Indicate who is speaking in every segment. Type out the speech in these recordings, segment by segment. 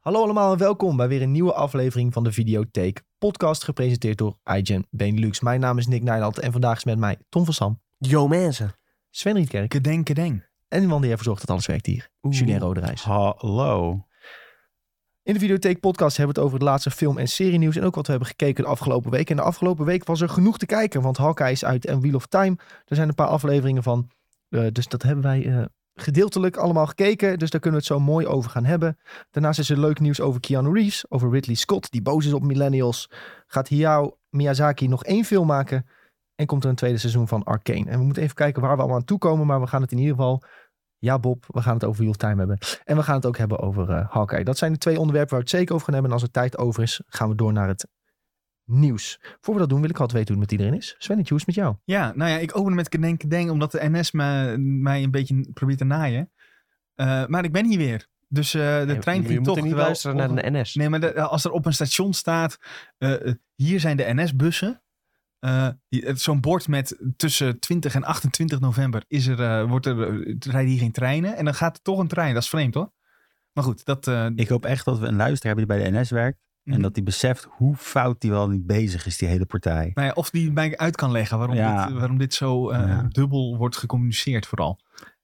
Speaker 1: Hallo allemaal en welkom bij weer een nieuwe aflevering van de Videotheek podcast gepresenteerd door iGen Benelux. Mijn naam is Nick Nijland en vandaag is met mij Tom van Sam,
Speaker 2: Yo mensen.
Speaker 1: Sven Rietkerk
Speaker 3: Kedeng, kedeng.
Speaker 1: en iemand die ervoor zorgt dat alles werkt hier, Julien Roderijs.
Speaker 3: Hallo.
Speaker 1: In de Videotheek podcast hebben we het over het laatste film- en serienieuws en ook wat we hebben gekeken de afgelopen week. En de afgelopen week was er genoeg te kijken, want Hawkeye is uit en Wheel of Time. Er zijn een paar afleveringen van, Eh, dus dat hebben wij eh, gedeeltelijk allemaal gekeken. Dus daar kunnen we het zo mooi over gaan hebben. Daarnaast is er leuk nieuws over Keanu Reeves, over Ridley Scott, die boos is op millennials. Gaat Hayao Miyazaki nog één film maken en komt er een tweede seizoen van Arcane. En we moeten even kijken waar we allemaal aan toekomen, maar we gaan het in ieder geval... Ja, Bob, we gaan het over Wheel of Time hebben. En we gaan het ook hebben over eh Hawkeye. Dat zijn de twee onderwerpen waar we het zeker over gaan hebben. En als er tijd over is, gaan we door naar het nieuws. Voor we dat doen, wil ik altijd weten hoe het met iedereen is. Sven, het is met jou.
Speaker 3: Ja, nou ja, ik open met Kedeng, kedeng, omdat de NS me, mij een beetje probeert te naaien. Eh, maar ik ben hier weer. Dus eh, de
Speaker 2: Nee,
Speaker 3: trein
Speaker 2: je
Speaker 3: vliegt
Speaker 2: moet
Speaker 3: toch.
Speaker 2: er niet
Speaker 3: terwijl-
Speaker 2: luisteren naar de NS.
Speaker 3: Nee, maar de- eh, als er op een station staat, eh, eh, hier zijn de NS-bussen. Eh, die- het- Zo'n bord met tussen 20 en 28 november is er, eh, wordt er, eh, rijden hier geen treinen. En dan gaat er toch een trein. Dat is vreemd hoor. Maar goed, dat... eh, mm.
Speaker 4: Ik hoop echt dat we een luisteraar hebben die bij de NS werkt. En dat die beseft hoe fout die wel niet bezig is, die hele partij.
Speaker 3: Nou ja, of die mij uit kan leggen waarom,
Speaker 4: Ja.
Speaker 3: dit, waarom dit zo eh,
Speaker 4: Ja.
Speaker 3: dubbel wordt gecommuniceerd vooral.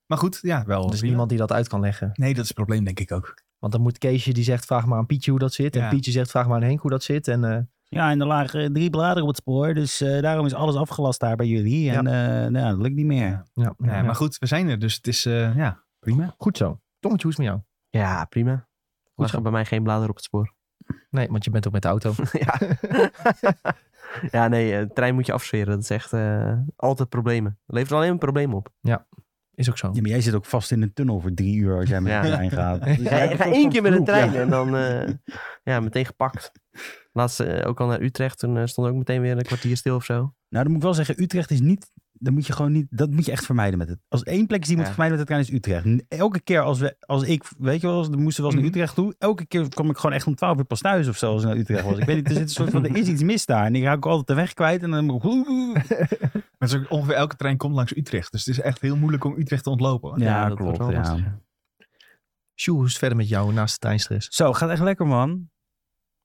Speaker 3: Maar goed, ja, wel.
Speaker 1: Er is
Speaker 3: prima.
Speaker 1: niemand die dat uit kan leggen.
Speaker 3: Nee, dat is het probleem denk ik ook.
Speaker 1: Want dan moet Keesje, die zegt, vraag maar aan Pietje hoe dat zit. En
Speaker 3: Ja.
Speaker 1: Pietje zegt, vraag maar aan Henk hoe dat zit. En eh,
Speaker 4: Ja, en er lagen drie bladeren op het spoor. Dus eh, daarom is alles afgelast daar bij jullie. En eh, nou, ja, dat lukt niet meer.
Speaker 1: ja,
Speaker 3: Ja,
Speaker 1: ja,
Speaker 3: Maar goed, we zijn er, dus het is eh, ja, prima.
Speaker 1: goed zo. Tommetje, hoe is het met jou?
Speaker 2: Ja, prima.
Speaker 1: zo.
Speaker 2: Lagen bij mij geen bladeren op het spoor.
Speaker 1: Nee, want je bent ook met de auto.
Speaker 2: ja. ja, nee, eh, de trein moet je afsferen. Dat is echt eh, altijd problemen. Het levert alleen een probleem op.
Speaker 1: Is ook zo.
Speaker 4: Ja, maar jij zit ook vast in een tunnel voor drie uur als jij met
Speaker 2: Ja.
Speaker 4: de trein gaat. Dus
Speaker 2: Ja,
Speaker 4: jij
Speaker 2: ik
Speaker 4: bent
Speaker 2: ga
Speaker 4: ook
Speaker 2: één keer met een
Speaker 4: zo'n
Speaker 2: trein
Speaker 4: vloek, ja.
Speaker 2: en dan eh, ja, meteen gepakt. Laatst eh, ook al naar Utrecht. Toen eh, stond ook meteen weer een kwartier stil of zo.
Speaker 4: Nou, dan moet ik wel zeggen, Utrecht is niet... Dan moet je gewoon niet, dat moet je echt vermijden met het. Als één plek is die je
Speaker 2: Ja.
Speaker 4: moet vermijden met de trein, is Utrecht. Elke keer als, we, als ik, weet je wel, als- dan moesten we wel eens
Speaker 2: Mhm.
Speaker 4: naar Utrecht toe. Elke keer kwam ik gewoon echt om 12 uur pas thuis of zo als ik naar Utrecht was. Ik weet niet, er zit een soort van, er is iets mis daar. En ik raak ook altijd de weg kwijt. En dan moet ik-
Speaker 3: Maar het is ook ongeveer elke trein komt langs Utrecht, dus het is echt heel moeilijk om Utrecht te ontlopen. hoor.
Speaker 4: Ja,
Speaker 2: dat wordt
Speaker 4: klopt.
Speaker 2: wel
Speaker 4: ja.
Speaker 2: lastig,
Speaker 1: Sjoe, hoe is het verder met jou naast de treinstress?
Speaker 4: Zo, gaat echt lekker, man.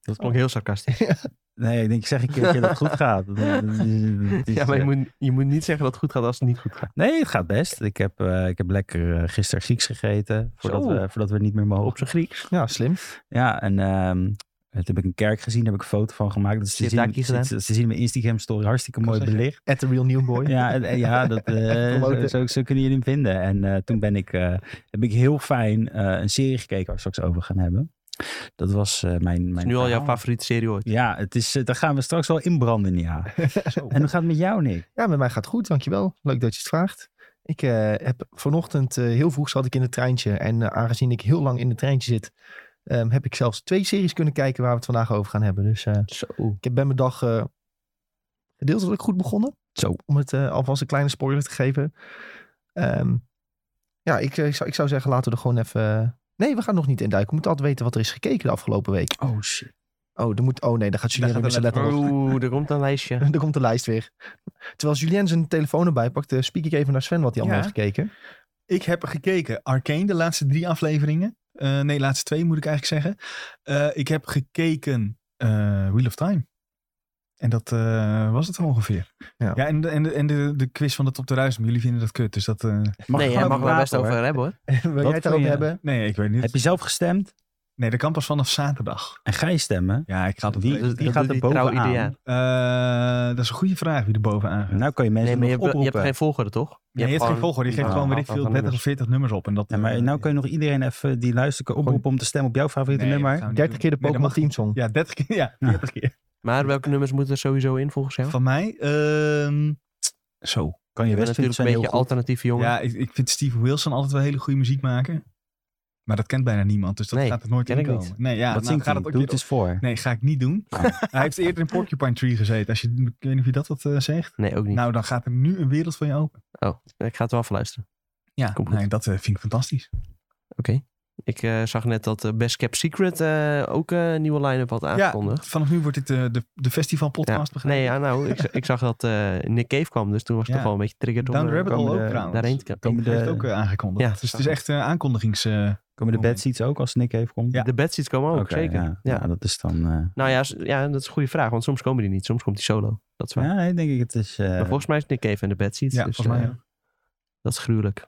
Speaker 2: Dat
Speaker 4: Oh.
Speaker 2: klonk heel sarcastisch.
Speaker 4: Nee, ik denk, ik zeg een keertje dat het goed gaat. Het is- eh,
Speaker 2: Ja, maar je moet, je moet niet zeggen dat het goed gaat als het niet goed gaat.
Speaker 4: Nee, het gaat best. Ik heb, eh, ik heb lekker eh, gisteren Grieks gegeten. Voordat
Speaker 2: Zo.
Speaker 4: we, voordat we niet meer mogen.
Speaker 2: Op zijn Grieks.
Speaker 1: Ja, slim.
Speaker 4: Ja, en ehm, toen heb ik een kerk gezien. Daar heb ik een foto van gemaakt. Dat is te, zien,
Speaker 2: Shiitake gedaan.
Speaker 4: ze, ze zien in mijn Instagram story. Hartstikke mooi
Speaker 3: zeggen.
Speaker 4: belicht.
Speaker 1: At the real new boy.
Speaker 4: Ja, en- en ja dat, eh, zo,
Speaker 1: promoten.
Speaker 4: zo, zo kunnen jullie hem vinden. En eh, toen ben ik, eh, heb ik heel fijn eh, een serie gekeken waar we straks over gaan hebben. Dat was eh, mijn,
Speaker 2: Dat
Speaker 4: mijn
Speaker 2: is nu al jouw
Speaker 4: verhaal.
Speaker 2: favoriete serie ooit.
Speaker 4: Ja, het is, eh, daar gaan we straks wel inbranden, ja. En hoe gaat het met jou, Nick?
Speaker 1: Ja, met mij gaat het goed, dankjewel. Leuk dat je het vraagt. Ik eh, heb vanochtend, eh, heel vroeg zat ik in het treintje. En eh, aangezien ik heel lang in het treintje zit, ehm, heb ik zelfs twee series kunnen kijken waar we het vandaag over gaan hebben. Dus eh,
Speaker 2: Zo.
Speaker 1: ik heb bij mijn dag eh, gedeeltelijk goed begonnen.
Speaker 4: Zo.
Speaker 1: Om het eh, alvast een kleine spoiler te geven. Ehm, ja, ik, eh, zou, ik zou zeggen, laten we er gewoon even... eh, Nee, we gaan nog niet induiken. We moeten altijd weten wat er is gekeken de afgelopen week.
Speaker 4: Oh shit.
Speaker 1: Oh, er moet, oh nee, daar gaat Julien
Speaker 3: Daar
Speaker 1: weer
Speaker 3: gaat
Speaker 1: met zijn
Speaker 3: de
Speaker 1: letter op.
Speaker 4: Oh.
Speaker 2: Oeh, er komt een lijstje.
Speaker 1: Er komt de lijst weer. Terwijl Julien zijn telefoon erbij pakt, eh, spiek ik even naar Sven wat hij allemaal
Speaker 3: Ja.
Speaker 1: heeft gekeken.
Speaker 3: Ik heb gekeken Arcane, de laatste drie afleveringen. Eh, nee, laatste twee moet ik eigenlijk zeggen. Eh, ik heb gekeken eh, Wheel of Time. En dat eh, was het ongeveer.
Speaker 1: Ja.
Speaker 3: Ja, en, de- en, de, en de, de quiz van de Top 1000. maar Jullie vinden dat kut, dus dat... eh,
Speaker 2: nee, jij
Speaker 4: gewoon
Speaker 2: mag daar
Speaker 4: praten,
Speaker 2: best over
Speaker 4: hoor.
Speaker 2: hebben hoor.
Speaker 1: Wil jij het
Speaker 4: vond
Speaker 1: daarover
Speaker 4: je-
Speaker 1: hebben?
Speaker 3: nee, ik weet niet.
Speaker 4: Heb je zelf gestemd?
Speaker 3: Nee, dat kan pas vanaf zaterdag.
Speaker 4: En ga je stemmen?
Speaker 3: Ja, ik ga dat
Speaker 4: Wie-
Speaker 3: wel even-
Speaker 4: die
Speaker 2: dat
Speaker 4: gaat
Speaker 2: doet
Speaker 4: er
Speaker 2: trouw
Speaker 4: bovenaan.
Speaker 2: ieder jaar.
Speaker 3: Eh, dat is een goede vraag wie er bovenaan gaat.
Speaker 4: Nou kan je mensen
Speaker 2: Nee, maar je
Speaker 4: nog
Speaker 2: hebt, je
Speaker 4: oproepen.
Speaker 2: hebt geen volgorde, toch?
Speaker 3: Je, je hebt geen volgorde, je geeft
Speaker 2: Ja,
Speaker 3: gewoon weet
Speaker 2: een
Speaker 3: ik veel
Speaker 2: aantal
Speaker 3: 30 of
Speaker 2: nummers.
Speaker 3: 40 nummers op. En dat, eh,
Speaker 4: Ja, maar nou kun je nog iedereen even die luisteren oproepen om te stemmen op jouw favoriete nummer.
Speaker 1: 30 keer de Pokémon Team Song.
Speaker 3: Ja, 30 keer. Ja,
Speaker 4: Ja.
Speaker 3: 40 keer.
Speaker 2: Maar welke nummers moeten er sowieso in volgens jou?
Speaker 3: Van mij. ehm, zo.
Speaker 4: Kan je
Speaker 2: Je
Speaker 4: best vinden,
Speaker 2: bent natuurlijk een
Speaker 4: zijn heel
Speaker 2: beetje
Speaker 4: goed.
Speaker 2: alternatieve jongen.
Speaker 3: Ja, ik, ik vind Steve Wilson altijd wel hele goede muziek maken. Maar dat kent bijna niemand, dus dat
Speaker 2: Nee,
Speaker 3: gaat er nooit
Speaker 2: ken
Speaker 3: in
Speaker 2: ik niet.
Speaker 3: komen. Nee, ja,
Speaker 4: Wat
Speaker 3: nou,
Speaker 4: zingt
Speaker 3: gaat
Speaker 4: hij?
Speaker 3: het ook
Speaker 4: Doe het
Speaker 3: weer
Speaker 4: eens voor.
Speaker 3: op- Nee, ga ik niet doen. Hij heeft eerder in Porcupine Tree gezeten. Als je, ik weet niet of je dat wat eh, zegt.
Speaker 2: Nee, ook niet. Oh,
Speaker 3: Nou, dan gaat er nu een wereld voor je open.
Speaker 2: ik ga het wel verluisteren.
Speaker 3: Ja,
Speaker 2: Komt goed.
Speaker 3: nee, dat eh, vind ik fantastisch.
Speaker 2: Oké. Ik eh, zag net dat eh, Best Kept Secret eh, ook eh, een nieuwe line-up had aangekondigd.
Speaker 3: Vanaf nu wordt dit eh, de, de festival podcast
Speaker 2: Ja. Nee, ja, nou, ik, za- ik zag dat eh, Nick Cave kwam, dus toen was ik
Speaker 3: Ja.
Speaker 2: toch wel een beetje triggerd om
Speaker 3: Down the
Speaker 2: eh,
Speaker 3: Rabbit Hole
Speaker 4: komen
Speaker 3: ook
Speaker 4: de-
Speaker 3: trouwens.
Speaker 2: daarheen te komen.
Speaker 4: Komen
Speaker 3: Hij heeft ook
Speaker 4: de,
Speaker 3: eh, aangekondigd.
Speaker 2: Ja,
Speaker 3: dus het is echt eh aankondigings... eh,
Speaker 4: Komen de
Speaker 3: Moment.
Speaker 4: bedseats ook als Nick heeft komt?
Speaker 3: Ja.
Speaker 2: De bedseats komen ook,
Speaker 4: Oké,
Speaker 2: zeker.
Speaker 4: Ja,
Speaker 2: Ja.
Speaker 4: ja. dat is dan... eh,
Speaker 2: Nou ja, s- ja, dat is een goede vraag, want soms komen die niet. Soms komt die solo. Dat is waar.
Speaker 4: ja, nee, denk ik. Het is... eh,
Speaker 2: Maar volgens mij is Nick Cave en de bedseats.
Speaker 3: Ja,
Speaker 2: dus,
Speaker 3: volgens mij,
Speaker 2: eh, Dat is gruwelijk.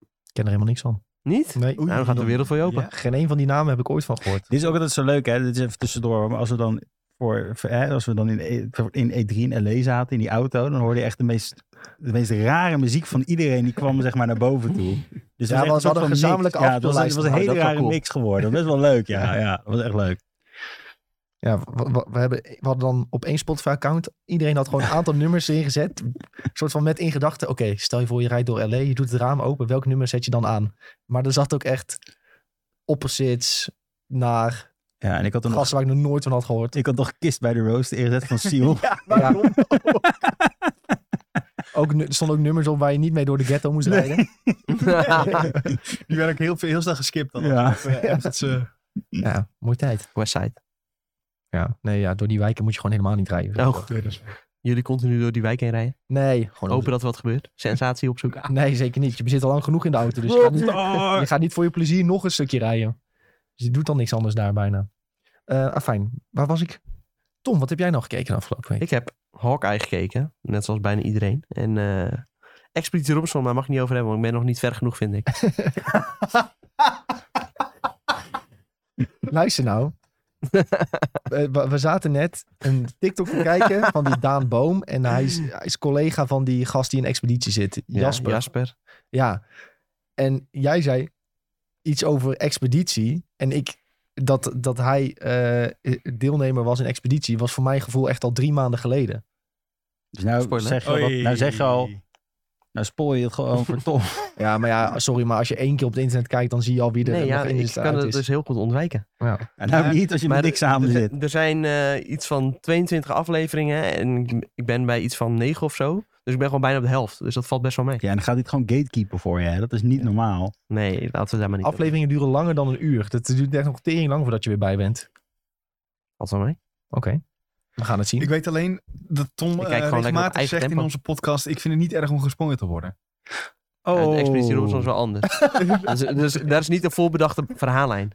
Speaker 1: Ik ken er helemaal niks van.
Speaker 2: Niet?
Speaker 1: Nee.
Speaker 3: Oei.
Speaker 2: nou, dan gaat de wereld voor je open.
Speaker 3: Ja.
Speaker 1: Geen een van die namen heb ik ooit van gehoord.
Speaker 4: Dit is ook altijd zo leuk, hè? Dit is even tussendoor. Maar als we dan, voor, voor- hè, als we dan in, E- in E3 in LA zaten, in die auto, dan hoorde je echt de meest, de meest rare muziek van iedereen. Die kwam zeg maar naar boven toe. Dus
Speaker 1: Ja,
Speaker 4: het was echt
Speaker 1: we
Speaker 4: een soort
Speaker 1: hadden
Speaker 4: van
Speaker 1: gezamenlijke
Speaker 4: mix. Ja, het was, het was een
Speaker 1: afspeellijst.
Speaker 4: hele
Speaker 2: Oh, dat is wel
Speaker 4: rare
Speaker 2: cool.
Speaker 4: mix geworden. Best wel leuk, ja. ja het was echt leuk.
Speaker 1: Ja, w- w- we, hebben, we hadden dan op één Spotify-account. Iedereen had gewoon een aantal nummers ingezet. Een soort van met in gedachten. Oké, stel je voor je rijdt door LA. Je doet het raam open. Welk nummer zet je dan aan? Maar er zat ook echt opposites naar
Speaker 4: Ja, en ik had toen nog,
Speaker 1: gasten waar ik nog nooit van had gehoord.
Speaker 4: ik had nog Kissed by the Rose ingezet van Seal.
Speaker 1: Waarom? ook, nu- er stonden ook nummers op waar je niet mee door de ghetto moest
Speaker 4: Nee.
Speaker 1: rijden.
Speaker 3: Die werden ook heel, veel- heel snel geskipt. Dan.
Speaker 4: ja.
Speaker 3: Of, eh, echt dat ze-
Speaker 1: Ja, mooie tijd.
Speaker 2: Westside.
Speaker 1: Ja, nee, ja, door die wijken moet je gewoon helemaal niet rijden.
Speaker 2: Oh, jullie continu door die wijk heen rijden.
Speaker 1: Nee, gewoon
Speaker 2: Hopen dat er wat gebeurt. Sensatie opzoeken.
Speaker 1: Nee, zeker niet. Je zit al lang genoeg in de auto. Dus je gaat, niet, je gaat niet voor je plezier nog een stukje rijden. Dus je doet dan niks anders daar bijna. Eh afijn, waar was ik? Tom, wat heb jij nou gekeken de afgelopen week?
Speaker 2: Ik heb Hawkeye gekeken, net zoals bijna iedereen. En eh Expeditie Robinson, maar mag ik niet over hebben, want ik ben nog niet ver genoeg, vind ik.
Speaker 1: Luister nou. we, we- we zaten net een TikTok te kijken van die Daan Boom. En hij is, hij is collega van die gast die in expeditie zit.
Speaker 2: Ja,
Speaker 1: Jasper. Ja,
Speaker 2: Jasper.
Speaker 1: En jij zei iets over expeditie. En ik, dat, dat hij eh, deelnemer was in expeditie, was voor mijn gevoel echt al drie maanden geleden.
Speaker 4: Dus nou
Speaker 2: Spoiler.
Speaker 4: zeg, je al, dat- nou zeg je al,
Speaker 3: Oei.
Speaker 4: nou spoil je het gewoon voor Tom.
Speaker 1: Ja, maar ja, sorry, maar als je één keer op het internet kijkt, dan zie je al wie er
Speaker 2: Nee, ja,
Speaker 1: nog in
Speaker 2: ik
Speaker 1: is. en
Speaker 2: kan
Speaker 1: uit
Speaker 2: het
Speaker 1: is.
Speaker 2: dus heel goed ontwijken.
Speaker 4: En nou niet als je met
Speaker 2: Maar
Speaker 4: niks samen zit.
Speaker 2: Er, er zijn eh, iets van 22 afleveringen en ik- ik ben bij iets van 9 of zo. Dus ik ben gewoon bijna op de helft. Dus dat valt best wel mee.
Speaker 4: Ja, en dan gaat dit gewoon gatekeeper voor je. Hè? Dat is niet normaal.
Speaker 2: Nee, laten we daar maar niet over.
Speaker 1: Afleveringen duren langer dan een uur. Dat duurt echt nog tering lang voordat je weer bij bent.
Speaker 2: Valt wel mee.
Speaker 1: Oké, we gaan het zien.
Speaker 3: Ik weet alleen dat Tom
Speaker 2: kijk
Speaker 3: eh,
Speaker 2: gewoon lekker op
Speaker 3: regelmatig
Speaker 2: eigen
Speaker 3: zegt in
Speaker 2: tempo.
Speaker 3: onze podcast... ik vind het niet erg om gesprongen te worden.
Speaker 2: Ja,
Speaker 3: Oh.
Speaker 2: de Expeditie Robinson is wel anders. dus, dus daar is niet een voorbedachte verhaallijn.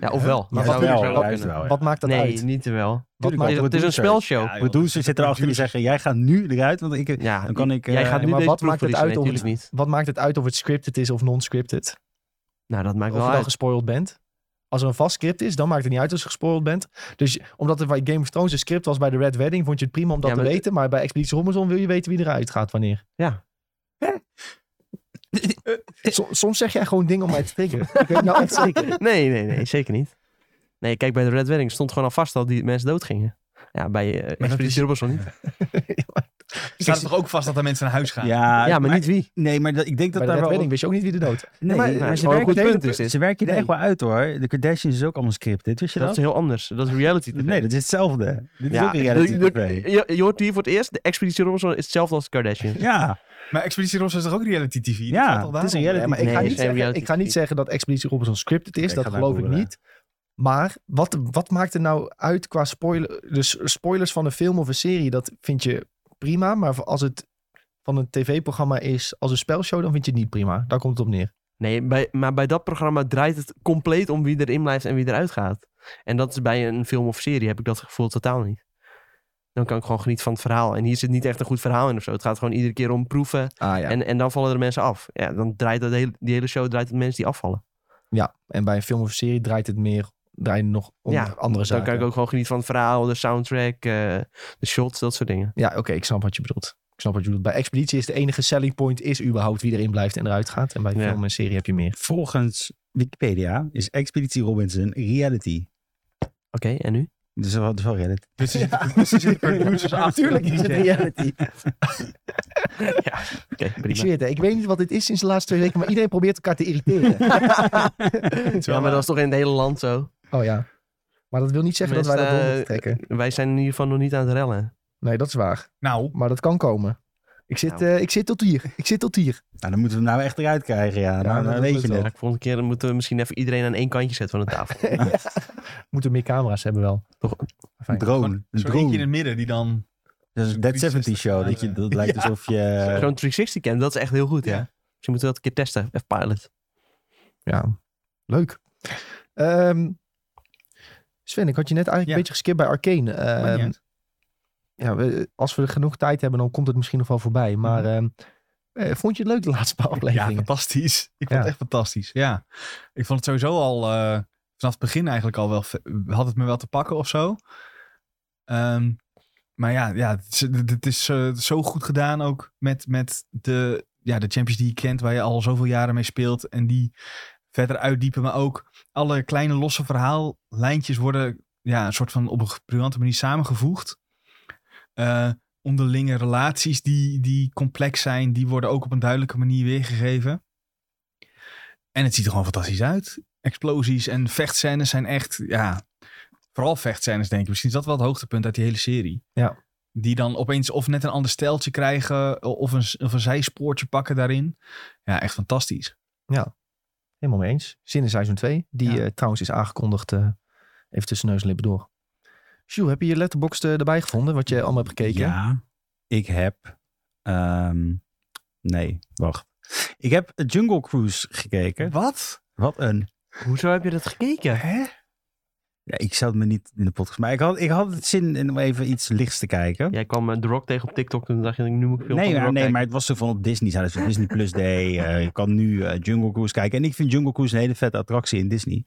Speaker 2: Ja, of wel.
Speaker 1: Maar
Speaker 2: Dat
Speaker 1: wat-
Speaker 2: zou
Speaker 1: wel,
Speaker 2: wel
Speaker 1: wat-
Speaker 2: kunnen.
Speaker 1: Wat maakt dat
Speaker 2: nee,
Speaker 1: uit?
Speaker 2: niet te wel.
Speaker 1: Wat
Speaker 2: Het
Speaker 1: maakt,
Speaker 2: is, het is een spelshow.
Speaker 3: Ja, joh,
Speaker 4: Producers zitten erachter die
Speaker 3: producers.
Speaker 4: zeggen, jij gaat nu eruit, want ik,
Speaker 2: Ja,
Speaker 4: dan kan ik...
Speaker 2: jij
Speaker 4: eh,
Speaker 2: gaat nu
Speaker 1: maar
Speaker 2: deze
Speaker 1: wat
Speaker 2: proef
Speaker 1: maakt het
Speaker 2: verliezen.
Speaker 1: uit
Speaker 2: Nee,
Speaker 1: of-
Speaker 2: tuurlijk niet.
Speaker 1: wat maakt het uit of het scripted is of non-scripted?
Speaker 2: Nou, dat maakt
Speaker 1: Of je
Speaker 2: wel
Speaker 1: dan
Speaker 2: uit.
Speaker 1: gespoild bent? Als er een vast script is, dan maakt het niet uit als je gespoild bent. Dus je- omdat er bij Game of Thrones een script was bij de Red Wedding, vond je het prima om dat
Speaker 2: Ja,
Speaker 1: te
Speaker 2: maar-
Speaker 1: weten. Maar bij Expeditie Robinson wil je weten wie eruit gaat wanneer.
Speaker 2: Ja.
Speaker 1: So- soms zeg jij gewoon dingen om mij te triggeren. Ik weet nou echt zeker.
Speaker 2: Nee, nee, nee, zeker niet. Nee, kijk, bij de Red Wedding stond gewoon al vast dat die mensen doodgingen. Ja, bij eh Expeditie Robinson niet.
Speaker 3: Staat het toch ook vast dat er mensen naar huis gaan?
Speaker 4: Ja,
Speaker 2: Ja, maar niet wie.
Speaker 4: Nee, maar dat, ik denk dat
Speaker 1: bij de
Speaker 4: daar
Speaker 1: Red
Speaker 4: wel...
Speaker 1: Wedding wist je ook niet wie de dood.
Speaker 4: Nee,
Speaker 2: maar-
Speaker 4: nee,
Speaker 2: maar
Speaker 4: ze
Speaker 2: wel een
Speaker 4: werken
Speaker 2: goed
Speaker 4: er-
Speaker 2: punt is dit.
Speaker 4: Ze werken er
Speaker 2: Nee.
Speaker 4: echt wel uit hoor. De Kardashians is ook allemaal scripted, wist je
Speaker 2: Dat
Speaker 4: dat?
Speaker 2: is heel anders. Dat is reality. TV.
Speaker 4: Nee, dat is hetzelfde. Dit is
Speaker 2: ja,
Speaker 4: ook een reality
Speaker 2: de- de-
Speaker 4: tv.
Speaker 2: je, je hoort hier voor het eerst, de Expeditie Robinson is hetzelfde als Kardashian.
Speaker 4: Ja,
Speaker 3: Maar Expeditie Ross is toch ook reality TV? Dat
Speaker 4: Ja,
Speaker 3: valt al
Speaker 4: het is een
Speaker 3: daarom.
Speaker 4: reality
Speaker 1: maar ik,
Speaker 2: nee,
Speaker 1: ga niet
Speaker 2: dat is geen
Speaker 1: zeggen,
Speaker 2: reality
Speaker 1: ik ga niet
Speaker 2: TV.
Speaker 1: zeggen dat Expeditie Robinson scripted is.
Speaker 4: ik
Speaker 1: dat
Speaker 4: ga
Speaker 1: geloof ik
Speaker 4: googlen.
Speaker 1: niet. Maar wat, wat maakt er nou uit qua spoiler, dus spoilers van een film of een serie? Dat vind je prima. Maar als het van een tv-programma is als een spelshow, dan vind je het niet prima. Daar komt het op neer.
Speaker 2: Nee, bij, maar bij dat programma draait het compleet om wie erin blijft en wie eruit gaat. En dat is bij een film of serie heb ik dat gevoel totaal niet. Dan kan ik gewoon genieten van het verhaal. En hier zit niet echt een goed verhaal in of zo. Het gaat gewoon iedere keer om proeven.
Speaker 1: Ah ja. En,
Speaker 2: En, en dan vallen er mensen af. Ja, dan draait dat hele, die hele show draait om mensen die afvallen.
Speaker 1: ja. en bij een film of een serie draait het meer draait het nog om
Speaker 2: Ja,
Speaker 1: andere
Speaker 2: Dan
Speaker 1: zaken.
Speaker 2: kan ik ook gewoon genieten van het verhaal, de soundtrack, eh, de shots, dat soort dingen.
Speaker 1: Ja, oké, ik snap wat je bedoelt. Ik snap wat je bedoelt. Bij Expeditie is de enige selling point is überhaupt wie erin blijft en eruit gaat. En bij
Speaker 2: Ja.
Speaker 1: film en serie heb je meer.
Speaker 4: volgens Wikipedia is Expeditie Robinson reality.
Speaker 2: Oké, en nu?
Speaker 4: Dus dat is wel reality.
Speaker 3: Dus er zitten- dus er zitten producers achter.
Speaker 1: Natuurlijk is het reality.
Speaker 2: Oké,
Speaker 1: Ik
Speaker 2: prima.
Speaker 1: zweer het, hè. ik weet niet wat dit is sinds de laatste twee weken, maar iedereen probeert elkaar te irriteren.
Speaker 2: Ja, maar dat is toch in het hele land zo?
Speaker 1: Oh ja. Maar dat wil niet zeggen dat wij dat
Speaker 2: Mensen,
Speaker 1: door
Speaker 2: eh,
Speaker 1: moeten trekken.
Speaker 2: Wij zijn in ieder geval nog niet aan het rellen.
Speaker 1: Nee, dat is waar.
Speaker 3: Nou,
Speaker 1: Maar dat kan komen. Ik zit,
Speaker 2: Nou.
Speaker 1: eh, ik zit tot hier. Ik zit tot hier.
Speaker 4: Nou, dan moeten we hem nou echt eruit krijgen, ja. nou,
Speaker 1: dat
Speaker 4: dan weet
Speaker 1: lukt
Speaker 4: je
Speaker 1: wel.
Speaker 4: het.
Speaker 2: Ja, volgende keer moeten we misschien even iedereen aan één kantje zetten van de tafel.
Speaker 1: Moeten meer camera's hebben wel.
Speaker 2: Toch?
Speaker 4: Een drone. Een
Speaker 3: zo'n eentje in
Speaker 4: drone.
Speaker 3: het midden die dan...
Speaker 4: Dat is een Dead 70 show. Dat, je, dat lijkt alsof je...
Speaker 2: Zo'n 360 cam, dat is echt heel goed, ja.
Speaker 3: Ja.
Speaker 2: Misschien moeten we dat een keer testen, even pilot.
Speaker 1: Ja, leuk. Ehm, Sven, ik had je net eigenlijk
Speaker 3: Ja.
Speaker 1: een beetje geskipt bij Arcane. Ehm,
Speaker 3: Maakt niet uit.
Speaker 1: ja, we- als we genoeg tijd hebben, dan komt het misschien nog wel voorbij. Maar ehm, eh, vond je het leuk de laatste paar
Speaker 3: Ja,
Speaker 1: afleveringen?
Speaker 3: fantastisch. Ik vond het
Speaker 1: Ja.
Speaker 3: echt fantastisch. Ja. Ik vond het sowieso al eh, vanaf het begin eigenlijk al wel. ve- had het me wel te pakken of zo. Ehm, maar ja, ja het is, het is eh, zo goed gedaan ook met, met de, ja, de champions die je kent, waar je al zoveel jaren mee speelt. En die verder uitdiepen. Maar ook alle kleine losse verhaallijntjes worden ja, een soort van op een briljante manier samengevoegd. Eh, onderlinge relaties die, die complex zijn, die worden ook op een duidelijke manier weergegeven. En het ziet er gewoon fantastisch uit. Explosies en vechtscènes zijn echt, ja, vooral vechtscènes denk ik. Misschien is dat wel het hoogtepunt uit die hele serie.
Speaker 1: Ja.
Speaker 3: Die dan opeens of net een ander steltje krijgen of een, of een zijspoortje pakken daarin. Ja, echt fantastisch.
Speaker 1: Helemaal mee eens. Zin in seizoen 2, die
Speaker 3: Ja.
Speaker 1: eh, trouwens is aangekondigd eh, even tussen neus en lippen door. Sjoe, heb je je letterbox eh, erbij gevonden, wat je allemaal hebt gekeken?
Speaker 4: Ja, ik heb... ehm, nee, wacht. Ik heb Jungle Cruise gekeken.
Speaker 3: Wat?
Speaker 4: Wat een...
Speaker 2: Hoezo heb je dat gekeken?
Speaker 3: Hè?
Speaker 4: Ja, ik zou het me niet in de podcast... Maar ik had, ik had het zin in om even iets lichts te kijken.
Speaker 2: Jij kwam eh, The Rock tegen op TikTok toen dacht je, nu moet ik veel
Speaker 4: Nee,
Speaker 2: van The
Speaker 4: maar,
Speaker 2: Rock
Speaker 4: nee
Speaker 2: kijken.
Speaker 4: maar het was zo van op Disney. Zouden ze Disney Plus Day. eh, je kan nu eh, Jungle Cruise kijken. En ik vind Jungle Cruise een hele vette attractie in Disney.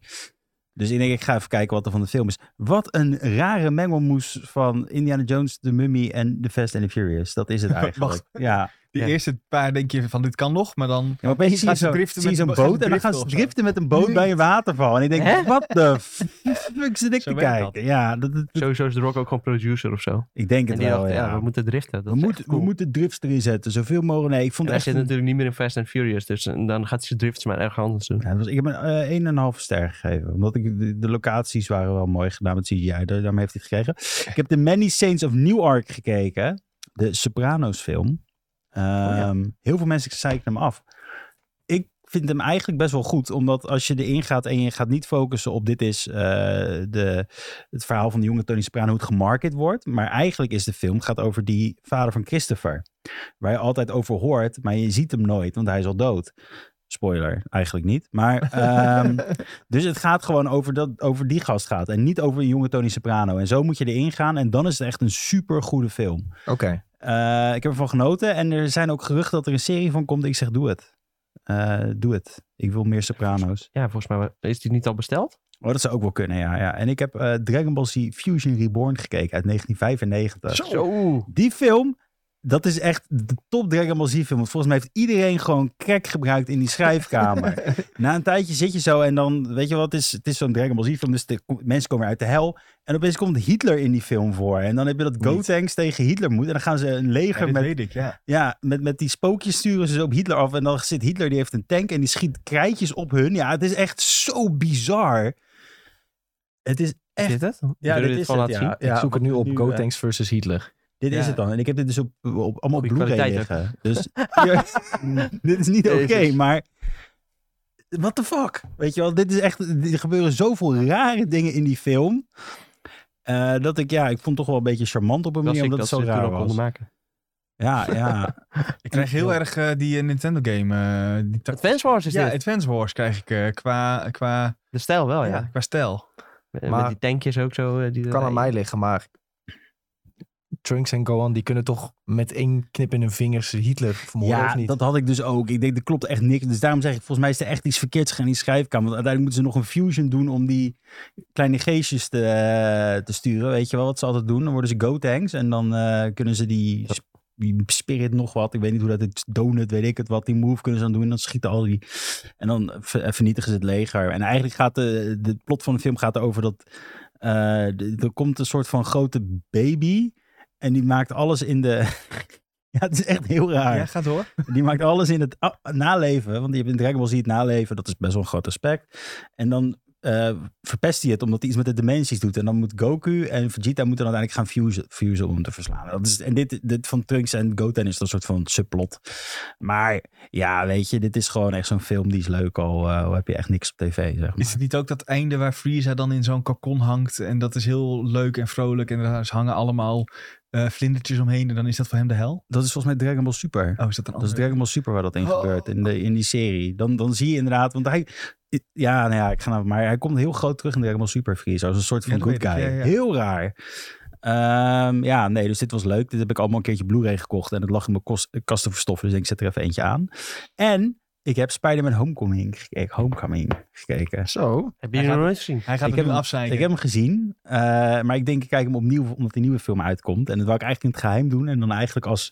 Speaker 4: Dus ik denk, ik ga even kijken wat er van de film is. Wat een rare mengelmoes van Indiana Jones, The Mummy en The Fast and the Furious. Dat is het eigenlijk.
Speaker 3: Wacht.
Speaker 4: Ja.
Speaker 3: De
Speaker 2: Ja.
Speaker 3: eerste paar denk je van dit kan nog, maar dan...
Speaker 4: ja, maar opeens zie je
Speaker 3: Gaan ze
Speaker 4: zo-
Speaker 3: driften
Speaker 4: zie je zo'n
Speaker 3: met- gaan ze
Speaker 4: boot en dan gaan ze
Speaker 3: driften of
Speaker 4: driften
Speaker 3: zo?
Speaker 4: met een boot bij een waterval. En ik denk,
Speaker 2: Hè?
Speaker 4: wat de fuck zit ik
Speaker 3: Zo
Speaker 4: te
Speaker 3: werkt
Speaker 4: kijken? Ja, dat, dat-
Speaker 2: Sowieso is The Rock ook gewoon producer of zo.
Speaker 4: ik denk
Speaker 2: En
Speaker 4: het
Speaker 2: die
Speaker 4: wel,
Speaker 2: dacht, ja,
Speaker 4: ja.
Speaker 2: we moeten driften. Dat
Speaker 4: We,
Speaker 2: is
Speaker 4: moeten-
Speaker 2: echt cool.
Speaker 4: we moeten drifts erin zetten. Zoveel mogelijk. Nee, ik vond
Speaker 2: En hij
Speaker 4: echt...
Speaker 2: zit
Speaker 4: een-
Speaker 2: natuurlijk niet meer in Fast and Furious, dus en dan gaat hij zijn drifts maar erg anders doen.
Speaker 4: Ja, dat was, ik heb een eh, 1,5 ster gegeven. Omdat ik, de, de locaties waren wel mooi gedaan met CGI. daar- Daarmee heeft hij het gekregen. Ik heb The Many Saints of Newark gekeken. De Sopranos film. Ehm, Heel veel mensen zeiken hem af. Ik vind hem eigenlijk best wel goed. Omdat als je erin gaat en je gaat niet focussen op dit is eh, de, het verhaal van de jonge Tony Soprano. Hoe het gemarket wordt. Maar eigenlijk is de film gaat over die vader van Christopher. Waar je altijd over hoort. Maar je ziet hem nooit. Want hij is al dood. Spoiler, eigenlijk niet. Maar ehm, dus het gaat gewoon over, dat, over die gast gaat. En niet over een jonge Tony Soprano. En zo moet je erin gaan. En dan is het echt een super goede film.
Speaker 1: Oké.
Speaker 4: Eh, ik heb ervan genoten. En er zijn ook geruchten dat er een serie van komt. Ik zeg, doe het. Eh, doe het. Ik wil meer Soprano's.
Speaker 2: Ja, volgens mij wa- is die niet al besteld.
Speaker 4: Oh, dat zou ook wel kunnen, ja. ja. En ik heb eh, Dragon Ball Z Fusion Reborn gekeken uit 1995.
Speaker 2: Zo.
Speaker 4: Die film, dat is echt de top Dragon Ball Z film. Want volgens mij heeft iedereen gewoon crack gebruikt in die schrijfkamer. Na een tijdje zit je zo en dan, weet je wat, het is, het is zo'n Dragon Ball Z film. Dus de, mensen komen uit de hel. En opeens komt Hitler in die film voor. En dan heb je dat Gotenks tegen Hitler moet. En dan gaan ze een leger
Speaker 3: Ja, dit
Speaker 4: met
Speaker 3: weet ik, ja.
Speaker 4: ja, met, met die spookjes sturen ze ze op Hitler af. En dan zit Hitler, die heeft een tank en die schiet krijtjes op hun. Ja, het is echt zo bizar. Het is
Speaker 2: Is
Speaker 4: echt...
Speaker 2: dit het?
Speaker 4: ja,
Speaker 2: Zullen we
Speaker 4: dit is
Speaker 2: gewoon
Speaker 4: het,
Speaker 2: laten
Speaker 4: ja.
Speaker 2: zien?
Speaker 4: Ja,
Speaker 1: ik zoek het nu
Speaker 4: wat
Speaker 1: op.
Speaker 4: nu,
Speaker 1: Go
Speaker 4: eh,
Speaker 1: Tanks versus Hitler.
Speaker 4: Dit is
Speaker 3: Ja.
Speaker 4: het dan. En ik heb dit dus op, op, allemaal op
Speaker 2: Goeie
Speaker 4: Blu-ray
Speaker 2: kwaliteit
Speaker 4: liggen. Dus hier- dit is niet oké,
Speaker 2: Jezus.
Speaker 4: maar... What the fuck? Weet je wel, dit is echt... Er gebeuren zoveel rare dingen in die film... eh, dat ik, ja, ik vond het toch wel een beetje charmant op een
Speaker 2: Dat is
Speaker 4: manier,
Speaker 2: ik
Speaker 4: omdat
Speaker 2: dat
Speaker 4: het
Speaker 2: ze
Speaker 4: zo
Speaker 2: het toen
Speaker 4: raar
Speaker 2: ook konden
Speaker 4: was.
Speaker 2: maken.
Speaker 4: Ja, ja.
Speaker 3: Ik krijg heel erg eh, die eh, Nintendo game. eh, die tak-
Speaker 2: Advance Wars is
Speaker 3: ja,
Speaker 2: dit.
Speaker 3: Advance Wars krijg ik eh, qua, qua,
Speaker 2: De stijl wel, ja.
Speaker 3: ja, qua stijl.
Speaker 2: Met,
Speaker 1: Maar-
Speaker 2: met die tankjes ook zo. eh, Die
Speaker 1: Kan aan
Speaker 2: erbij-
Speaker 1: mij liggen, maar Trunks en Gohan, die kunnen toch met één knip in hun vingers Hitler vermoorden, of
Speaker 4: Ja,
Speaker 1: niet?
Speaker 4: dat had ik dus ook. Ik denk, er klopt echt niks. Dus daarom zeg ik, volgens mij is er echt iets verkeerds gegaan in die schrijfkamer. Want uiteindelijk moeten ze nog een fusion doen om die kleine geestjes te, eh, te sturen. Weet je wel wat ze altijd doen? Dan worden ze Gotenks en dan eh, kunnen ze die, sp- die spirit nog wat. Ik weet niet hoe dat het donut, weet ik het wat. Die move kunnen ze dan doen. En dan schieten al die... En dan ver- eh, vernietigen ze het leger. En eigenlijk gaat de, de plot van de film gaat erover dat... eh, d- er komt een soort van grote baby... En die maakt alles in de... Ah, Ja, het is echt heel raar.
Speaker 3: Ja, gaat door.
Speaker 4: Die maakt alles in het a- naleven. Want die hebt in Dragon Ball Z het naleven. Dat is best wel een groot aspect. En dan eh, verpest hij het omdat hij iets met de dimensies doet. En dan moet Goku en Vegeta moeten dan uiteindelijk gaan fusen, fusen om hem te verslaan. Dat is, en dit, dit van Trunks en Goten is dan een soort van subplot. Maar ja, weet je, dit is gewoon echt zo'n film die is leuk. Al eh, al heb je echt niks op tv, zeg maar.
Speaker 3: Is het niet ook dat einde waar Frieza dan in zo'n kokon hangt? En dat is heel leuk en vrolijk. En daar hangen allemaal eh, vlindertjes omheen. En dan is dat voor hem de hel?
Speaker 4: Dat is volgens mij Dragon Ball Super.
Speaker 3: Oh, is dat een
Speaker 4: Dat is
Speaker 3: andere?
Speaker 4: Dragon Ball Super waar dat in
Speaker 3: Oh.
Speaker 4: gebeurt, in, de, in die serie. Dan, dan zie je inderdaad, want hij, ja, nou ja, ik ga nou, maar hij komt heel groot terug in de Dragon Ball Super Freeze. Als een soort van
Speaker 3: Ja, dat
Speaker 4: good
Speaker 3: weet
Speaker 4: guy.
Speaker 3: ik, ja, ja.
Speaker 4: Heel raar. Ehm, ja, nee, dus dit was leuk. Dit heb ik allemaal een keertje Blu-ray gekocht. En het lag in mijn kost, kast te verstoffen. Dus ik denk, ik zet er even eentje aan. En ik heb Spider-Man Homecoming gekeken. Homecoming gekeken.
Speaker 1: Zo.
Speaker 2: Heb je die nog
Speaker 3: gaat-
Speaker 2: nooit gezien?
Speaker 3: Hij gaat
Speaker 4: Ik
Speaker 3: het
Speaker 4: heb
Speaker 3: nu
Speaker 4: hem-
Speaker 3: afzeiken.
Speaker 4: Ik heb hem gezien, eh, maar ik denk ik kijk hem opnieuw omdat die nieuwe film uitkomt. En dat wou ik eigenlijk in het geheim doen. En dan eigenlijk als,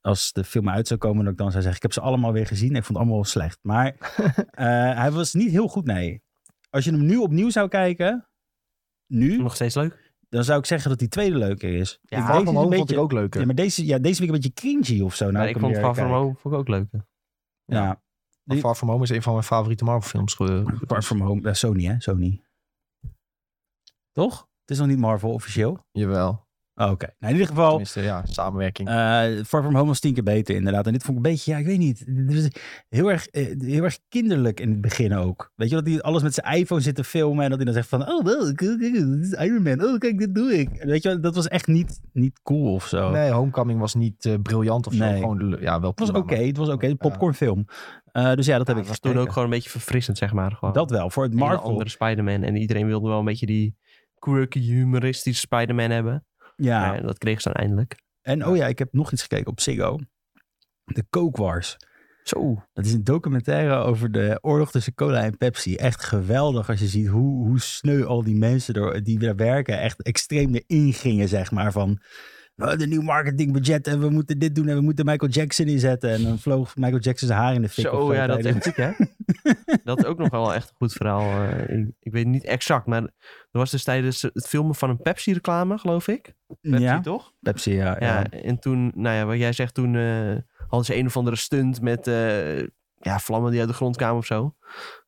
Speaker 4: als de film uit zou komen, dat ik dan zou zeggen, ik heb ze allemaal weer gezien. Ik vond het allemaal wel slecht. Maar eh, hij was niet heel goed, nee. Als je hem nu opnieuw zou kijken, nu,
Speaker 2: Nog steeds leuk?
Speaker 4: dan zou ik zeggen dat die tweede leuker is.
Speaker 2: Ja,
Speaker 4: Ik-
Speaker 2: Far
Speaker 1: Far
Speaker 4: deze
Speaker 1: From
Speaker 4: is
Speaker 1: Home
Speaker 4: een
Speaker 1: vond ik
Speaker 4: beetje...
Speaker 1: ook leuker.
Speaker 4: Ja, maar deze, ja, deze week een beetje cringy of zo. Nou, ik
Speaker 2: maar ik
Speaker 4: hem
Speaker 2: vond
Speaker 4: weer
Speaker 2: Far From
Speaker 4: kijk.
Speaker 2: Home vond ik ook leuk.
Speaker 1: Home-
Speaker 4: Ja,
Speaker 1: Maar Far From Home is een van mijn favoriete Marvel films. ge-
Speaker 4: Far From Home. eh, Sony, hè? Sony. Toch? Het is nog niet Marvel officieel.
Speaker 1: Jawel.
Speaker 4: Oh, Oké. Nou, in ieder geval,
Speaker 1: Tenminste, ja, samenwerking.
Speaker 4: Eh, Far From Home was tien keer beter inderdaad. En dit vond ik een beetje, ja, ik weet niet. Dit was Heel erg, eh, heel erg kinderlijk in het begin ook. Weet je, dat hij alles met zijn iPhone zit te filmen en dat hij dan zegt van, oh, wel, kijk, kijk, dit is Iron Man. Oh, kijk, dit doe ik. En Weet je, wel, dat was echt niet, niet cool of zo.
Speaker 1: Nee, Homecoming was niet eh, briljant of zo.
Speaker 4: Oh. Nee.
Speaker 1: Gewoon, le- ja, wel
Speaker 4: Het was oké, het was oké. een popcornfilm. Eh, dus ja, dat heb ik
Speaker 2: was toen
Speaker 4: gekeken.
Speaker 2: ook gewoon een beetje verfrissend, zeg maar. Gewoon.
Speaker 4: Dat wel, voor het
Speaker 2: En de
Speaker 4: Marvel.
Speaker 2: andere Spider-Man. En iedereen wilde wel een beetje die quirky, humoristische Spider-Man hebben.
Speaker 4: Ja,
Speaker 2: Maar dat kreeg ze dan eindelijk.
Speaker 4: en oh ja, ik heb nog iets gekeken op Ziggo. De Coke Wars.
Speaker 2: Zo.
Speaker 4: Dat is een documentaire over de oorlog tussen cola en Pepsi. Echt geweldig als je ziet hoe, hoe sneu al die mensen door, die daar werken echt extreem erin gingen, zeg maar. Van "Oh, de nieuw marketingbudget en we moeten dit doen en we moeten Michael Jackson inzetten. En dan vloog Michael Jackson zijn haar in de fik. of
Speaker 2: Zo, ja, dat is
Speaker 4: tijdens-
Speaker 2: echt ziek, hè? dat is ook nog wel echt een goed verhaal. eh, ik, ik weet niet exact, maar er was dus tijdens het filmen van een Pepsi-reclame, geloof ik. Pepsi,
Speaker 4: Ja,
Speaker 2: toch?
Speaker 4: Pepsi, ja.
Speaker 2: Ja,
Speaker 4: ja.
Speaker 2: en toen, nou ja, wat jij zegt, toen eh, hadden ze een of andere stunt met eh, ja, vlammen die uit de grond kwamen of zo.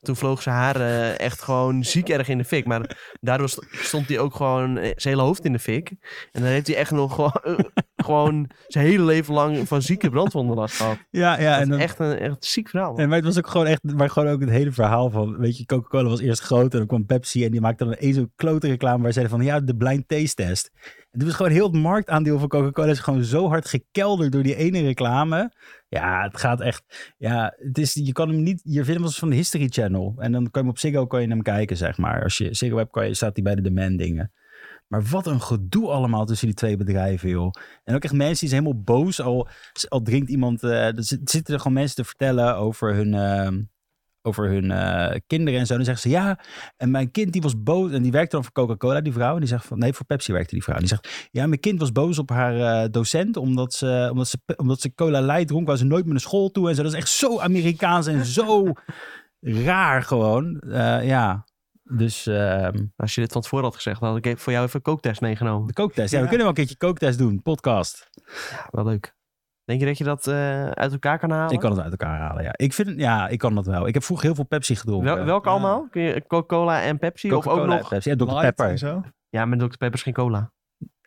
Speaker 2: Toen vloog ze haar eh, echt gewoon ziek erg in de fik. Maar daardoor st- stond hij ook gewoon eh, zijn hele hoofd in de fik. En dan heeft hij echt nog gewoon, eh, gewoon zijn hele leven lang van zieke brandwonden last gehad.
Speaker 4: Ja, ja,
Speaker 2: Dat
Speaker 4: en
Speaker 2: is
Speaker 4: dan,
Speaker 2: echt een echt ziek verhaal. man.
Speaker 4: En maar het was ook gewoon echt, maar gewoon ook het hele verhaal van, weet je, Coca-Cola was eerst groot en dan kwam Pepsi en die maakte dan eens een klote reclame waar zeiden van, ja, de blind taste test. En toen was gewoon heel het marktaandeel van Coca-Cola is gewoon zo hard gekelderd door die ene reclame. Ja, het gaat echt, ja, het is, je kan hem niet, je vindt hem als van de History Channel en dan kan je hem op Ziggo kan je hem kijken, zeg maar. Als je Ziggo hebt, kan je, staat hij bij de demand dingen. Maar wat een gedoe allemaal tussen die twee bedrijven, joh. En ook echt mensen die zijn helemaal boos al al drinkt iemand. eh, er zit- zitten er gewoon mensen te vertellen over hun. ehm, over hun eh, kinderen en zo. Dan zeggen ze ja. En mijn kind die was boos. En die werkte dan voor Coca-Cola, die vrouw. En die zegt van nee, voor Pepsi werkte die vrouw. En die zegt ja, mijn kind was boos op haar eh, docent. Omdat ze, omdat, ze, omdat ze cola light dronk. Waar ze nooit meer naar school toe. En zo. Dat is echt zo Amerikaans en zo raar gewoon. Eh, ja. Dus ehm,
Speaker 2: Als je dit van tevoren had gezegd, dan had ik voor jou even een kooktest meegenomen.
Speaker 4: de kooktest. Ja, we
Speaker 3: Ja.
Speaker 4: kunnen wel een keertje kooktest doen. Podcast.
Speaker 2: Ja, wel leuk. Denk je dat je dat eh, uit elkaar kan halen?
Speaker 4: Ik kan het uit elkaar halen. Ja, ik vind ja, ik kan dat wel. Ik heb vroeger heel veel Pepsi gedronken.
Speaker 2: Wel, welke
Speaker 3: Ja.
Speaker 2: allemaal? Kun je Coca-Cola en Pepsi? of ook
Speaker 4: Coca-Cola,
Speaker 2: nog...
Speaker 4: Pepsi. Ja, Dr.
Speaker 3: Light en
Speaker 4: Pepper.
Speaker 3: zo.
Speaker 2: Ja, maar Dr. Pepper is geen cola.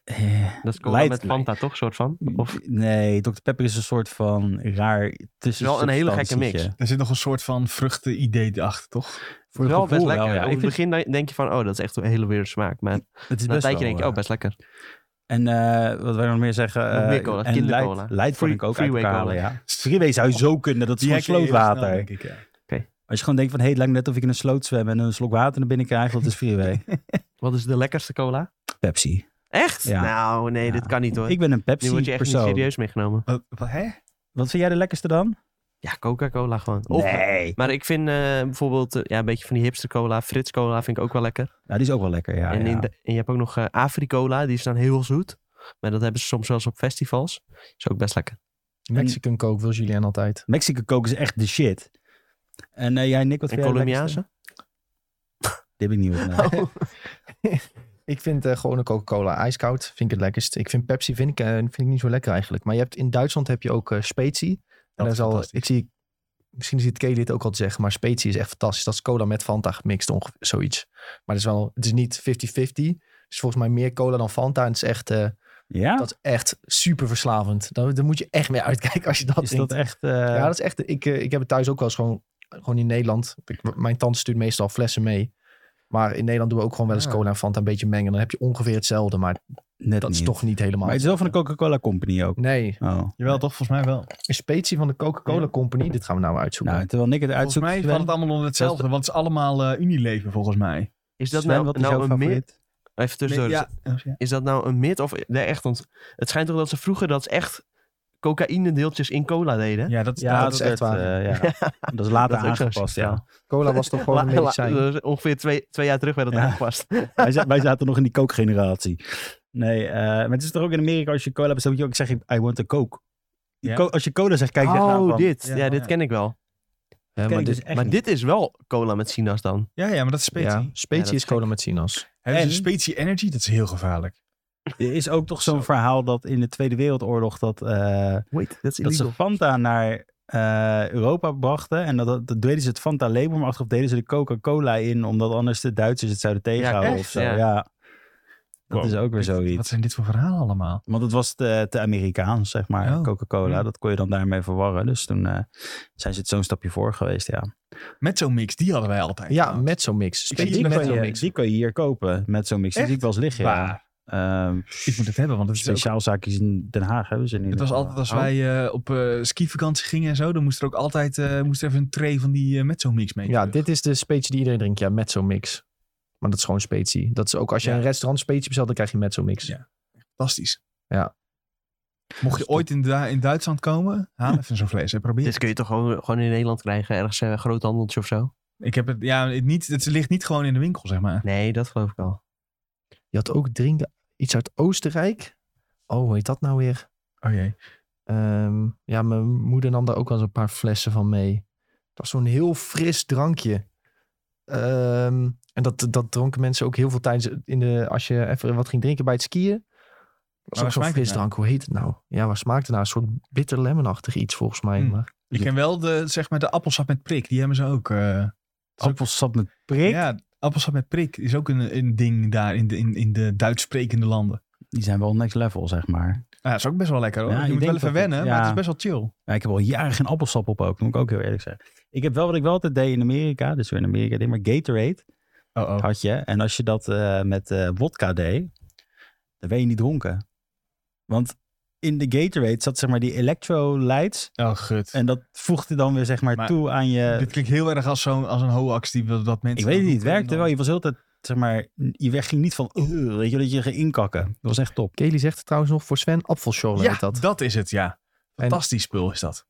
Speaker 4: Eh,
Speaker 2: Dat is cola
Speaker 4: Light-
Speaker 2: met Fanta, toch? Soort van?
Speaker 4: Mm.
Speaker 2: Of
Speaker 4: Nee, Dr. Pepper is een soort van raar tussen.
Speaker 2: Wel een hele gekke mix.
Speaker 4: substantietje.
Speaker 3: Er zit nog een soort van vruchten-idee achter, toch?
Speaker 4: Voor het
Speaker 2: wel
Speaker 4: gevoel
Speaker 2: best lekker.
Speaker 4: wel, ja.
Speaker 2: Op
Speaker 4: Ik
Speaker 2: het
Speaker 4: vind-
Speaker 2: begin denk je van, oh, dat is echt een hele weird smaak. Maar
Speaker 4: Het is
Speaker 2: na een
Speaker 4: best
Speaker 2: tijdje
Speaker 4: wel,
Speaker 2: denk je,
Speaker 4: eh,
Speaker 2: oh, best lekker.
Speaker 4: En eh, wat wij nog meer zeggen.
Speaker 2: Nog
Speaker 4: eh,
Speaker 2: meer cola,
Speaker 4: en
Speaker 2: kindercola.
Speaker 4: Light, light kan
Speaker 2: Free-
Speaker 4: ik ook uit
Speaker 2: freeway
Speaker 4: elkaar
Speaker 2: cola.
Speaker 4: halen, ja. Freeway zou je zo kunnen, dat is
Speaker 3: Die
Speaker 4: gewoon
Speaker 3: herken je heel snel,
Speaker 4: slootwater.
Speaker 3: denk ik, ja.
Speaker 4: Als je gewoon denkt van, hé, hey, het lijkt me net of ik in een sloot zwem en een slok water naar binnen krijg, dat is freeway.
Speaker 2: Wat is de lekkerste cola?
Speaker 4: Pepsi.
Speaker 2: Echt?
Speaker 4: Ja.
Speaker 2: Nou, nee,
Speaker 4: Ja.
Speaker 2: dit kan niet hoor.
Speaker 4: Ik ben een
Speaker 2: nu word je
Speaker 4: Pepsi
Speaker 2: echt
Speaker 4: persoon.
Speaker 2: niet serieus meegenomen.
Speaker 3: Wat, wat, hè?
Speaker 4: Wat vind jij de lekkerste dan?
Speaker 2: Ja, Coca-Cola gewoon. Of,
Speaker 4: nee.
Speaker 2: Maar ik vind eh, bijvoorbeeld eh, ja, een beetje van die hipster cola, Frits cola vind ik ook wel lekker.
Speaker 4: Ja, die is ook wel lekker, ja.
Speaker 2: en,
Speaker 4: ja.
Speaker 2: in de- en je hebt ook nog eh Africola, die is dan heel zoet. Maar dat hebben ze soms wel eens op festivals. Is ook best lekker.
Speaker 1: Mexican Coke wil Julien altijd.
Speaker 4: Mexico Coke is echt de shit. En eh, jij, Nick, wat
Speaker 2: En
Speaker 4: vind jij de lekkerste?
Speaker 2: Colombiaanse? Oh.
Speaker 4: Die heb ik niet opgenomen.
Speaker 1: Ik vind eh, gewoon een Coca-Cola ijskoud. Vind ik het lekkerst. Ik vind Pepsi vind ik, eh, vind ik niet zo lekker eigenlijk. Maar je hebt, in Duitsland heb je ook eh Spezi. En
Speaker 3: Dat
Speaker 1: dat
Speaker 3: is
Speaker 1: is al,
Speaker 3: fantastisch.
Speaker 1: ik zie, misschien ziet Kelly dit ook al te zeggen, maar Spezi is echt fantastisch. Dat is cola met Fanta gemixt, ongeveer zoiets. Maar het is, wel, het is niet 50-50. Het is volgens mij meer cola dan Fanta. En het is echt, eh,
Speaker 4: Ja?
Speaker 3: Ah.
Speaker 1: dat is echt super verslavend. Daar, daar moet je echt mee uitkijken als je dat
Speaker 4: is
Speaker 1: drinkt.
Speaker 4: dat echt... eh,
Speaker 1: Ja, dat is echt. Ik, eh, ik heb het thuis ook wel eens gewoon, gewoon in Nederland. Ik, mijn tante stuurt meestal flessen mee. Maar in Nederland doen we ook gewoon wel eens
Speaker 3: Ja.
Speaker 1: cola en Fanta een beetje mengen. Dan heb je ongeveer hetzelfde. Maar
Speaker 4: Net
Speaker 1: Dat is
Speaker 4: niet.
Speaker 1: toch niet helemaal.
Speaker 4: Mm. Maar het is wel van de Coca-Cola Company ook.
Speaker 1: Nee,
Speaker 4: Oh.
Speaker 3: Jawel, toch? Volgens mij wel.
Speaker 1: een specie van de Coca-Cola Company. Dit gaan we nou uitzoeken.
Speaker 4: Nou, terwijl Nick het
Speaker 3: Volgens
Speaker 4: uitzoekt.
Speaker 3: mij
Speaker 4: Sven,
Speaker 3: valt het allemaal onder hetzelfde, want het is allemaal eh, Unilever volgens mij.
Speaker 2: Is dat
Speaker 4: Sven,
Speaker 2: nou,
Speaker 4: wat is jouw
Speaker 2: nou een meer...
Speaker 4: favoriet?
Speaker 2: Even tussendoor. dus
Speaker 3: ja. ja.
Speaker 2: Is dat nou een mythe of nee, echt? Want het schijnt toch dat ze vroeger dat ze echt cocaïne deeltjes in cola deden?
Speaker 3: Ja, dat,
Speaker 4: Ja,
Speaker 1: dat
Speaker 4: dat,
Speaker 1: is
Speaker 4: is
Speaker 1: echt waar.
Speaker 4: eh, ja. Dat is later
Speaker 2: Dat is ook zo'n
Speaker 4: aangepast, ja.
Speaker 2: verhaal.
Speaker 1: Cola was toch gewoon een
Speaker 2: La- la-
Speaker 1: medicijn.
Speaker 2: dus ongeveer twee, twee jaar terug werd dat
Speaker 4: Ja.
Speaker 2: aangepast.
Speaker 4: wij, za- wij zaten nog in die Coke-generatie. Nee, eh, maar het is toch ook in Amerika, als je cola bestelt, moet je ook zeggen, I want a Coke. Die
Speaker 3: Ja.
Speaker 4: co- als je cola zegt, kijk je echt aan
Speaker 2: oh,
Speaker 4: van,
Speaker 2: dit.
Speaker 3: Ja,
Speaker 2: Ja, dit
Speaker 3: ja.
Speaker 2: ken ik wel.
Speaker 1: Ja,
Speaker 4: ken
Speaker 1: maar
Speaker 4: ik
Speaker 1: dit,
Speaker 4: dus echt
Speaker 2: maar
Speaker 4: niet.
Speaker 2: dit is wel cola met sinaas dan.
Speaker 3: ja, ja, maar dat is specie.
Speaker 1: ja, specie
Speaker 2: Ja, dat
Speaker 1: is cola met sinaas.
Speaker 3: Hè, dus
Speaker 4: En-
Speaker 3: een specie energy, dat is heel gevaarlijk.
Speaker 4: Er is ook toch zo'n
Speaker 3: Zo.
Speaker 4: verhaal dat in de Tweede Wereldoorlog dat, eh,
Speaker 2: Wait, dat is
Speaker 4: dat ze
Speaker 2: illegal.
Speaker 4: Fanta naar eh, Europa brachten. En dat, dat, dat deden ze het Fanta-label, maar achteraf deden ze de Coca-Cola in, omdat anders de Duitsers het zouden tegenhouden
Speaker 2: echt?
Speaker 4: of zo.
Speaker 2: Ja.
Speaker 4: Ja. Dat
Speaker 3: Wow.
Speaker 4: is ook weer
Speaker 3: Dit- Wat
Speaker 4: zoiets.
Speaker 3: zijn dit voor verhalen allemaal?
Speaker 4: Want het was te, te Amerikaans, zeg maar,
Speaker 3: Oh.
Speaker 4: Coca-Cola.
Speaker 3: Hm.
Speaker 4: Dat kon je dan daarmee verwarren. Dus toen eh, zijn ze het zo'n stapje voor geweest, ja.
Speaker 3: Met zo'n mix, die hadden wij altijd.
Speaker 1: Ja,
Speaker 3: gehad.
Speaker 1: met zo'n mix.
Speaker 3: Ik
Speaker 1: Specie
Speaker 3: zie
Speaker 4: Die
Speaker 1: met
Speaker 4: kan,
Speaker 1: zo'n
Speaker 4: je,
Speaker 1: mix.
Speaker 4: die kan je hier kopen met zo'n mix. Die
Speaker 3: Echt?
Speaker 4: zie ik wel eens liggen. Ja.
Speaker 3: Waar?
Speaker 4: Ehm
Speaker 3: Ik moet het hebben, want het is ook-
Speaker 4: speciaal zaakjes in Oh. Den Haag hebben ze niet.
Speaker 3: Het was altijd als wij eh, op eh, skivakantie gingen en zo, dan moest er ook altijd eh, moest er even een tray van die eh, met zo'n mix mee.
Speaker 1: Ja,
Speaker 3: terug.
Speaker 1: dit is de specie die iedereen drinkt. Ja, met zo'n mix. Maar dat is gewoon specie. Dat is ook als je
Speaker 3: Ja.
Speaker 1: een restaurant specie bestelt, dan krijg je met zo'n mix.
Speaker 3: Ja. fantastisch.
Speaker 1: Ja.
Speaker 3: Mocht je ooit in, Du- in Duitsland komen, haal even zo'n vlees en probeer.
Speaker 2: Dit kun je toch gewoon, gewoon in Nederland krijgen? Ergens een groot handeltje of zo?
Speaker 3: Ik heb het, ja, het, niet, het ligt niet gewoon in de winkel, zeg maar.
Speaker 2: Nee, dat geloof ik al.
Speaker 1: Je had ook drinken, iets uit Oostenrijk. Oh, hoe heet dat nou weer?
Speaker 3: Oh jee.
Speaker 1: Ehm, ja, mijn moeder nam daar ook wel eens een paar flessen van mee. Het was zo'n heel fris drankje. Ehm, en dat, dat dronken mensen ook heel veel tijdens in de, als je even wat ging drinken bij het skiën. Dat was
Speaker 3: waar
Speaker 1: ook zo'n
Speaker 3: smaakt het
Speaker 1: fris drank. Hoe heet het nou? Ja, waar smaakte het naar? Een soort bitter lemonachtig iets volgens mij.
Speaker 3: Hmm.
Speaker 1: Maar
Speaker 3: Ik ken wel de, zeg maar, de appelsap met prik, die hebben ze ook. eh.
Speaker 4: Appelsap met prik.
Speaker 3: Ja, appelsap met prik is ook een, een ding daar in de, in, in de Duits sprekende landen.
Speaker 4: Die zijn wel next level, zeg maar.
Speaker 3: Ja, dat is ook best wel lekker hoor.
Speaker 4: Ja,
Speaker 3: je
Speaker 4: ik
Speaker 3: moet
Speaker 4: denk
Speaker 3: wel even
Speaker 4: dat het-
Speaker 3: wennen,
Speaker 4: ja.
Speaker 3: maar het is best wel chill.
Speaker 4: Ja, ik heb al jaren geen appelsap op ook. Moet ik ook heel eerlijk zeggen. Ik heb wel wat ik wel altijd deed in Amerika. Dus weer in Amerika. deed, Maar Gatorade
Speaker 3: Oh, oh.
Speaker 4: had je. En als je dat eh, met eh wodka deed, dan ben je niet dronken. Want in de Gatorade zat zeg maar die electrolytes.
Speaker 3: Oh, gut.
Speaker 4: En dat voegde dan weer zeg maar,
Speaker 3: Maar
Speaker 4: toe aan je...
Speaker 3: Dit klinkt heel erg als, zo'n, als een hoax die wil dat mensen...
Speaker 4: Ik weet het
Speaker 3: dan
Speaker 4: niet, het
Speaker 3: roepen
Speaker 4: werkte
Speaker 3: en
Speaker 4: wel.
Speaker 3: dan-
Speaker 4: Je was heel tijd, zeg maar, je weg ging niet van, "Ugh," weet je, dat je ging inkakken. Dat was echt top.
Speaker 1: Kelly zegt het trouwens nog voor Sven, appelschorle
Speaker 3: Ja,
Speaker 1: heet
Speaker 3: dat.
Speaker 1: dat.
Speaker 3: is het, ja. Fantastisch spul is dat.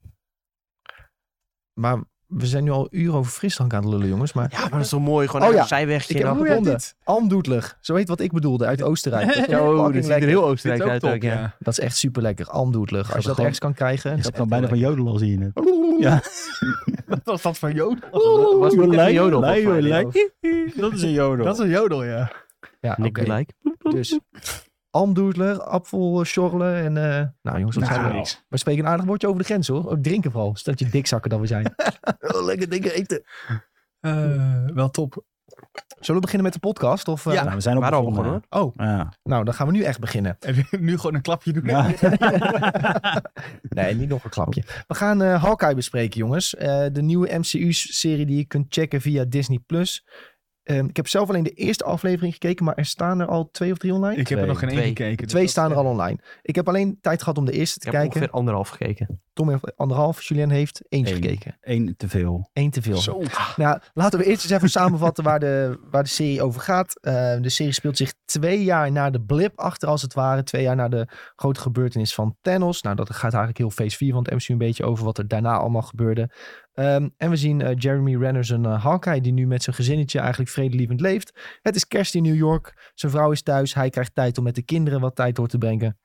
Speaker 1: Maar we zijn nu al uren over frisdrank aan het lullen, jongens. Maar
Speaker 2: Ja, maar dat is toch mooi? Gewoon
Speaker 1: Oh
Speaker 2: oh,
Speaker 1: ja,
Speaker 2: een zijwegje.
Speaker 1: ik heb
Speaker 2: en dan-
Speaker 1: hem gevonden. Amdoedler, zo heet wat ik bedoelde, uit Oostenrijk. Dat is
Speaker 2: Ja, oh,
Speaker 1: fucking
Speaker 2: dit ziet er
Speaker 1: lekker.
Speaker 2: heel
Speaker 3: Dit is
Speaker 2: Oostenrijk
Speaker 3: ook
Speaker 2: uit.
Speaker 3: top,
Speaker 2: ook, ja.
Speaker 3: ja.
Speaker 1: Dat is echt super lekker, amdoedler. Als je dat
Speaker 4: gewoon-
Speaker 1: ergens kan krijgen.
Speaker 4: Je
Speaker 1: is
Speaker 4: gaat
Speaker 1: dat
Speaker 4: dan bijna
Speaker 1: heel
Speaker 4: van jodel al zien.
Speaker 1: Ja.
Speaker 3: Wat was dat van jodel?
Speaker 2: Was het een jodel?
Speaker 4: Lei,
Speaker 2: volgens mij,
Speaker 4: lei.
Speaker 2: of-
Speaker 4: Dat is een jodel.
Speaker 3: Dat is een jodel, ja.
Speaker 1: Ja,
Speaker 2: Nick
Speaker 1: oké.
Speaker 2: be like.
Speaker 1: Dus almdoedler, appelschorle en... eh, nou jongens, wat zijn we?
Speaker 3: Nou.
Speaker 1: We spreken een aardig woordje over de grens hoor. Ook drinken vooral, zodat je dikzakken dan we zijn. Oh, lekker dingen eten.
Speaker 3: Eh, wel top.
Speaker 1: Zullen we beginnen met de podcast? Of, eh,
Speaker 4: Nou, we zijn op
Speaker 2: Waar al
Speaker 4: begonnen.
Speaker 2: begonnen,
Speaker 3: Oh,
Speaker 4: Ja.
Speaker 1: Nou, dan gaan we nu echt beginnen.
Speaker 3: en nu gewoon een klapje doen.
Speaker 4: Ja.
Speaker 1: Nee, niet nog een klapje. We gaan eh Hawkeye bespreken, jongens. Eh, de nieuwe MCU-serie die je kunt checken via Disney+. Plus. Ehm, ik heb zelf alleen de eerste aflevering gekeken, maar er staan er al twee of drie online.
Speaker 3: Ik heb er nog geen één
Speaker 2: Twee.
Speaker 3: gekeken. dus
Speaker 1: twee
Speaker 3: dat-
Speaker 1: staan er al online. Ik heb alleen tijd gehad om de eerste
Speaker 2: eh, Ik
Speaker 1: te
Speaker 2: heb
Speaker 1: kijken.
Speaker 2: ongeveer anderhalf gekeken.
Speaker 1: Tom heeft anderhalf, Julien heeft eentje
Speaker 4: Eén.
Speaker 1: gekeken.
Speaker 4: Eén te veel.
Speaker 1: Eén te veel.
Speaker 3: Zo.
Speaker 1: Nou, laten we eerst eens even samenvatten waar de, waar de serie over gaat. Eh, de serie speelt zich twee jaar na de blip achter, als het ware. Twee jaar na de grote gebeurtenis van Thanos. Nou, dat gaat eigenlijk heel phase 4 van het MCU een beetje over wat er daarna allemaal gebeurde. Ehm, en we zien eh, Jeremy Renner's een eh, Hawkeye die nu met zijn gezinnetje eigenlijk vredelievend leeft. Het is kerst in New York. Zijn vrouw is thuis. Hij krijgt tijd om met de kinderen wat tijd door te brengen.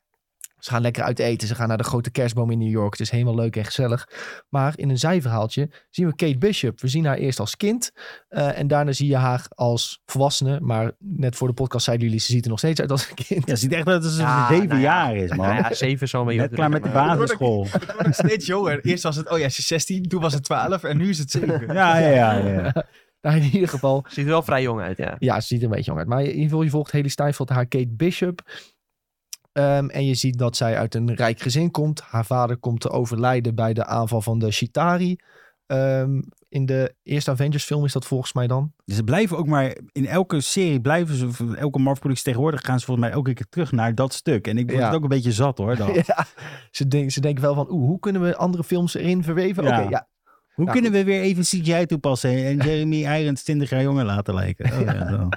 Speaker 1: Ze gaan lekker uit eten. Ze gaan naar de grote kerstboom in New York. Het is helemaal leuk en gezellig. Maar in een zijverhaaltje zien we Kate Bishop. We zien haar eerst als kind. eh, en daarna zie je haar als volwassene. Maar net voor de podcast zeiden jullie, ze ziet er nog steeds uit als een kind.
Speaker 4: Ja, het ziet echt uit dat het
Speaker 2: Ja,
Speaker 4: zeven
Speaker 2: nou ja.
Speaker 4: jaar is, man.
Speaker 2: Nou ja, zeven zal mee.
Speaker 4: Net klaar met de
Speaker 2: baan.
Speaker 4: basisschool.
Speaker 3: Het wordt ook steeds jonger. Eerst was het, oh ja, ze is 16. Toen was het 12. En nu is het 7.
Speaker 4: Ja, ja, ja. ja.
Speaker 1: Nou, in ieder geval
Speaker 2: Ziet er wel vrij jong uit, ja.
Speaker 1: Ja, ze ziet er een beetje jong uit. Maar in ieder geval, je volgt Haley Steinfeld, haar Kate Bishop. Ehm, en je ziet dat zij uit een rijk gezin komt. Haar vader komt te overlijden bij de aanval van de Chitari. Ehm, in de eerste Avengers film is dat volgens mij dan.
Speaker 4: Dus ze blijven ook maar, in elke serie blijven ze, of elke Marvel-productie tegenwoordig gaan ze volgens mij elke keer terug naar dat stuk. En ik word
Speaker 1: Ja.
Speaker 4: het ook een beetje zat hoor. Dan.
Speaker 1: Ja, ze, denk- ze denken wel van, oeh, hoe kunnen we andere films erin verweven?
Speaker 4: Ja.
Speaker 1: Oké, ja.
Speaker 4: Hoe
Speaker 1: Nou,
Speaker 4: kunnen we weer even CGI toepassen en Jeremy Irons 20 jaar jonger laten lijken? Oh, ja, zo.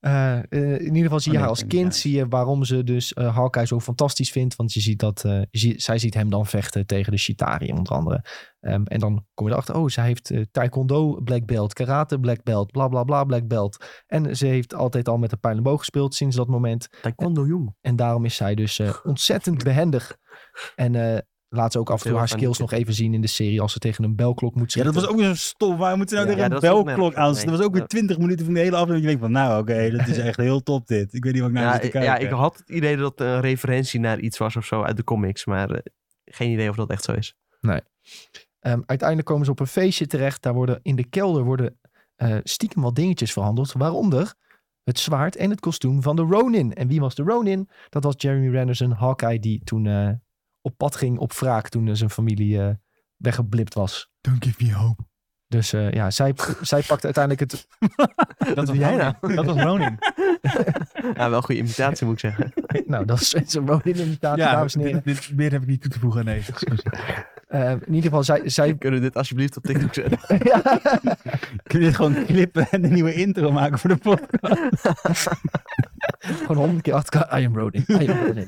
Speaker 1: Eh, eh, in ieder geval zie je
Speaker 4: Oh, nee,
Speaker 1: haar als
Speaker 4: ik
Speaker 1: kind.
Speaker 4: vind het
Speaker 1: Zie je waarom ze dus eh Hawkeye zo fantastisch vindt. Want je ziet dat, eh, je ziet- zij ziet hem dan vechten tegen de Chitari onder andere. Ehm, en dan kom je erachter, oh, zij heeft eh, taekwondo black belt, karate black belt, bla bla bla black belt. En ze heeft altijd al met een pijlenboog gespeeld sinds dat moment.
Speaker 2: Taekwondo jong.
Speaker 1: En daarom is zij dus eh, ontzettend behendig. En eh, laat ze ook af en toe
Speaker 2: heel
Speaker 1: haar
Speaker 2: erg aan
Speaker 1: skills
Speaker 2: die-
Speaker 1: nog even zien in de serie als ze tegen een belklok moet
Speaker 4: ja,
Speaker 1: schieten.
Speaker 4: dat was ook weer zo'n stom. Waar moeten we nou
Speaker 2: Ja,
Speaker 4: tegen
Speaker 2: dat
Speaker 4: een
Speaker 2: was ook
Speaker 4: belklok
Speaker 2: nergens
Speaker 4: aan?
Speaker 2: op,
Speaker 4: Dat was ook weer
Speaker 2: nee.
Speaker 4: 20 minuten van de hele aflevering. Ik denk van, nou oké, dat is echt heel top dit. Ik weet niet wat ik nou
Speaker 2: Ja,
Speaker 4: zit te
Speaker 2: ja,
Speaker 4: kijken.
Speaker 2: ik had het idee dat het een referentie naar iets was of zo uit de comics. Maar eh, geen idee of dat echt zo is.
Speaker 1: Ehm, uiteindelijk komen ze op een feestje terecht. Daar worden in de kelder worden eh, stiekem wat dingetjes verhandeld. Waaronder het zwaard en het kostuum van de Ronin. En wie was de Ronin? Dat was Jeremy Renner's Hawkeye, die toen eh, op pad ging op wraak toen eh, zijn familie eh, weggeblipt was.
Speaker 3: Don't give me hope.
Speaker 1: Dus eh, ja, zij, zij pakt uiteindelijk het...
Speaker 3: Dat was
Speaker 2: doe jij nou?
Speaker 3: Ronin. Dat was Ronin.
Speaker 2: Ja, wel een goede imitatie moet ik zeggen.
Speaker 1: Nou, dat is zijn Ronin-imitatie, dames en heren.
Speaker 3: dit, dit- meer heb ik niet toe te voegen aan deze discussie.
Speaker 1: Eh, in ieder geval, zij... zij
Speaker 2: Kunnen we dit alsjeblieft op TikTok zetten?
Speaker 1: ja.
Speaker 4: Kun je dit gewoon knippen en een nieuwe intro maken voor de podcast?
Speaker 1: Gewoon honderd keer achter elkaar. I am Rodin. I am Rodin.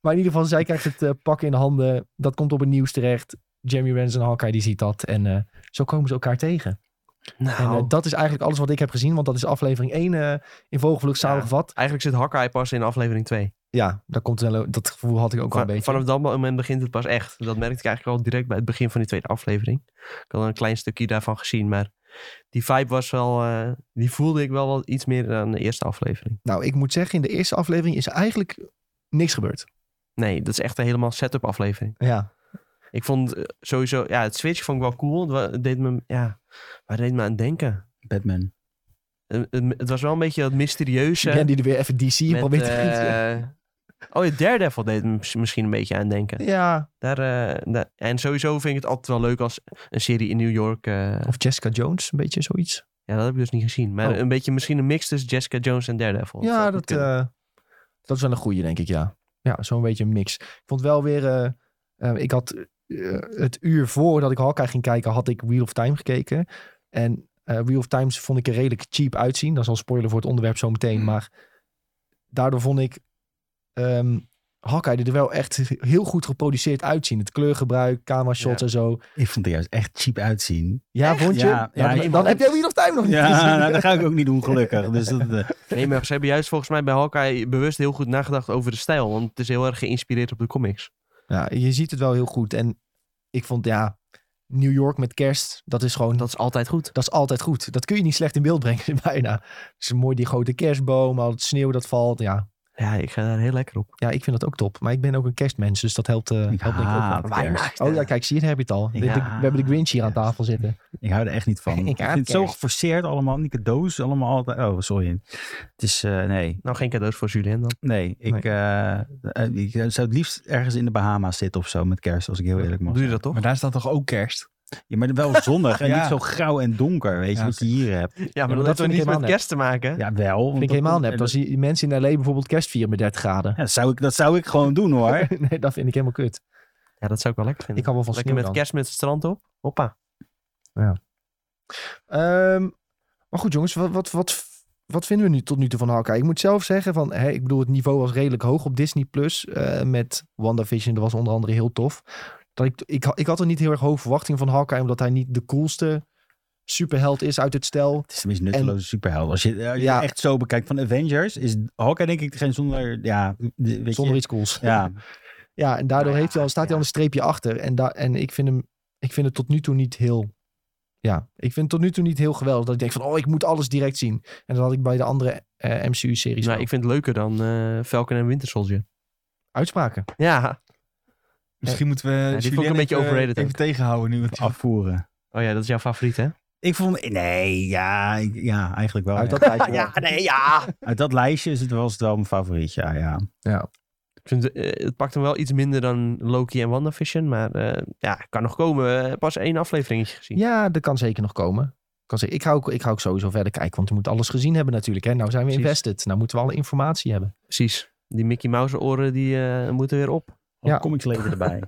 Speaker 1: maar in ieder geval, zij krijgt het eh, pak in de handen. Dat komt op het nieuws terecht. Jeremy Renner en Hawkeye die ziet dat. En eh, zo komen ze elkaar tegen. En eh,
Speaker 2: Nou,
Speaker 1: dat is eigenlijk alles wat ik heb gezien. Want dat is aflevering 1 eh, in vogelvlucht
Speaker 2: Ja.
Speaker 1: samengevat.
Speaker 2: eigenlijk zit Hawkeye pas in aflevering 2.
Speaker 1: Ja, daar komt wel, dat gevoel had ik ook wel een
Speaker 2: Va-
Speaker 1: beetje.
Speaker 2: Vanaf dat moment begint het pas echt. Dat merkte ik eigenlijk al direct bij het begin van die tweede aflevering. Ik had al een klein stukje daarvan gezien, maar die vibe was wel... eh, die voelde ik wel wat iets meer dan de eerste aflevering.
Speaker 1: Nou, ik moet zeggen, in de eerste aflevering is eigenlijk niks gebeurd.
Speaker 2: Nee, dat is echt een helemaal setup aflevering.
Speaker 1: Ja.
Speaker 2: Ik vond eh, sowieso... Ja, het switch vond ik wel cool. Het wa- Het deed me... Ja, waar deed me aan denken?
Speaker 4: Batman.
Speaker 2: Eh, Het, het was wel een beetje dat mysterieuze...
Speaker 1: En die er weer even DC in
Speaker 2: met,
Speaker 1: probeert te gieten.
Speaker 2: eh, Oh ja, Daredevil deed me mis- misschien een beetje aan denken.
Speaker 1: Ja.
Speaker 2: Daar, eh, daar- en sowieso vind ik het altijd wel leuk als een serie in New York... eh,
Speaker 1: Of Jessica Jones, een beetje zoiets.
Speaker 2: Ja, dat heb ik dus niet gezien. Maar
Speaker 1: Oh.
Speaker 2: een beetje misschien een mix tussen Jessica Jones en Daredevil.
Speaker 1: Ja,
Speaker 2: zou
Speaker 1: dat,
Speaker 2: goed kunnen.
Speaker 1: eh, dat is wel een goede, denk ik, ja. Ja, zo'n beetje een mix. Ik vond wel weer... eh, eh, ik had eh, het uur voordat ik Hawkeye ging kijken, had ik Wheel of Time gekeken. En eh, Wheel of Times vond ik er redelijk cheap uitzien. Dat is al spoiler voor het onderwerp zometeen.
Speaker 3: Hmm.
Speaker 1: Maar daardoor vond ik ehm Hawkeye er wel echt heel goed geproduceerd uitzien. Het kleurgebruik, camera shots en zo.
Speaker 4: Ik vond het juist echt cheap uitzien.
Speaker 1: Ja, vond je?
Speaker 4: Ja,
Speaker 1: Nou,
Speaker 4: ja,
Speaker 1: dan,
Speaker 4: ik-
Speaker 1: dan heb jij Wheel of Time nog niet
Speaker 4: Ja,
Speaker 1: gezien.
Speaker 4: nou, dat ga ik ook niet doen gelukkig. Dus dat, eh,
Speaker 2: Nee, maar ze hebben juist volgens mij bij Hawkeye bewust heel goed nagedacht over de stijl. Want het is heel erg geïnspireerd op de comics.
Speaker 1: Ja, je ziet het wel heel goed. En ik vond, ja, New York met kerst, dat is gewoon...
Speaker 2: Dat is altijd goed.
Speaker 1: Dat is altijd goed. Dat kun je niet slecht in beeld brengen, bijna. Dus mooi die grote kerstboom, al het sneeuw dat valt. Ja.
Speaker 2: Ja, ik ga daar heel lekker op.
Speaker 1: ja, ik vind dat ook top. Maar ik ben ook een kerstmens, dus dat helpt, eh helpt denk ik ook wel.
Speaker 4: haat kerst.
Speaker 1: Oh ja, kijk, zie je, daar heb je het al. De- de- we hebben de Grinch hier aan tafel zitten.
Speaker 4: Ik hou er echt niet van.
Speaker 1: Ik
Speaker 4: Ik,
Speaker 1: haat
Speaker 4: vind het zo
Speaker 1: kerst.
Speaker 4: geforceerd allemaal. Die cadeaus allemaal altijd. Oh, sorry. Het is, eh, nee,
Speaker 2: Nou, geen cadeaus voor Julien dan.
Speaker 4: nee. Ik,
Speaker 1: Nee.
Speaker 4: eh, eh, ik zou het liefst ergens in de Bahama's zitten of zo met kerst, als ik heel eerlijk mag.
Speaker 2: Doe je dat toch?
Speaker 3: Maar daar staat toch ook kerst?
Speaker 4: Ja, maar wel zonnig en
Speaker 3: Ja.
Speaker 4: niet zo grauw en donker, weet je,
Speaker 3: Ja,
Speaker 4: wat je hier hebt.
Speaker 2: Ja, maar
Speaker 1: maar dat
Speaker 2: dat heeft
Speaker 1: vind
Speaker 2: toch
Speaker 1: ik
Speaker 2: niets met
Speaker 1: helemaal
Speaker 2: kerst te maken?
Speaker 4: Ja, wel.
Speaker 1: Vind ik helemaal nep. Dan zie je mensen in L.A. bijvoorbeeld kerst vieren met 30 graden.
Speaker 4: Ja, dat zou ik, dat zou ik gewoon doen hoor.
Speaker 1: nee, dat vind ik helemaal kut.
Speaker 2: Ja, dat zou ik wel lekker vinden.
Speaker 1: Ik hou wel van
Speaker 2: lekker
Speaker 1: sneeuw
Speaker 2: met
Speaker 1: dan.
Speaker 2: kerst met het strand op. Hoppa.
Speaker 1: Ehm, maar goed jongens, wat, wat, wat, wat vinden we nu tot nu toe van Hawkeye? Ik moet zelf zeggen, van, hè, ik bedoel het niveau was redelijk hoog op Disney+. Plus eh, met WandaVision, dat was onder andere heel tof. Dat ik, ik, ha- ik had er niet heel erg hoge verwachtingen van Hawkeye, omdat hij niet de coolste superheld is uit het stel.
Speaker 4: Het is de meest nutteloze superheld. Als je, eh, als je het
Speaker 1: Ja.
Speaker 4: echt zo bekijkt van Avengers, is Hawkeye denk ik degene zonder, ja, de- weet je-
Speaker 1: Zonder iets cools.
Speaker 4: Ja,
Speaker 1: Ja, en daardoor
Speaker 2: Nou ja,
Speaker 1: heeft hij al, staat hij
Speaker 2: ja.
Speaker 1: al een streepje achter. En, daar en ik, vind hem, ik vind het tot nu toe niet heel... Ja, ik vind het tot nu toe niet heel geweldig. Dat ik denk van, oh, ik moet alles direct zien. En dat had ik bij de andere eh, MCU-series
Speaker 2: Nou, ik vind het leuker dan eh, Falcon en Winter Soldier.
Speaker 1: Uitspraken.
Speaker 2: Ja.
Speaker 3: Misschien moeten we
Speaker 2: dit vond ik
Speaker 3: Julien
Speaker 2: een beetje
Speaker 3: even,
Speaker 2: overrated
Speaker 3: even
Speaker 2: ook.
Speaker 3: tegenhouden nu. Want
Speaker 4: afvoeren.
Speaker 2: Oh ja, dat is jouw favoriet, hè?
Speaker 4: Ik vond, nee, ja, ik- ja eigenlijk wel.
Speaker 1: Uit
Speaker 4: ja.
Speaker 1: dat lijstje.
Speaker 2: nee, ja.
Speaker 4: Uit dat lijstje is het, was het wel mijn favoriet, ja. ja.
Speaker 1: Ja.
Speaker 2: Ik vind, eh, het pakt hem wel iets minder dan Loki en WandaVision. Maar eh, ja, kan nog komen. Eh, Pas één afleveringetje gezien.
Speaker 1: Ja, dat kan zeker nog komen. Kan zeker. Ik, ga ook, ik ga ook sowieso verder kijken, want we moeten alles gezien hebben natuurlijk. Hè. Nou zijn we
Speaker 2: Precies.
Speaker 1: invested. Nou moeten we alle informatie hebben.
Speaker 2: Precies. Die Mickey Mouse oren die eh, moeten weer op.
Speaker 1: Ja.
Speaker 4: Ja. Comics leven erbij.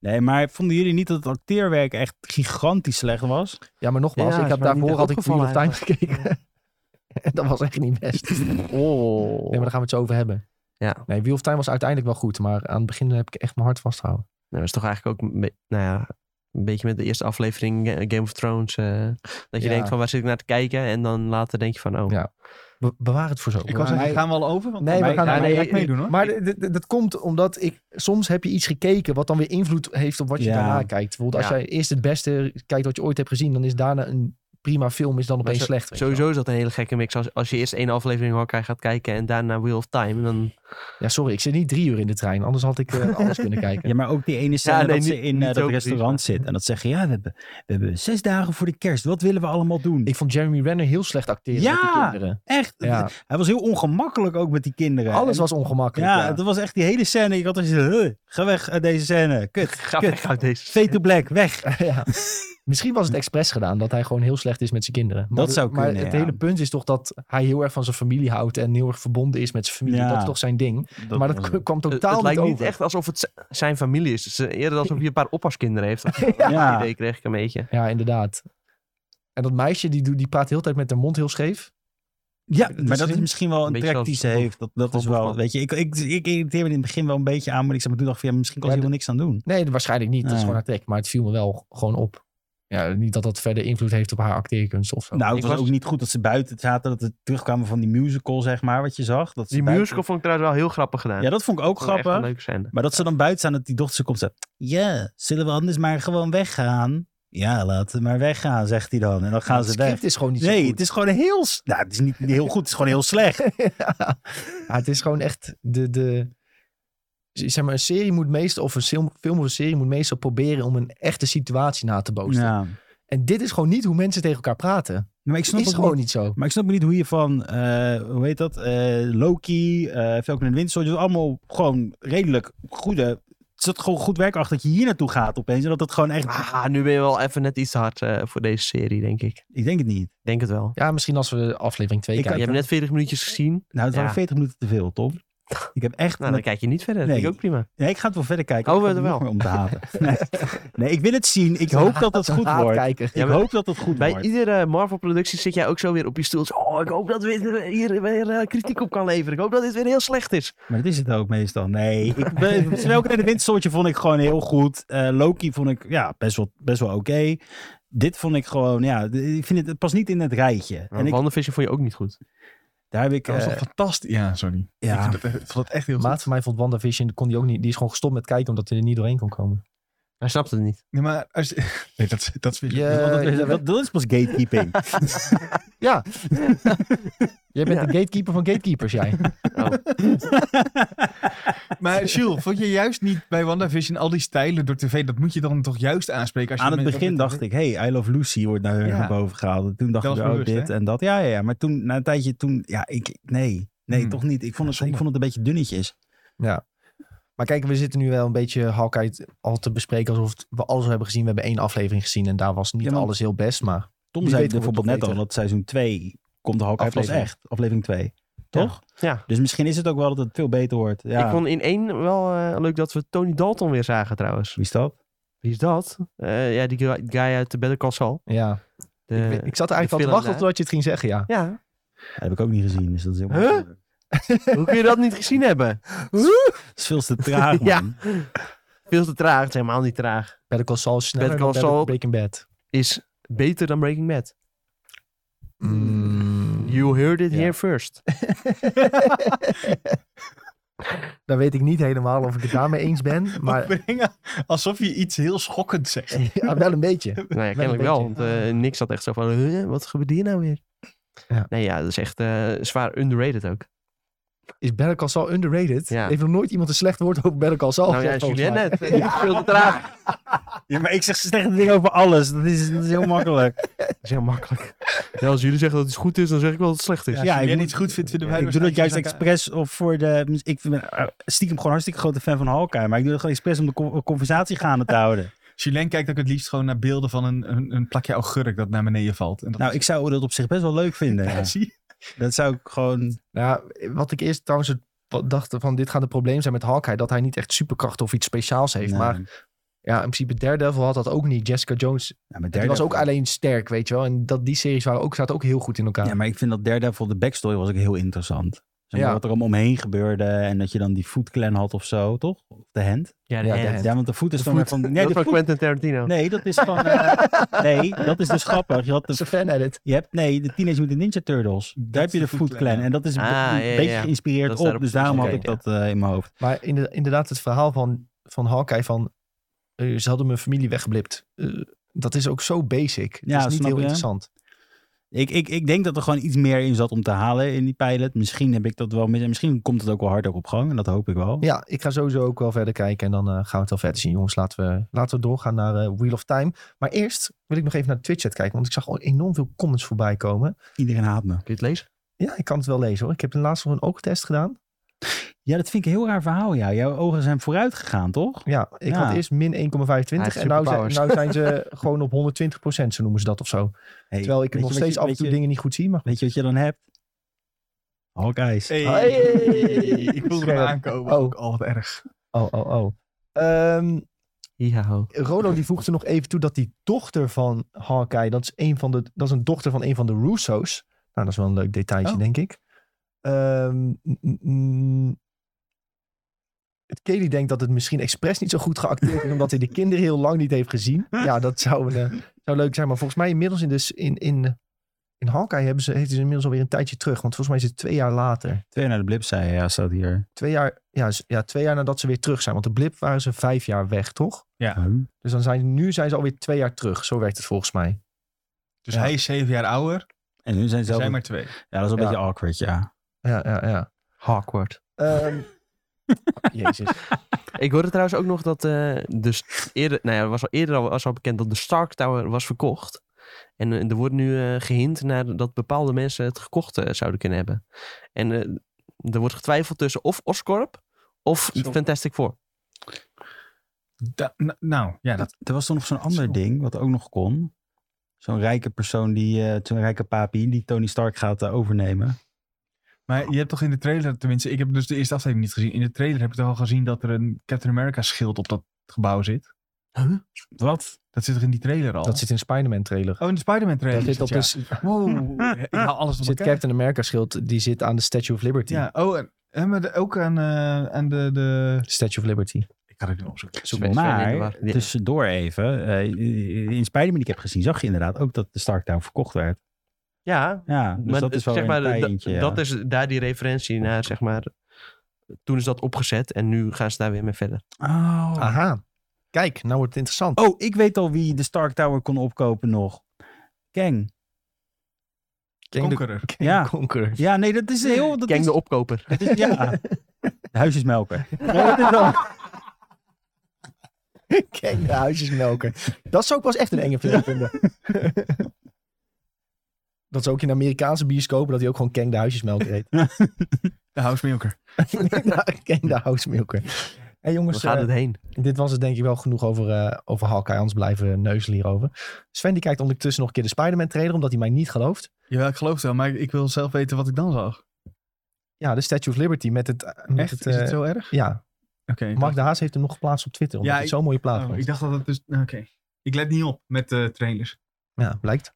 Speaker 4: nee, maar vonden jullie niet dat het acteerwerk echt gigantisch slecht was?
Speaker 1: Ja, maar nogmaals,
Speaker 2: Ja,
Speaker 1: ik
Speaker 2: is
Speaker 1: heb
Speaker 2: mij niet
Speaker 1: daarvoor had ik Wheel
Speaker 2: opgevallen
Speaker 1: of Time gekeken. en dat was echt niet best.
Speaker 2: Oh.
Speaker 1: Nee, maar daar gaan we het zo over hebben.
Speaker 2: Ja.
Speaker 1: Nee, Wheel of Time was uiteindelijk wel goed, maar aan het begin heb ik echt mijn hart vastgehouden.
Speaker 2: Nou, dat is toch eigenlijk ook een be- nou ja, een beetje met de eerste aflevering eh, Game of Thrones. eh, dat
Speaker 1: Ja.
Speaker 2: je denkt van waar zit ik naar te kijken? En dan later denk je van oh.
Speaker 1: Ja. Be- bewaar het voor zo.
Speaker 3: Ik was
Speaker 4: Maar-
Speaker 3: zeggen, gaan we al over? Want
Speaker 1: Nee,
Speaker 3: dan
Speaker 1: we
Speaker 3: ga ik-
Speaker 1: gaan-
Speaker 3: ja,
Speaker 1: nee,
Speaker 3: dan ga ik
Speaker 1: ik-
Speaker 3: meedoen hoor.
Speaker 1: Maar d- d- d- dat komt omdat ik soms heb je iets gekeken wat dan weer invloed heeft op wat je
Speaker 4: Ja.
Speaker 1: daarna kijkt. Bijvoorbeeld als
Speaker 2: Ja.
Speaker 1: jij eerst het beste kijkt wat je ooit hebt gezien, dan is daarna een prima film is dan opeens
Speaker 2: zo-
Speaker 1: slecht. weet je wel.
Speaker 2: Sowieso is dat een hele gekke mix. Als, als je eerst één aflevering Hawkeye gaat kijken en daarna Wheel of Time. Dan,
Speaker 1: Ja, sorry, ik zit niet drie uur in de trein, anders had ik eh, alles kunnen kijken.
Speaker 4: Ja, maar ook die ene scène
Speaker 2: nee,
Speaker 4: dat ze
Speaker 2: niet-
Speaker 4: in eh,
Speaker 2: niet zo
Speaker 4: dat
Speaker 2: precies,
Speaker 4: restaurant
Speaker 2: maar-
Speaker 4: zit en dat zeggen, ja, we hebben, we hebben zes dagen voor de kerst. Wat willen we allemaal doen?
Speaker 1: Ik vond Jeremy Renner heel slecht acteren met die
Speaker 4: Ja!
Speaker 1: kinderen.
Speaker 4: echt,
Speaker 1: Ja.
Speaker 4: hij was heel ongemakkelijk ook met die kinderen.
Speaker 1: Alles
Speaker 4: En-
Speaker 1: was ongemakkelijk.
Speaker 4: Ja,
Speaker 1: Ja,
Speaker 4: dat was echt die hele scène. Ik had als je ga weg uit deze scène. Kut,
Speaker 2: ga
Speaker 4: Kut.
Speaker 2: weg uit deze.
Speaker 4: fade to black, weg.
Speaker 1: Ja. Misschien was het expres gedaan dat hij gewoon heel slecht is met zijn kinderen. Maar,
Speaker 4: Dat zou
Speaker 1: Maar
Speaker 4: kunnen,
Speaker 1: het
Speaker 4: ja.
Speaker 1: hele punt is toch dat hij heel erg van zijn familie houdt en heel erg verbonden is met zijn familie.
Speaker 4: Ja.
Speaker 1: Dat is toch zijn ding. maar dat k- kwam
Speaker 2: Het,
Speaker 1: totaal
Speaker 2: het lijkt
Speaker 1: niet
Speaker 2: niet
Speaker 1: over.
Speaker 2: echt alsof het z- zijn familie is. Het is eerder alsof je een paar oppaskinderen heeft. Dat
Speaker 4: Ja.
Speaker 2: idee kreeg ik een beetje.
Speaker 1: Ja, inderdaad. En dat meisje die, doet- die praat de hele tijd met haar mond heel scheef.
Speaker 4: Ja,
Speaker 1: Dat
Speaker 4: maar
Speaker 1: is
Speaker 4: dat is
Speaker 1: een-
Speaker 4: misschien wel
Speaker 2: een
Speaker 4: een
Speaker 2: beetje
Speaker 4: track
Speaker 2: als
Speaker 4: die ze
Speaker 2: Bob-
Speaker 4: heeft. Dat, dat
Speaker 2: Bob
Speaker 4: is wel,
Speaker 2: Hoffman.
Speaker 4: weet je, ik, ik, ik irriteerde me in het begin wel een beetje aan, maar ik zat toen dacht ik van, ja, misschien kan
Speaker 1: Ja,
Speaker 4: ze hier wel niks aan
Speaker 2: Oh.
Speaker 4: doen.
Speaker 1: Nee, waarschijnlijk niet. Dat is
Speaker 4: Nee.
Speaker 1: gewoon haar trek. Maar het viel me wel gewoon op. Ja, niet dat dat verder invloed heeft op haar acteerkunst of zo.
Speaker 4: Nou,
Speaker 2: Ik
Speaker 4: het was,
Speaker 2: was-
Speaker 4: ook niet goed dat ze buiten zaten, dat het terugkwamen van die musical, zeg maar, wat je zag. Dat ze
Speaker 2: Die
Speaker 4: buiten-
Speaker 2: musical vond ik trouwens wel heel grappig gedaan.
Speaker 4: Ja, dat vond ik ook
Speaker 2: Vond ik echt een
Speaker 4: grappig.
Speaker 2: leuke scène.
Speaker 4: Maar dat ze dan buiten staan, dat die dochter zo komt en zegt, ja, zullen we anders maar gewoon weggaan? Ja, laten we maar weggaan, zegt hij dan. En dan gaan
Speaker 1: het
Speaker 4: ze
Speaker 1: script
Speaker 4: weg.
Speaker 1: is gewoon niet zo
Speaker 4: Nee,
Speaker 1: goed.
Speaker 4: het is gewoon heel... s- Nou, het is niet heel goed, het is gewoon heel slecht.
Speaker 1: ja, het is gewoon echt de, de... Zeg maar, een serie moet meestal, of een film, film of een serie moet meestal proberen om een echte situatie na te bootsen.
Speaker 4: Ja.
Speaker 1: En dit is gewoon niet hoe mensen tegen elkaar praten.
Speaker 4: Maar ik snap
Speaker 1: is
Speaker 4: ook
Speaker 1: gewoon
Speaker 4: niet-
Speaker 1: niet zo.
Speaker 4: Maar ik snap niet hoe je van, eh, hoe heet dat, eh, Loki, eh Falcon en de Winter Soldier, allemaal gewoon redelijk goede, er zat gewoon goed werk achter dat je hier naartoe gaat opeens. En dat het gewoon echt,
Speaker 2: Ah, nu ben je wel even net iets te hard eh, voor deze serie, denk ik.
Speaker 4: ik denk het niet.
Speaker 2: Denk het wel.
Speaker 1: Ja, misschien als we aflevering 2
Speaker 4: Ik
Speaker 2: Je
Speaker 1: kijken.
Speaker 2: hebt net 40 minuutjes gezien.
Speaker 4: Nou, het waren
Speaker 2: Ja.
Speaker 4: 40 minuten te veel, Tom. Ik heb echt,
Speaker 2: Nou, dan kijk je niet verder. Dat
Speaker 4: Nee.
Speaker 2: vind ik ook prima.
Speaker 4: nee, ik ga het wel verder kijken.
Speaker 2: Oh,
Speaker 4: Ik ga
Speaker 2: we
Speaker 4: er
Speaker 2: wel.
Speaker 4: nog meer om te haten. Nee. nee, ik wil het zien. Ik hoop dat het goed wordt.
Speaker 1: kijken.
Speaker 4: Ik
Speaker 2: maar-
Speaker 4: hoop dat het goed
Speaker 2: Bij
Speaker 4: wordt.
Speaker 2: iedere eh, Marvel-productie zit jij ook zo weer op je stoel. Zo, Oh, ik hoop dat we hier weer eh, kritiek op kan leveren. Ik hoop dat dit weer heel slecht is.
Speaker 4: Maar dat is het ook meestal. Nee, ik ben, Smelken en de Windstoortje vond ik gewoon heel goed. Eh, Loki vond ik ja, best wel, best wel oké. Dit vond ik gewoon, ja, d- ik vind het, het past niet in het rijtje. En ik,
Speaker 2: Nou, WandaVision vond je ook niet goed.
Speaker 4: daar heb ik,
Speaker 3: Dat was
Speaker 4: eh,
Speaker 3: toch fantastisch. Ja, sorry.
Speaker 4: ja.
Speaker 3: Ik vind het- ik vond het echt heel
Speaker 1: Een
Speaker 3: goed.
Speaker 1: maat van mij vond WandaVision, kon die, ook niet, die is gewoon gestopt met kijken omdat hij er niet doorheen kon komen.
Speaker 2: Hij snapte het niet.
Speaker 3: Nee, maar als je- nee, dat, is- dat is weer...
Speaker 1: Ja.
Speaker 4: dat,
Speaker 1: Eh,
Speaker 4: dat- dat- dat is pas gatekeeping.
Speaker 1: Jij bent
Speaker 2: Ja.
Speaker 1: de gatekeeper van gatekeepers, jij.
Speaker 3: Maar Jules, vond je juist niet bij WandaVision al die stijlen door tv, dat moet je dan toch juist aanspreken? Als je
Speaker 4: Aan het
Speaker 3: met-
Speaker 4: begin dacht ik, hey, I Love Lucy wordt naar
Speaker 3: Ja.
Speaker 4: naar boven gehaald. En Toen dacht
Speaker 3: Dat
Speaker 4: ik,
Speaker 3: was
Speaker 4: oh,
Speaker 3: bewust,
Speaker 4: dit
Speaker 3: hè?
Speaker 4: en dat. Ja, ja, ja, maar toen, na een tijdje, toen, ja, ik, nee, nee,
Speaker 3: Hmm.
Speaker 4: toch niet. Ik vond, het, ik
Speaker 3: zonde.
Speaker 4: vond het een beetje dunnetjes.
Speaker 1: Maar kijk, we zitten nu wel een beetje Hawkeye t- al te bespreken alsof het- we alles al hebben gezien. We hebben één aflevering gezien en daar was niet
Speaker 4: Ja, maar-
Speaker 1: alles heel best, maar...
Speaker 4: Tom
Speaker 1: Wie
Speaker 4: zei
Speaker 1: weet wordt
Speaker 4: bijvoorbeeld
Speaker 1: het
Speaker 4: net al
Speaker 1: beter.
Speaker 4: dat seizoen 2 komt de Hawkeye pas
Speaker 1: Aflevering.
Speaker 4: echt. Aflevering 2. Toch?
Speaker 2: Ja.
Speaker 4: Dus misschien is het ook wel dat het veel beter wordt. Ja.
Speaker 2: Ik vond in één wel eh, leuk dat we Tony Dalton weer zagen trouwens.
Speaker 4: Wie is dat?
Speaker 2: Wie is dat? Eh, ja, die guy guy uit de Better Call Saul.
Speaker 1: Ja,
Speaker 2: De-
Speaker 1: ik, weet- ik zat er eigenlijk
Speaker 2: Eh, de
Speaker 1: al te
Speaker 2: film,
Speaker 1: wachten
Speaker 2: hè?
Speaker 1: tot je het ging zeggen, ja.
Speaker 2: Ja,
Speaker 4: Ja, dat heb ik ook niet gezien. Dus dat is heel
Speaker 2: Huh?
Speaker 4: makkelijk.
Speaker 2: hoe kun je dat niet gezien hebben?
Speaker 4: Dat is veel te traag, man.
Speaker 2: Ja.
Speaker 4: ja.
Speaker 2: Veel te traag, het is helemaal niet traag.
Speaker 1: Better Call Saul is sneller
Speaker 2: Better Call
Speaker 1: dan
Speaker 2: Saul.
Speaker 1: Breaking Bad.
Speaker 2: Is beter dan Breaking Bad. Mm, You heard it
Speaker 1: Ja.
Speaker 2: here first.
Speaker 1: Daar weet ik niet helemaal of ik het daarmee eens ben, maar
Speaker 3: Opbrengen, alsof je iets heel schokkends zegt.
Speaker 1: ja, wel een beetje.
Speaker 2: Nou ja, kennelijk wel. Want eh, niks zat echt zo van, "Huh, wat gebeurt hier nou weer?
Speaker 1: Ja.
Speaker 2: Nee, ja, dat is echt eh, zwaar underrated ook.
Speaker 1: Is Better Call Saul underrated?
Speaker 2: Ja.
Speaker 1: Heeft nog nooit iemand een slecht woord over Better Call Saul
Speaker 2: nou ja,
Speaker 1: gezegd, Oh, volgens
Speaker 2: Julien
Speaker 1: mij.
Speaker 2: net. Veel te traag. Dat
Speaker 4: Ja, maar ik zeg slechte dingen over alles. Dat is, dat is heel makkelijk.
Speaker 2: is heel makkelijk. Ja, als jullie zeggen dat het goed is, dan zeg ik wel dat het slecht is.
Speaker 4: Ja,
Speaker 3: Als jij
Speaker 4: ik
Speaker 3: het
Speaker 4: moet-
Speaker 3: niet goed vindt, vinden wij
Speaker 4: ik doe dat juist
Speaker 3: waarschijnlijk
Speaker 4: expres of voor de... Ik ben eh, stiekem gewoon hartstikke grote fan van Hawkeye. Maar ik doe dat gewoon expres om de co- conversatie gaande te houden.
Speaker 3: Julien kijkt ook het liefst gewoon naar beelden van een, een, een plakje augurk dat naar beneden valt. En dat
Speaker 4: Nou, ik zou dat op zich best wel leuk vinden. ja.
Speaker 3: zie je.
Speaker 4: Dat zou ik gewoon...
Speaker 1: Nou, wat ik eerst trouwens het- wat dacht van dit gaat een probleem zijn met Hawkeye. Dat hij niet echt superkrachten of iets speciaals heeft.
Speaker 4: Nee.
Speaker 1: Maar ja, in principe Daredevil had dat ook niet. Jessica Jones
Speaker 4: Ja, maar
Speaker 1: die was
Speaker 4: Daredevil-
Speaker 1: ook alleen sterk, weet je wel. En dat, die series waren ook, zaten ook heel goed in elkaar.
Speaker 4: Ja, maar ik vind dat Daredevil, de backstory was ook heel interessant. Zeg maar
Speaker 1: Ja.
Speaker 4: Wat er om omheen gebeurde en dat je dan die Foot Clan had of zo, toch? Of de hand.
Speaker 2: Ja,
Speaker 1: Ja, de hand.
Speaker 4: Ja, want de voet is dan weer van... Nee,
Speaker 2: dat
Speaker 4: de
Speaker 2: van
Speaker 4: voet-
Speaker 2: Quentin Tarantino.
Speaker 4: nee, dat is van... eh, nee, dat is dus grappig. Je had
Speaker 1: Dat is
Speaker 4: de,
Speaker 1: een fan-edit.
Speaker 4: je hebt, nee, de Teenage Mutant Ninja Turtles. Daar heb je de Foot Clan. En dat is een,
Speaker 2: Ah, ja, ja,
Speaker 4: beetje
Speaker 2: ja.
Speaker 4: geïnspireerd
Speaker 2: Dat is
Speaker 4: op.
Speaker 2: daarop
Speaker 4: Dus daarom had ik
Speaker 2: gebaseerd,
Speaker 4: dat eh, in mijn hoofd.
Speaker 1: Maar inde- inderdaad, het verhaal van, van Hawkeye van... eh, ze hadden mijn familie weggeblipt. Eh, dat is ook zo basic. dat
Speaker 4: Ja,
Speaker 1: is niet
Speaker 4: snap
Speaker 1: heel
Speaker 4: je.
Speaker 1: interessant.
Speaker 4: Ik, ik, ik denk dat er gewoon iets meer in zat om te halen in die pilot. Misschien heb ik dat wel mis. En misschien komt het ook wel hard ook op gang. En dat hoop ik wel.
Speaker 1: Ja, ik ga sowieso ook wel verder kijken. En dan eh, gaan we het wel verder zien. Jongens, laten we, laten we doorgaan naar eh, Wheel of Time. Maar eerst wil ik nog even naar de Twitch-chat kijken. Want ik zag al enorm veel comments voorbij komen.
Speaker 4: Iedereen haat me.
Speaker 2: Kun je het lezen?
Speaker 1: Ja, ik kan het wel lezen hoor. Ik heb de laatste nog een oogtest gedaan.
Speaker 4: Ja, dat vind ik een heel raar verhaal. Ja. Jouw ogen zijn vooruit gegaan, toch?
Speaker 1: Ja, ik
Speaker 4: Ja.
Speaker 1: had eerst min 1,25
Speaker 2: Hij heeft
Speaker 1: en nou zijn,
Speaker 2: superpowers.
Speaker 1: nou zijn ze gewoon op 120 zo noemen ze dat of zo.
Speaker 4: Hey,
Speaker 1: Terwijl ik
Speaker 4: weet
Speaker 1: nog
Speaker 4: je wat
Speaker 1: steeds
Speaker 4: je-
Speaker 1: af en
Speaker 4: weet
Speaker 1: toe
Speaker 4: je-
Speaker 1: dingen niet goed zie, maar goed.
Speaker 4: Weet je wat je dan hebt? Hawkeyes.
Speaker 3: Hey.
Speaker 1: Hey.
Speaker 3: Ik voelde hem
Speaker 1: Scherp.
Speaker 3: aankomen.
Speaker 1: Oh.
Speaker 3: Ook al wat erg.
Speaker 1: Oh, oh, oh. Ehm,
Speaker 2: Ja, ho.
Speaker 1: Rolo die voegde nog even toe dat die dochter van Hawkeye, dat is, een van de, dat is een dochter van een van de Russo's. Nou, dat is wel een leuk detailtje,
Speaker 3: Oh.
Speaker 1: denk ik. Ehm, mm, mm, mm. het Kelly denkt dat het misschien expres niet zo goed geacteerd is, omdat hij de kinderen heel lang niet heeft gezien. Ja, dat zou, een, eh, zou leuk zijn. Maar volgens mij inmiddels in, de, s- in, in, in Hawkeye hebben ze, heeft hij ze inmiddels alweer een tijdje terug. Want volgens mij is het twee jaar later.
Speaker 4: Twee naar de blip zei je, ja, staat hier.
Speaker 1: Twee jaar, ja, z- ja, twee jaar nadat ze weer terug zijn. Want de blip waren ze vijf jaar weg, toch? Dus dan zijn, nu zijn ze alweer twee jaar terug. Zo werkt het volgens mij.
Speaker 3: Dus
Speaker 1: Ja.
Speaker 3: hij is zeven jaar ouder.
Speaker 4: En nu zijn ze
Speaker 3: Er
Speaker 4: zelf...
Speaker 3: zijn maar twee.
Speaker 4: Ja, dat is wel een
Speaker 1: Ja.
Speaker 4: beetje awkward, ja.
Speaker 1: Ja, ja, ja.
Speaker 2: Hawkward.
Speaker 1: Ehm, Jezus.
Speaker 2: Ik hoorde trouwens ook nog dat eh dus eerder, nou ja, er was al eerder al, was al bekend dat de Stark Tower was verkocht. En eh, er wordt nu eh, gehind naar dat bepaalde mensen het gekocht eh, zouden kunnen hebben. En eh, er wordt getwijfeld tussen of Oscorp of
Speaker 3: Zo.
Speaker 2: Fantastic Four.
Speaker 3: Da- n- nou, ja, dat,
Speaker 4: Er was toch nog zo'n
Speaker 3: Zo.
Speaker 4: ander ding, wat ook nog kon. Zo'n rijke persoon, die, eh, zo'n rijke papi, die Tony Stark gaat eh, overnemen.
Speaker 3: maar je hebt toch in de trailer, tenminste, ik heb dus de eerste aflevering niet gezien. In de trailer heb ik toch al gezien dat er een Captain America schild op dat gebouw zit.
Speaker 4: Wat?
Speaker 3: Dat zit er in die trailer al.
Speaker 1: Dat zit in de Spider-Man trailer.
Speaker 3: Oh, in de Spider-Man trailer.
Speaker 1: Dat zit op
Speaker 3: is
Speaker 1: de,
Speaker 3: het,
Speaker 1: s-
Speaker 3: ja. Wow, ik haal alles door
Speaker 1: zit
Speaker 3: elkaar.
Speaker 1: Captain America schild. Die zit aan de Statue of Liberty.
Speaker 3: Ja, oh, en, en maar de- ook aan, eh, aan de, de...
Speaker 1: Statue of Liberty.
Speaker 3: Ik ga het nu opzoeken.
Speaker 2: Zoek
Speaker 4: Maar tussendoor even, eh, in Spider-Man die ik heb gezien, zag je inderdaad ook dat de Stark Tower verkocht werd.
Speaker 2: Ja,
Speaker 4: Ja, dus
Speaker 2: maar
Speaker 4: dat is wel
Speaker 2: zeg
Speaker 4: weer
Speaker 2: maar,
Speaker 4: een
Speaker 2: da-
Speaker 4: pijntje. ja.
Speaker 2: dat is daar die referentie naar, zeg maar. Toen is dat opgezet en nu gaan ze daar weer mee verder.
Speaker 4: Oh.
Speaker 2: Ah.
Speaker 1: Aha. Kijk, nou wordt het interessant.
Speaker 4: Oh, ik weet al wie de Stark Tower kon opkopen nog. Kang.
Speaker 1: King the
Speaker 3: Conqueror.
Speaker 1: King
Speaker 4: Ja.
Speaker 1: Conqueror.
Speaker 4: Ja, nee, dat is heel... Dat
Speaker 2: Kijk
Speaker 4: is,
Speaker 2: de opkoper.
Speaker 4: dat is, ja. De huisjesmelker. Nee, dat is wel-
Speaker 1: King de huisjesmelker. Dat zou ik pas echt een enge film vinden. Dat is ook in Amerikaanse bioscopen dat hij ook gewoon Kang de huisjesmelker heet.
Speaker 3: De housemilker.
Speaker 1: Kang de huismilker. Hey
Speaker 2: We
Speaker 4: Dus,
Speaker 1: jongens,
Speaker 2: gaan
Speaker 1: eh,
Speaker 2: het heen.
Speaker 1: Dit was het denk ik wel genoeg over, eh over Hawkeye. Anders blijven we neuzelen hierover. Sven die kijkt ondertussen nog een keer de Spider-Man trailer. Omdat hij mij niet gelooft.
Speaker 3: Jawel, ik geloof het wel, maar ik wil zelf weten wat ik dan zag.
Speaker 1: Ja, de Statue of Liberty met het... eh, Met
Speaker 3: Echt?
Speaker 1: Het,
Speaker 3: is
Speaker 1: eh,
Speaker 3: het zo erg?
Speaker 1: Ja,
Speaker 3: Oké. ik
Speaker 1: Mark de Haas heeft hem nog geplaatst op Twitter. Omdat
Speaker 3: Ja,
Speaker 1: het
Speaker 3: ik-
Speaker 1: zo'n mooie plaat
Speaker 3: dacht-
Speaker 1: vond.
Speaker 3: oh, ik dacht dat het dus... Oké. Ik let niet op met de trailers.
Speaker 1: Ja, blijkt.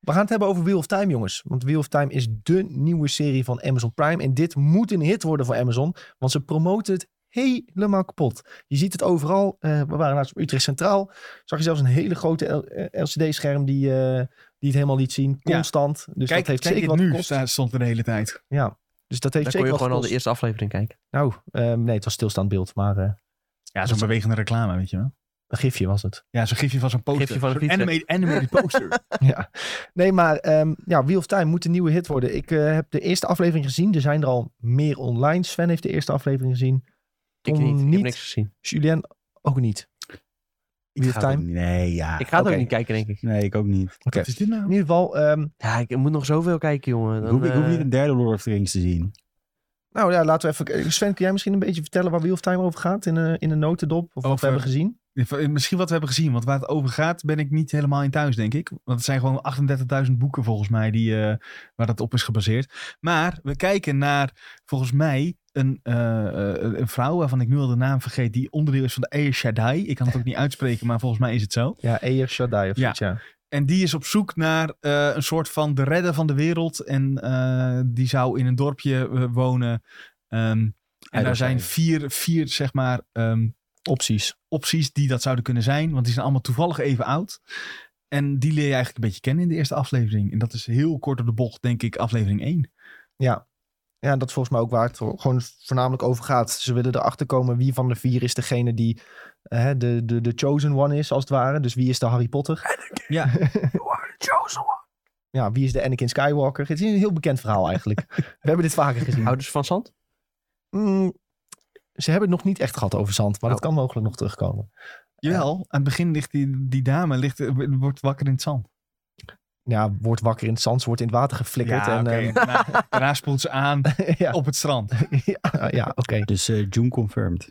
Speaker 1: We gaan het hebben over Wheel of Time, jongens. Want Wheel of Time is dé nieuwe serie van Amazon Prime. En dit moet een hit worden voor Amazon. Want ze promoten het helemaal kapot. Je ziet het overal. Eh, we waren laatst op Utrecht Centraal. Zag je zelfs een hele grote LCD-scherm die, eh, die het helemaal liet zien.
Speaker 3: Ja.
Speaker 1: Constant. Dus dat heeft
Speaker 3: kijk
Speaker 1: zeker
Speaker 3: dit
Speaker 1: wat
Speaker 3: nu,
Speaker 1: gekost.
Speaker 3: sta- stond er de hele tijd.
Speaker 1: Ja, dus dat heeft
Speaker 2: Daar kon
Speaker 1: zeker
Speaker 2: je gewoon
Speaker 1: wat
Speaker 2: al de
Speaker 1: gekost.
Speaker 2: eerste aflevering kijken.
Speaker 1: Nou, ehm, nee, het was stilstaand beeld. Maar eh,
Speaker 3: Ja, zo'n bewegende reclame, weet je wel.
Speaker 1: Een gifje was het.
Speaker 3: Ja, zo'n gifje van zo'n poster.
Speaker 2: Gifje van een
Speaker 3: Zo'n
Speaker 2: fietser.
Speaker 3: animated, animated poster.
Speaker 1: Ja. Nee, maar ehm, ja, Wheel of Time moet een nieuwe hit worden. Ik eh, heb de eerste aflevering gezien. Er zijn er al meer online. Sven heeft de eerste aflevering gezien.
Speaker 2: Ik
Speaker 1: Tom
Speaker 2: niet. Ik
Speaker 1: niet.
Speaker 2: heb niks gezien.
Speaker 1: Julien ook niet.
Speaker 4: Ik
Speaker 1: Wheel of
Speaker 4: ga het
Speaker 1: Time?
Speaker 4: ook- Nee, ja.
Speaker 2: Ik ga het
Speaker 1: oké.
Speaker 2: ook niet kijken, denk ik.
Speaker 4: Nee, ik ook niet.
Speaker 3: Wat is dit
Speaker 1: In
Speaker 3: nou?
Speaker 1: ieder geval, ehm,
Speaker 2: Ja, ik moet nog zoveel kijken, jongen.
Speaker 4: Ik
Speaker 2: Dan,
Speaker 4: hoef, ik hoef
Speaker 2: eh,
Speaker 4: niet een derde Lord of the Rings te zien.
Speaker 1: nou ja, laten we even... Sven, kun jij misschien een beetje vertellen waar Wheel of Time over gaat? In, een in een notendop? Of wat we
Speaker 3: Over-
Speaker 1: hebben gezien?
Speaker 3: Misschien wat we hebben gezien, want waar het over gaat ben ik niet helemaal in thuis, denk ik. Want het zijn gewoon 38.000 boeken volgens mij die, eh, waar dat op is gebaseerd. Maar we kijken naar, volgens mij, een, eh, eh, een vrouw waarvan ik nu al de naam vergeet, die onderdeel is van de Air Shaddai. Ik kan het ook niet uitspreken, maar volgens mij is het zo.
Speaker 1: Ja, Eer Shaddai of
Speaker 3: Ja.
Speaker 1: zoiets, ja.
Speaker 3: En die is op zoek naar eh, een soort van de redder van de wereld. En eh, die zou in een dorpje eh, wonen. Ehm, en daar zijn vier, vier zeg maar, ehm,
Speaker 1: Opties.
Speaker 3: opties die dat zouden kunnen zijn. Want die zijn allemaal toevallig even oud. En die leer je eigenlijk een beetje kennen in de eerste aflevering. En dat is heel kort op de bocht, denk ik, aflevering 1.
Speaker 1: Ja. Ja, en dat is volgens mij ook waar het gewoon voornamelijk over gaat. Ze willen erachter komen wie van de vier is degene die eh, hè, de, de, de chosen one is, als het ware. Dus wie is de Harry Potter?
Speaker 3: Ja,
Speaker 1: Ja, wie is de Anakin Skywalker? Het is een heel bekend verhaal eigenlijk. We hebben dit vaker gezien.
Speaker 2: Ouders van Zand?
Speaker 1: Mm, ze hebben het nog niet echt gehad over zand, maar dat kan mogelijk nog terugkomen.
Speaker 3: jawel. Aan het begin ligt die, die dame ligt, eh, wordt wakker in het zand.
Speaker 1: Ja, wordt wakker in het zand, ze wordt in het water geflikkerd. en,
Speaker 3: oké. Oh.
Speaker 1: ehm,
Speaker 3: daarna, daarna spoelt ze aan
Speaker 1: ja,
Speaker 3: op het strand.
Speaker 1: ja, ja oké.
Speaker 4: Dus eh, June confirmed.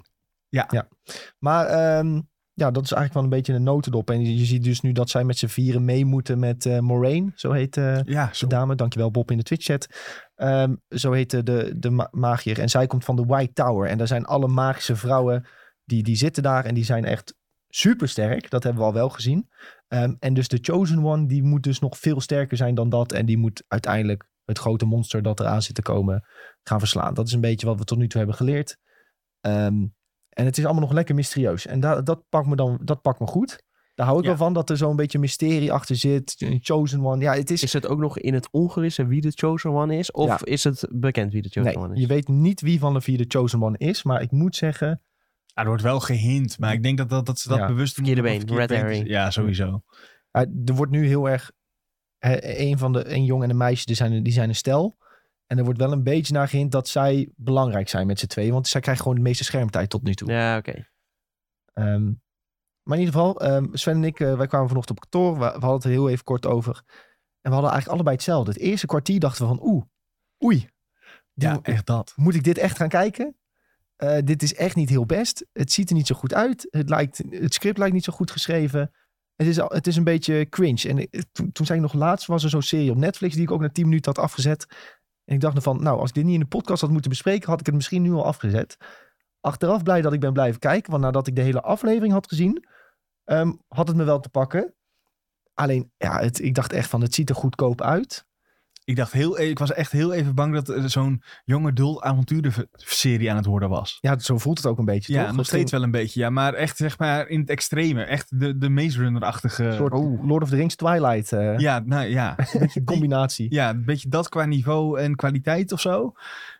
Speaker 1: Maar ehm, ja, dat is eigenlijk wel een beetje een notendop. En je, je ziet dus nu dat zij met z'n vieren mee moeten met eh Moraine. Zo heet eh,
Speaker 3: Ja,
Speaker 1: de
Speaker 3: zo.
Speaker 1: dame. Dankjewel Bob in de Twitch-chat. Ehm, zo heet eh, de, de ma- magier. En zij komt van de White Tower. En daar zijn alle magische vrouwen die, die zitten daar. En die zijn echt supersterk. Dat hebben we al wel gezien. Ehm, en dus de Chosen One, die moet dus nog veel sterker zijn dan dat. En die moet uiteindelijk het grote monster dat eraan zit te komen gaan verslaan. Dat is een beetje wat we tot nu toe hebben geleerd. Ehm, en het is allemaal nog lekker mysterieus. En da- dat pakt me dan dat pakt me goed. Daar hou ik
Speaker 3: Ja.
Speaker 1: wel van, dat er zo'n beetje mysterie achter zit. Een Chosen One. Ja, het is
Speaker 2: Is het ook nog in het ongewisse wie de Chosen One is? Of
Speaker 1: Ja.
Speaker 2: is het bekend wie de Chosen
Speaker 1: Nee,
Speaker 2: One is?
Speaker 1: je weet niet wie van de vier de Chosen One is. Maar ik moet zeggen,
Speaker 3: Ja, er wordt wel gehind, maar ik denk dat, dat, dat ze dat
Speaker 1: Ja.
Speaker 3: bewust doen.
Speaker 2: Verkeerde
Speaker 3: om
Speaker 2: been,
Speaker 3: verkeerd
Speaker 2: red
Speaker 3: te-
Speaker 2: herring.
Speaker 3: Ja, sowieso.
Speaker 1: eh, er wordt nu heel erg... hè, een van de, een jong en een meisje, die zijn, die zijn een stel. En er wordt wel een beetje naar gehind dat zij belangrijk zijn met z'n tweeën. Want zij krijgen gewoon de meeste schermtijd tot nu toe.
Speaker 2: Ja, oké.
Speaker 1: Ehm, maar in ieder geval, ehm, Sven en ik, eh, wij kwamen vanochtend op kantoor. We, we hadden het er heel even kort over. En we hadden eigenlijk allebei hetzelfde. Het eerste kwartier dachten we van, oeh, oei.
Speaker 3: Ja,
Speaker 1: Doe-
Speaker 3: echt dat.
Speaker 1: moet ik dit echt gaan kijken? Eh, dit is echt niet heel best. Het ziet er niet zo goed uit. Het, lijkt, het script lijkt niet zo goed geschreven. Het is, al- het is een beetje cringe. En ik- toen, toen zei ik nog laatst, was er zo'n serie op Netflix die ik ook na 10 minuten had afgezet. En ik dacht nog van, nou, als ik dit niet in de podcast had moeten bespreken, had ik het misschien nu al afgezet. Achteraf blij dat ik ben blijven kijken, want nadat ik de hele aflevering had gezien, ehm, had het me wel te pakken. Alleen, ja, het, ik dacht echt van, het ziet er goedkoop uit.
Speaker 3: Ik, dacht heel, e- ik was echt heel even bang dat er zo'n jonge adult avonturenserie aan het worden was.
Speaker 1: Ja, zo voelt het ook een beetje,
Speaker 3: Ja,
Speaker 1: toch?
Speaker 3: nog
Speaker 1: Het ging
Speaker 3: steeds wel een beetje. Ja, maar echt zeg maar in het extreme. Echt de, de Maze Runner-achtige.
Speaker 1: Een soort Lord of the Rings Twilight eh,
Speaker 3: Eh, oh. Ja, nou ja.
Speaker 1: combinatie.
Speaker 3: Ja, een beetje dat qua niveau en kwaliteit of zo.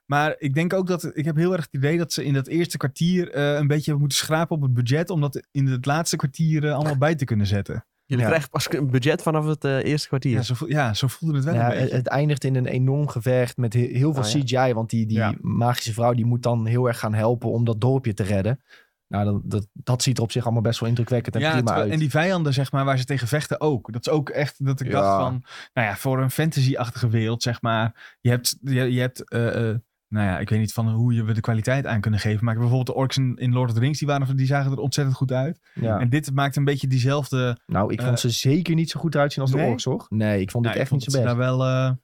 Speaker 3: Maar ik denk ook dat... Ik heb heel erg het idee dat ze in dat eerste kwartier... eh, een beetje hebben moeten schrapen op het budget... om dat in het laatste kwartier eh, allemaal bij te kunnen zetten.
Speaker 2: Jullie
Speaker 1: Ja.
Speaker 2: krijgen pas een budget vanaf het eh, eerste kwartier.
Speaker 3: Ja, zo, voel- ja, zo voelde het wel
Speaker 1: Ja,
Speaker 3: een beetje. Ah,
Speaker 1: het, het eindigt in een enorm gevecht met he- heel veel
Speaker 2: Oh, ja.
Speaker 1: CGI. Want die, die
Speaker 3: Ja.
Speaker 1: magische vrouw die moet dan heel erg gaan helpen om dat dorpje te redden. Nou, dan, dat, dat ziet er op zich allemaal best wel indrukwekkend en
Speaker 3: ja,
Speaker 1: prima
Speaker 3: terwijl-
Speaker 1: uit.
Speaker 3: en die vijanden, zeg maar, waar ze tegen vechten ook. Dat is ook echt dat ik
Speaker 1: Ja.
Speaker 3: dacht van... Nou ja, voor een fantasy-achtige wereld, zeg maar. Je hebt... Je, je hebt eh, eh, nou ja, ik weet niet van hoe je we de kwaliteit aan kunnen geven. Maar bijvoorbeeld de orks in, in Lord of the Rings, die, waren, die zagen er ontzettend goed uit.
Speaker 1: ja.
Speaker 3: En dit maakt een beetje diezelfde...
Speaker 1: nou, ik
Speaker 3: eh,
Speaker 1: vond ze zeker niet zo goed uitzien als de
Speaker 3: nee?
Speaker 1: orks, hoor. Nee, ik vond
Speaker 3: Nou,
Speaker 1: het
Speaker 3: ik
Speaker 1: echt
Speaker 3: vond
Speaker 1: niet zo
Speaker 3: dat ze
Speaker 1: best.
Speaker 3: daar wel, eh,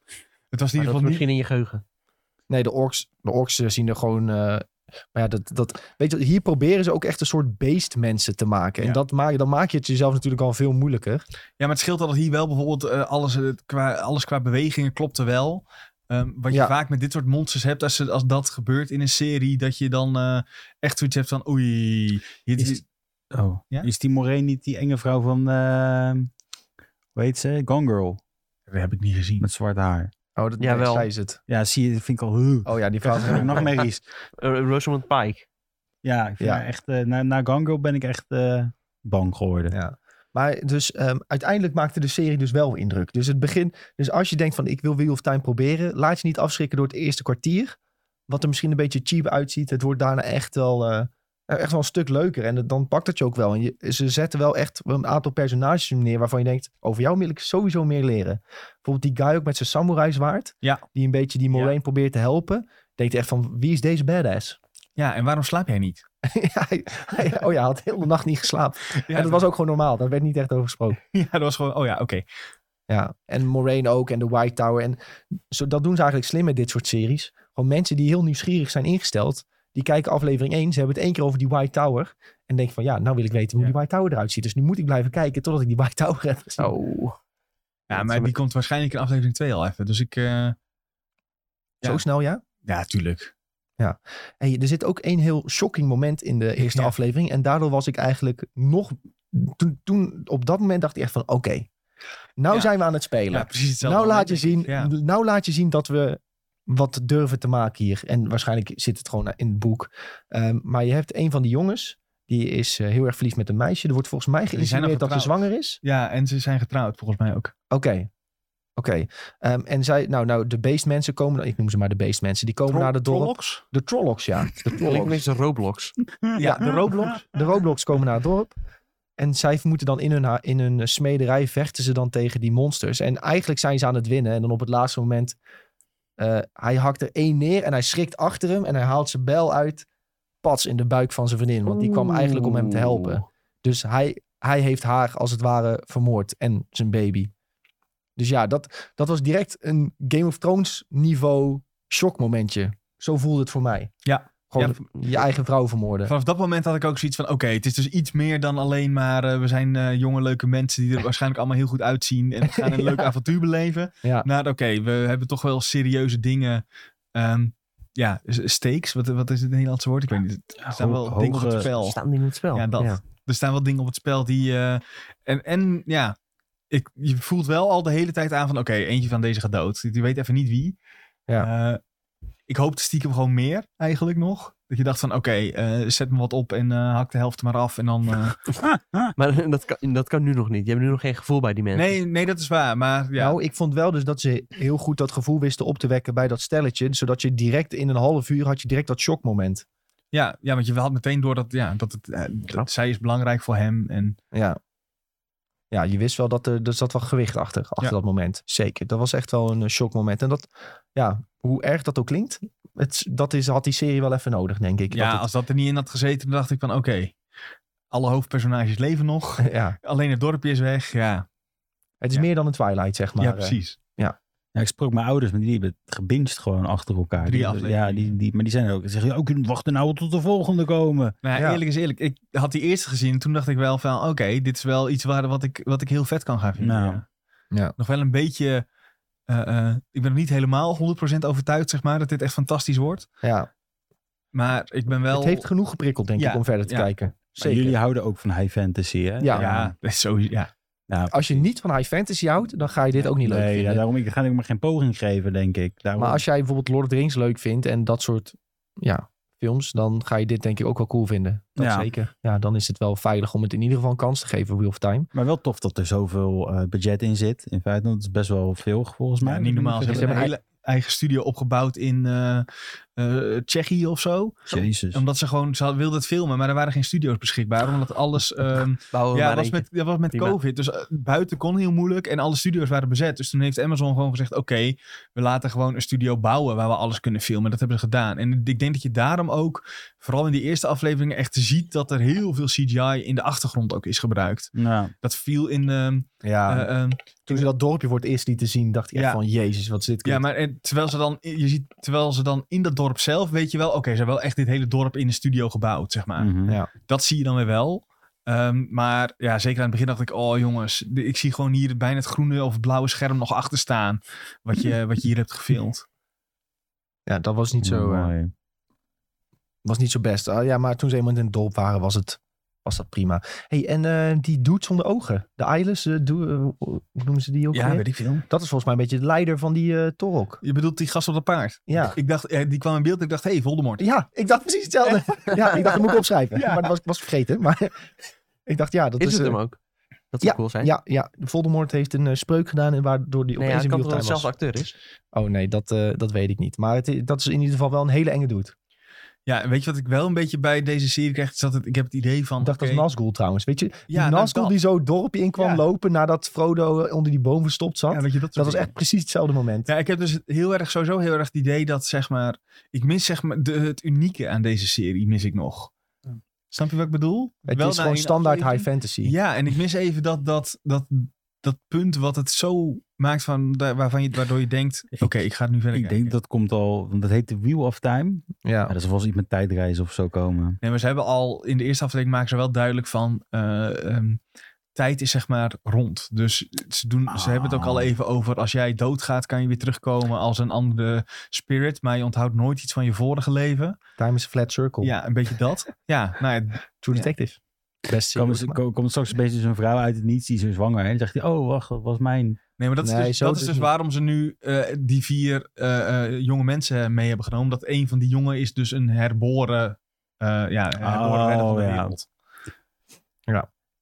Speaker 3: het was in ieder
Speaker 2: Maar dat is
Speaker 3: geval niet...
Speaker 2: misschien in je geheugen.
Speaker 1: Nee, de orks, de orks eh, zien er gewoon... eh, maar ja, dat, dat, weet je, hier proberen ze ook echt een soort beestmensen te maken. En
Speaker 3: Ja.
Speaker 1: dat maak, dan maak je het jezelf natuurlijk al veel moeilijker.
Speaker 3: Ja, maar het scheelt al dat hier wel bijvoorbeeld eh, alles, eh, qua, alles qua bewegingen klopte wel. Ehm, wat
Speaker 1: Ja.
Speaker 3: je vaak met dit soort monsters hebt, als, ze- als dat gebeurt in een serie, dat je dan eh, echt zoiets hebt van oei. Hier,
Speaker 4: Is- Oh.
Speaker 3: Ja?
Speaker 4: Is die Moraine niet die enge vrouw van... eh, hoe heet ze? Gone Girl.
Speaker 3: dat heb ik niet gezien.
Speaker 4: Met zwart haar.
Speaker 1: Oh, dat
Speaker 2: Jawel.
Speaker 1: zij is het.
Speaker 4: Ja, zie je, dat vind ik al... Uh.
Speaker 1: Oh ja, die vrouw.
Speaker 4: Dat is nog meer iets.
Speaker 2: Eh, Rosamund Pike.
Speaker 4: Ja, ik vind
Speaker 1: Ja.
Speaker 4: haar echt... eh, na, na Gone Girl ben ik echt... eh, bang geworden.
Speaker 1: Ja. Maar dus ehm, uiteindelijk maakte de serie dus wel indruk. Dus het begin, dus als je denkt van ik wil Wheel of Time proberen, laat je niet afschrikken door het eerste kwartier. Wat er misschien een beetje cheap uitziet. Het wordt daarna echt wel, eh, echt wel een stuk leuker. En het- dan pakt het je ook wel. En je, ze zetten wel echt een aantal personages neer waarvan je denkt, over jou wil ik sowieso meer leren. Bijvoorbeeld die guy ook met zijn samurai zwaard.
Speaker 3: Ja.
Speaker 1: Die een beetje die Moraine probeert te helpen. Denkt echt van wie is deze badass?
Speaker 3: Ja, en waarom slaap jij niet?
Speaker 1: Ja, hij- hij- oh ja, had heel de nacht niet geslapen.
Speaker 3: Ja,
Speaker 1: en dat was ook gewoon normaal. Daar werd niet echt over gesproken.
Speaker 3: ja, dat was gewoon, oh ja, oké.
Speaker 1: Ja, en Moraine ook en de White Tower. En zo, dat doen ze eigenlijk slim met dit soort series. Gewoon mensen die heel nieuwsgierig zijn ingesteld. Die kijken aflevering 1, ze hebben het één keer over die White Tower. En denken van, ja, nou wil ik weten hoe
Speaker 3: Ja.
Speaker 1: die White Tower eruit ziet. Dus nu moet ik blijven kijken totdat ik die White Tower heb gezien.
Speaker 2: Oh.
Speaker 3: Ja,
Speaker 2: Dat
Speaker 3: maar
Speaker 2: is-
Speaker 3: die komt waarschijnlijk in aflevering 2 al even. Dus ik, eh,
Speaker 1: Zo
Speaker 3: ja.
Speaker 1: snel, ja.
Speaker 3: ja, tuurlijk.
Speaker 1: Hey, er zit ook één heel shocking moment in de eerste
Speaker 3: Ja.
Speaker 1: aflevering. En daardoor was ik eigenlijk nog... Toen, toen op dat moment dacht ik echt van, oké. nou
Speaker 3: Ja.
Speaker 1: zijn we aan het spelen.
Speaker 3: Ja, precies hetzelfde.
Speaker 1: Nou laat, je
Speaker 3: moment.
Speaker 1: zien,
Speaker 3: Ja.
Speaker 1: nou laat je zien dat we wat durven te maken hier. En waarschijnlijk zit het gewoon in het boek. Ehm, maar je hebt een van die jongens. Die is eh, heel erg verliefd met een meisje. Er wordt volgens mij
Speaker 3: zijn al
Speaker 1: geïnsinueerd dat ze
Speaker 3: getrouwd.
Speaker 1: zwanger is.
Speaker 3: Ja, en ze zijn getrouwd volgens mij ook.
Speaker 1: Oké. Oké. Ehm, en zij, nou, nou, de beestmensen komen, ik noem ze maar de beestmensen, die komen naar de dorp.
Speaker 3: Trollocs?
Speaker 1: De Trollocs, ja. De
Speaker 2: Klinkt
Speaker 1: Trollocs.
Speaker 2: meestal Roblox.
Speaker 1: Ja, de Roblox. De Roblox komen naar het dorp. En zij moeten dan in hun, ha- in hun eh, smederij vechten ze dan tegen die monsters. En eigenlijk zijn ze aan het winnen. En dan op het laatste moment. eh, hij hakt er één neer en hij schrikt achter hem. En hij haalt zijn bel uit. Pats in de buik van zijn vriendin. Want die kwam eigenlijk om hem te helpen. Dus hij, hij heeft haar als het ware vermoord. En zijn baby. Dus ja, dat, dat was direct een Game of Thrones niveau shockmomentje. Zo voelde het voor mij.
Speaker 3: Ja.
Speaker 1: Gewoon je eigen vrouw vermoorden.
Speaker 3: Vanaf dat moment had ik ook zoiets van, oké, het is dus iets meer dan alleen maar... eh, we zijn eh, jonge, leuke mensen die er waarschijnlijk allemaal heel goed uitzien... en we gaan een leuk avontuur beleven.
Speaker 1: Ja.
Speaker 3: Naar, oké, we hebben toch wel serieuze dingen... ehm, ja, s- stakes, wat, wat is het Nederlandse woord? Ik weet niet. Er staan wel
Speaker 4: Ho-
Speaker 3: dingen op het
Speaker 4: hoge-
Speaker 1: Oh.
Speaker 3: spel.
Speaker 2: Staan die in het spel?
Speaker 3: Ja, dat. Er staan wel dingen op het spel die... eh, en, en ja, ik, je voelt wel al de hele tijd aan van... Oké, eentje van deze gaat dood. Je weet even niet wie.
Speaker 1: Ja.
Speaker 3: Eh, ik hoopte stiekem gewoon meer eigenlijk nog. Dat je dacht van, oké, eh, zet me wat op en eh, hak de helft maar af. En dan... eh,
Speaker 2: Maar dat kan, dat kan nu nog niet. Je hebt nu nog geen gevoel bij die mensen.
Speaker 3: nee, nee, dat is waar. Maar ja,
Speaker 1: Nou, ik vond wel dus dat ze heel goed dat gevoel wisten op te wekken bij dat stelletje. Zodat je direct in een half uur had je direct dat shockmoment.
Speaker 3: ja, ja, want je had meteen door dat, ja, dat, het, eh,
Speaker 2: Knap.
Speaker 3: dat zij is belangrijk voor hem. En
Speaker 1: Ja. Ja, je wist wel dat eh, er, er zat wel gewicht achter, achter
Speaker 3: Ja.
Speaker 1: dat moment. Zeker. Dat was echt wel een eh, shockmoment. En dat, ja, hoe erg dat ook klinkt, het, dat is, had die serie wel even nodig, denk ik.
Speaker 3: ja,
Speaker 1: Dat
Speaker 3: als dat er niet in had gezeten, dan dacht ik van, oké... alle hoofdpersonages leven nog.
Speaker 1: het, ja.
Speaker 3: Alleen het dorpje is weg. Ja,
Speaker 1: Het is
Speaker 3: Ja.
Speaker 1: meer dan een Twilight, zeg maar.
Speaker 3: ja
Speaker 1: eh.
Speaker 3: precies.
Speaker 4: Ja, ik sprak mijn ouders, maar die hebben het gebinged gewoon achter elkaar.
Speaker 3: Drie
Speaker 4: Die-
Speaker 3: afleveringen.
Speaker 4: Ja, die, die, maar die zijn er ook. Ze zeggen, oh, wacht nou tot de volgende komen.
Speaker 3: Nou, ja,
Speaker 1: Ja.
Speaker 3: eerlijk is eerlijk. Ik had die eerste gezien. en Toen dacht ik wel van, oké, dit is wel iets waar, wat, ik, wat ik heel vet kan gaan vinden.
Speaker 4: Nou.
Speaker 3: ja.
Speaker 1: Ja.
Speaker 3: Nog wel een beetje... eh, eh, ik ben nog niet helemaal 100% overtuigd, zeg maar, dat dit echt fantastisch wordt.
Speaker 1: Ja.
Speaker 3: Maar ik ben wel...
Speaker 1: Het heeft genoeg geprikkeld, denk
Speaker 3: Ja,
Speaker 1: ik, om verder te
Speaker 3: ja.
Speaker 1: kijken.
Speaker 4: Maar
Speaker 1: Zeker.
Speaker 4: jullie houden ook van high fantasy, hè?
Speaker 1: Ja.
Speaker 3: ja, zo, ja.
Speaker 4: Nou,
Speaker 1: Als je niet van high fantasy houdt, dan ga je dit ook niet leuk
Speaker 4: nee, ja,
Speaker 1: vinden.
Speaker 4: daarom ik, ga ik maar geen poging geven, denk ik. Daarom,
Speaker 1: Maar als jij bijvoorbeeld Lord of the Rings leuk vindt en dat soort ja, films, dan ga je dit denk ik ook wel cool vinden. Dat
Speaker 4: Ja.
Speaker 1: zeker. Ja, dan is het wel veilig om het in ieder geval een kans te geven, Wheel of Time.
Speaker 4: Maar wel tof dat er zoveel eh, budget in zit. In feite, want het is best wel veel volgens mij.
Speaker 3: Ja, niet normaal. Ze
Speaker 1: Ze
Speaker 3: hebben een
Speaker 1: hebben
Speaker 3: hele eigen studio opgebouwd in eh, eh, Tsjechië of zo.
Speaker 4: Jezus.
Speaker 3: Omdat ze gewoon... Ze hadden- wilden het filmen, maar er waren geen studio's beschikbaar. Omdat alles... ehm,
Speaker 2: Bouwen we
Speaker 3: ja, dat
Speaker 2: maar
Speaker 3: was,
Speaker 2: eentje.
Speaker 3: met, dat was met
Speaker 2: Prima.
Speaker 3: COVID. Dus eh, buiten kon heel moeilijk en alle studio's waren bezet. Dus toen heeft Amazon gewoon gezegd: Oké, we laten gewoon een studio bouwen waar we alles kunnen filmen. Dat hebben ze gedaan. En ik denk dat je daarom ook, vooral in die eerste afleveringen, echt ziet dat er heel veel CGI in de achtergrond ook is gebruikt.
Speaker 4: Nou,
Speaker 3: Dat viel in. ehm,
Speaker 2: Ah,
Speaker 1: Ja,
Speaker 3: eh, ehm,
Speaker 1: toen ze dat dorpje voor het eerst lieten zien, dacht ik echt
Speaker 3: Ja.
Speaker 1: van, jezus, wat zit dit
Speaker 3: ja,
Speaker 1: kut.
Speaker 3: maar en terwijl, ze dan, je ziet, terwijl ze dan in dat dorp zelf, weet je wel, oké, ze hebben wel echt dit hele dorp in de studio gebouwd, zeg maar.
Speaker 4: mhm.
Speaker 1: ja.
Speaker 3: Dat zie je dan weer wel. Ehm, maar ja, zeker aan het begin dacht ik, oh jongens, de- ik zie gewoon hier bijna het groene of het blauwe scherm nog achter staan. Wat je, wat je hier hebt gefilmd.
Speaker 1: Ja, dat was niet zo, eh,
Speaker 4: Mooi.
Speaker 1: was niet zo best. Ah, ja, maar toen ze eenmaal in het dorp waren, was, het, was dat prima. hey, en eh, die dude zonder ogen, de Eyeless, eh, doe- eh, hoe noemen ze die ook
Speaker 3: Ja,
Speaker 1: alweer?
Speaker 3: weet ik veel.
Speaker 1: Dat is volgens mij een beetje de leider van die eh Torok.
Speaker 3: Je bedoelt die gast op dat paard?
Speaker 1: Ja.
Speaker 3: Ik dacht, eh, die kwam in beeld en ik dacht, hé, hey, Voldemort.
Speaker 1: Ja, ik dacht precies hetzelfde. Ja, ik dacht, dat moet ik opschrijven.
Speaker 3: Ja.
Speaker 1: Maar dat was, was vergeten. Maar Ik dacht, ja, dat
Speaker 2: is,
Speaker 1: is...
Speaker 2: het
Speaker 1: eh,
Speaker 2: hem ook? Dat zou cool zijn.
Speaker 1: ja, ja, Voldemort heeft een eh, spreuk gedaan en waardoor die
Speaker 2: nee, ja,
Speaker 1: opeens
Speaker 2: het
Speaker 1: in
Speaker 2: kan
Speaker 1: real
Speaker 2: toch dat
Speaker 1: time
Speaker 2: het
Speaker 1: was.
Speaker 2: zelfs acteur is?
Speaker 1: Oh nee, dat, eh, dat weet ik niet. Maar het, i- dat is in ieder geval wel een hele enge dude.
Speaker 3: Ja, en weet je wat ik wel een beetje bij deze serie krijg? Is dat het, ik heb het idee van...
Speaker 1: Ik dacht
Speaker 3: oké,
Speaker 1: dat Nazgul trouwens. Weet je, die
Speaker 3: Ja, nou,
Speaker 1: Nazgul
Speaker 3: dat.
Speaker 1: die zo het dorpje in kwam
Speaker 3: Ja.
Speaker 1: lopen nadat Frodo eh, onder die boom verstopt zat.
Speaker 3: ja, weet je, dat, soort
Speaker 1: dat was
Speaker 3: dingen.
Speaker 1: echt precies hetzelfde moment.
Speaker 3: Ja, ik heb dus heel erg, sowieso heel erg het idee dat, zeg maar... Ik mis, zeg maar, de, het unieke aan deze serie mis ik nog. Snap je wat ik bedoel?
Speaker 1: het
Speaker 3: Wel
Speaker 1: is
Speaker 3: na
Speaker 1: gewoon
Speaker 3: één
Speaker 1: standaard
Speaker 3: aflevering.
Speaker 1: high fantasy.
Speaker 3: Ja, en ik mis even dat, dat, dat, dat punt wat het zo maakt van, da- waarvan je, waardoor je denkt... Oké, ik ga het nu verder
Speaker 4: Ik denk dat komt al, want dat heet de Wheel of Time. Ja,
Speaker 1: Ja.
Speaker 4: dat zal wel eens iets met tijdreizen of zo komen.
Speaker 3: Nee, maar ze hebben al in de eerste aflevering maken ze wel duidelijk van eh, ehm, tijd is zeg maar rond. Dus ze, doen, ze hebben het ook al
Speaker 4: Ah.
Speaker 3: even over als jij doodgaat kan je weer terugkomen als een andere spirit. Maar je onthoudt nooit iets van je vorige leven.
Speaker 1: Time is a flat circle.
Speaker 3: Ja, een beetje dat. ja, nou ja,
Speaker 1: True
Speaker 3: Ja.
Speaker 1: Detective. Best
Speaker 4: Komt
Speaker 1: serie.
Speaker 4: kom, komt straks opeens zo'n vrouw uit het niets, die is weer zwanger. En dan zegt hij, oh wacht, dat was mijn...
Speaker 3: nee, maar dat is
Speaker 1: Nee,
Speaker 3: dus,
Speaker 1: zo
Speaker 3: dat
Speaker 1: is
Speaker 3: is
Speaker 1: het
Speaker 3: dus
Speaker 1: niet.
Speaker 3: waarom ze nu eh, die vier eh, eh, jonge mensen mee hebben genomen. Dat een van die jongen is dus een herboren, eh ja, herboren
Speaker 4: Oh,
Speaker 3: redder van de
Speaker 4: ja.
Speaker 3: wereld.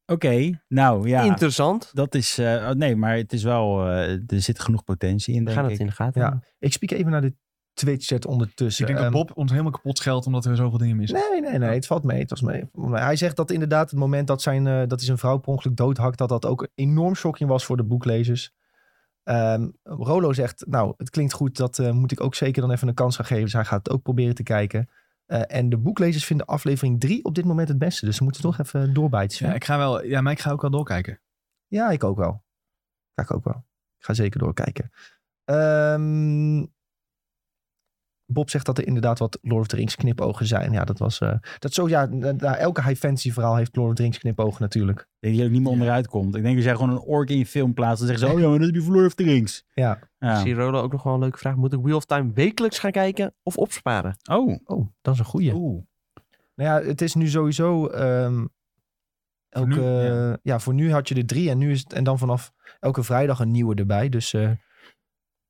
Speaker 4: Oké, nou ja,
Speaker 2: Interessant.
Speaker 4: dat is... eh, oh, nee, maar het is wel, eh, er zit genoeg potentie in,
Speaker 2: We
Speaker 4: denk
Speaker 2: gaan
Speaker 4: ik.
Speaker 2: het in de gaten.
Speaker 1: Ja.
Speaker 2: houden.
Speaker 1: Ik spiek even naar de Twitch-chat
Speaker 3: Dus
Speaker 1: ondertussen.
Speaker 3: ik denk
Speaker 1: Ehm,
Speaker 3: dat Bob ons helemaal kapot scheldt omdat we zoveel dingen missen.
Speaker 1: Nee, nee, nee. Het valt mee. Het was mee. Maar Hij zegt dat inderdaad het moment dat, zijn, eh, dat hij zijn vrouw per ongeluk doodhakt... dat dat ook een enorm shocking was voor de boeklezers. Ehm, Rolo zegt, nou, het klinkt goed. Dat eh, moet ik ook zeker dan even een kans gaan geven. Dus hij gaat het ook proberen te kijken. Eh, en de boeklezers vinden aflevering 3 op dit moment het beste. Dus ze moeten toch even doorbijten. Sven.
Speaker 3: Ja, ik ga wel, ja, maar ik ga ook wel doorkijken.
Speaker 1: Ja, ik ook wel. Ga ik ook wel. Ik ga zeker doorkijken. Ehm, Bob zegt dat er inderdaad wat Lord of the Rings knipogen zijn. Ja, dat was... eh, dat zo, ja, na, na elke high fantasy verhaal heeft Lord of the Rings knipogen natuurlijk.
Speaker 4: Ik denk dat je ook niet meer onderuit komt. Ik denk dat jij gewoon een ork in je film plaatst. Dan zeggen ze, oh ja, maar dat heb je verloren of de rings.
Speaker 1: Ja.
Speaker 4: Ja.
Speaker 2: Ik zie Rolo ook nog wel een leuke vraag. Moet ik Wheel of Time wekelijks gaan kijken of opsparen?
Speaker 4: Oh,
Speaker 1: Oh, dat is een goeie.
Speaker 3: Oeh.
Speaker 1: Nou ja, het is nu sowieso... ehm, elke,
Speaker 3: nu,
Speaker 1: ja.
Speaker 3: ja.
Speaker 1: voor nu had je er drie en, nu is het, en dan vanaf elke vrijdag een nieuwe erbij. Dus eh,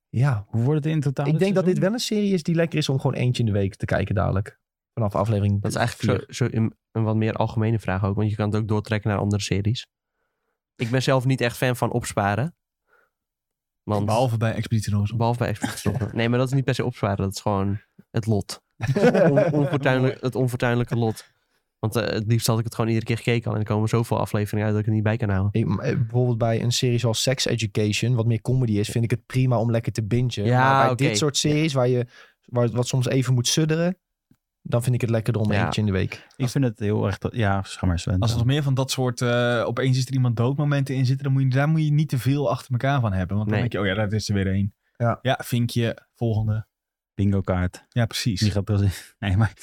Speaker 1: ja,
Speaker 4: hoe wordt het in totaal?
Speaker 1: ik denk dat dit
Speaker 4: seizoen?
Speaker 1: wel een serie is die lekker is om gewoon eentje in de week te kijken dadelijk. Vanaf aflevering
Speaker 2: Dat is
Speaker 1: vier.
Speaker 2: eigenlijk zo, zo een, een wat meer algemene vraag ook. Want je kan het ook doortrekken naar andere series. Ik ben zelf niet echt fan van opsparen. Want, behalve,
Speaker 3: Behalve bij Expeditie Roos.
Speaker 2: bij Expeditie Robinson. Nee, maar dat is niet per se opsparen. Dat is gewoon het lot. On- onfortuinlijk, het onfortuinlijke lot. Want eh, het liefst had ik het gewoon iedere keer gekeken al. En er komen zoveel afleveringen uit dat ik er niet bij kan houden.
Speaker 1: Ik- m-
Speaker 4: Hmm.
Speaker 1: eh, bijvoorbeeld bij een serie zoals Sex Education, wat meer comedy is, vind ik het prima om lekker te bingen.
Speaker 2: Ja,
Speaker 1: maar bij
Speaker 2: oké.
Speaker 1: dit soort series, waar je waar, wat soms even moet sudderen, dan vind ik het lekker om
Speaker 2: Ja.
Speaker 1: eentje in de week.
Speaker 4: Ik vind het heel erg... Ja, zeg maar Sven.
Speaker 3: Als er nog meer van dat soort eh, opeens is er iemand doodmomenten in zitten, dan moet je, daar moet je niet te veel achter elkaar van hebben. Want dan
Speaker 2: Nee.
Speaker 3: denk je, oh ja, daar is er weer één.
Speaker 1: Ja.
Speaker 3: vinkje, volgende.
Speaker 4: Bingo kaart.
Speaker 3: Ja, precies.
Speaker 4: Die gaat wel Nee, maar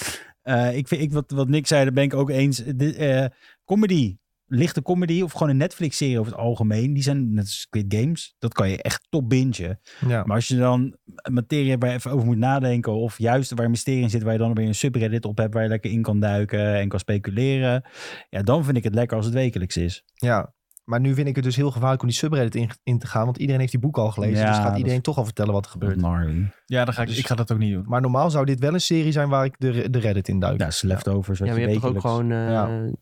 Speaker 4: eh, ik vind, ik, wat, wat Nick zei, daar ben ik ook eens. De, eh, comedy, lichte comedy of gewoon een Netflix-serie over het algemeen. Die zijn, net als Squid Games, dat kan je echt top bingen.
Speaker 1: Ja.
Speaker 4: Maar als je dan een materie hebt waar je even over moet nadenken. Of juist waar een mysterie in zit, waar je dan weer een subreddit op hebt. Waar je lekker in kan duiken en kan speculeren. Ja, dan vind ik het lekker als het wekelijks is.
Speaker 1: ja. Maar nu vind ik het dus heel gevaarlijk om die subreddit in, in te gaan, want iedereen heeft die boek al gelezen,
Speaker 4: Ja,
Speaker 1: dus
Speaker 4: dat
Speaker 1: gaat
Speaker 4: is-
Speaker 1: iedereen toch al vertellen wat er gebeurt.
Speaker 4: Gnarly.
Speaker 3: Ja, dan ga ik,
Speaker 2: Dus-
Speaker 3: ik ga dat ook niet doen.
Speaker 1: Maar normaal zou dit wel een serie zijn waar ik de, de reddit in duik.
Speaker 4: Ja, is leftovers.
Speaker 2: Ja,
Speaker 4: wat
Speaker 2: maar je hebt toch ook
Speaker 4: wekelijks-
Speaker 2: gewoon eh,
Speaker 1: Ja.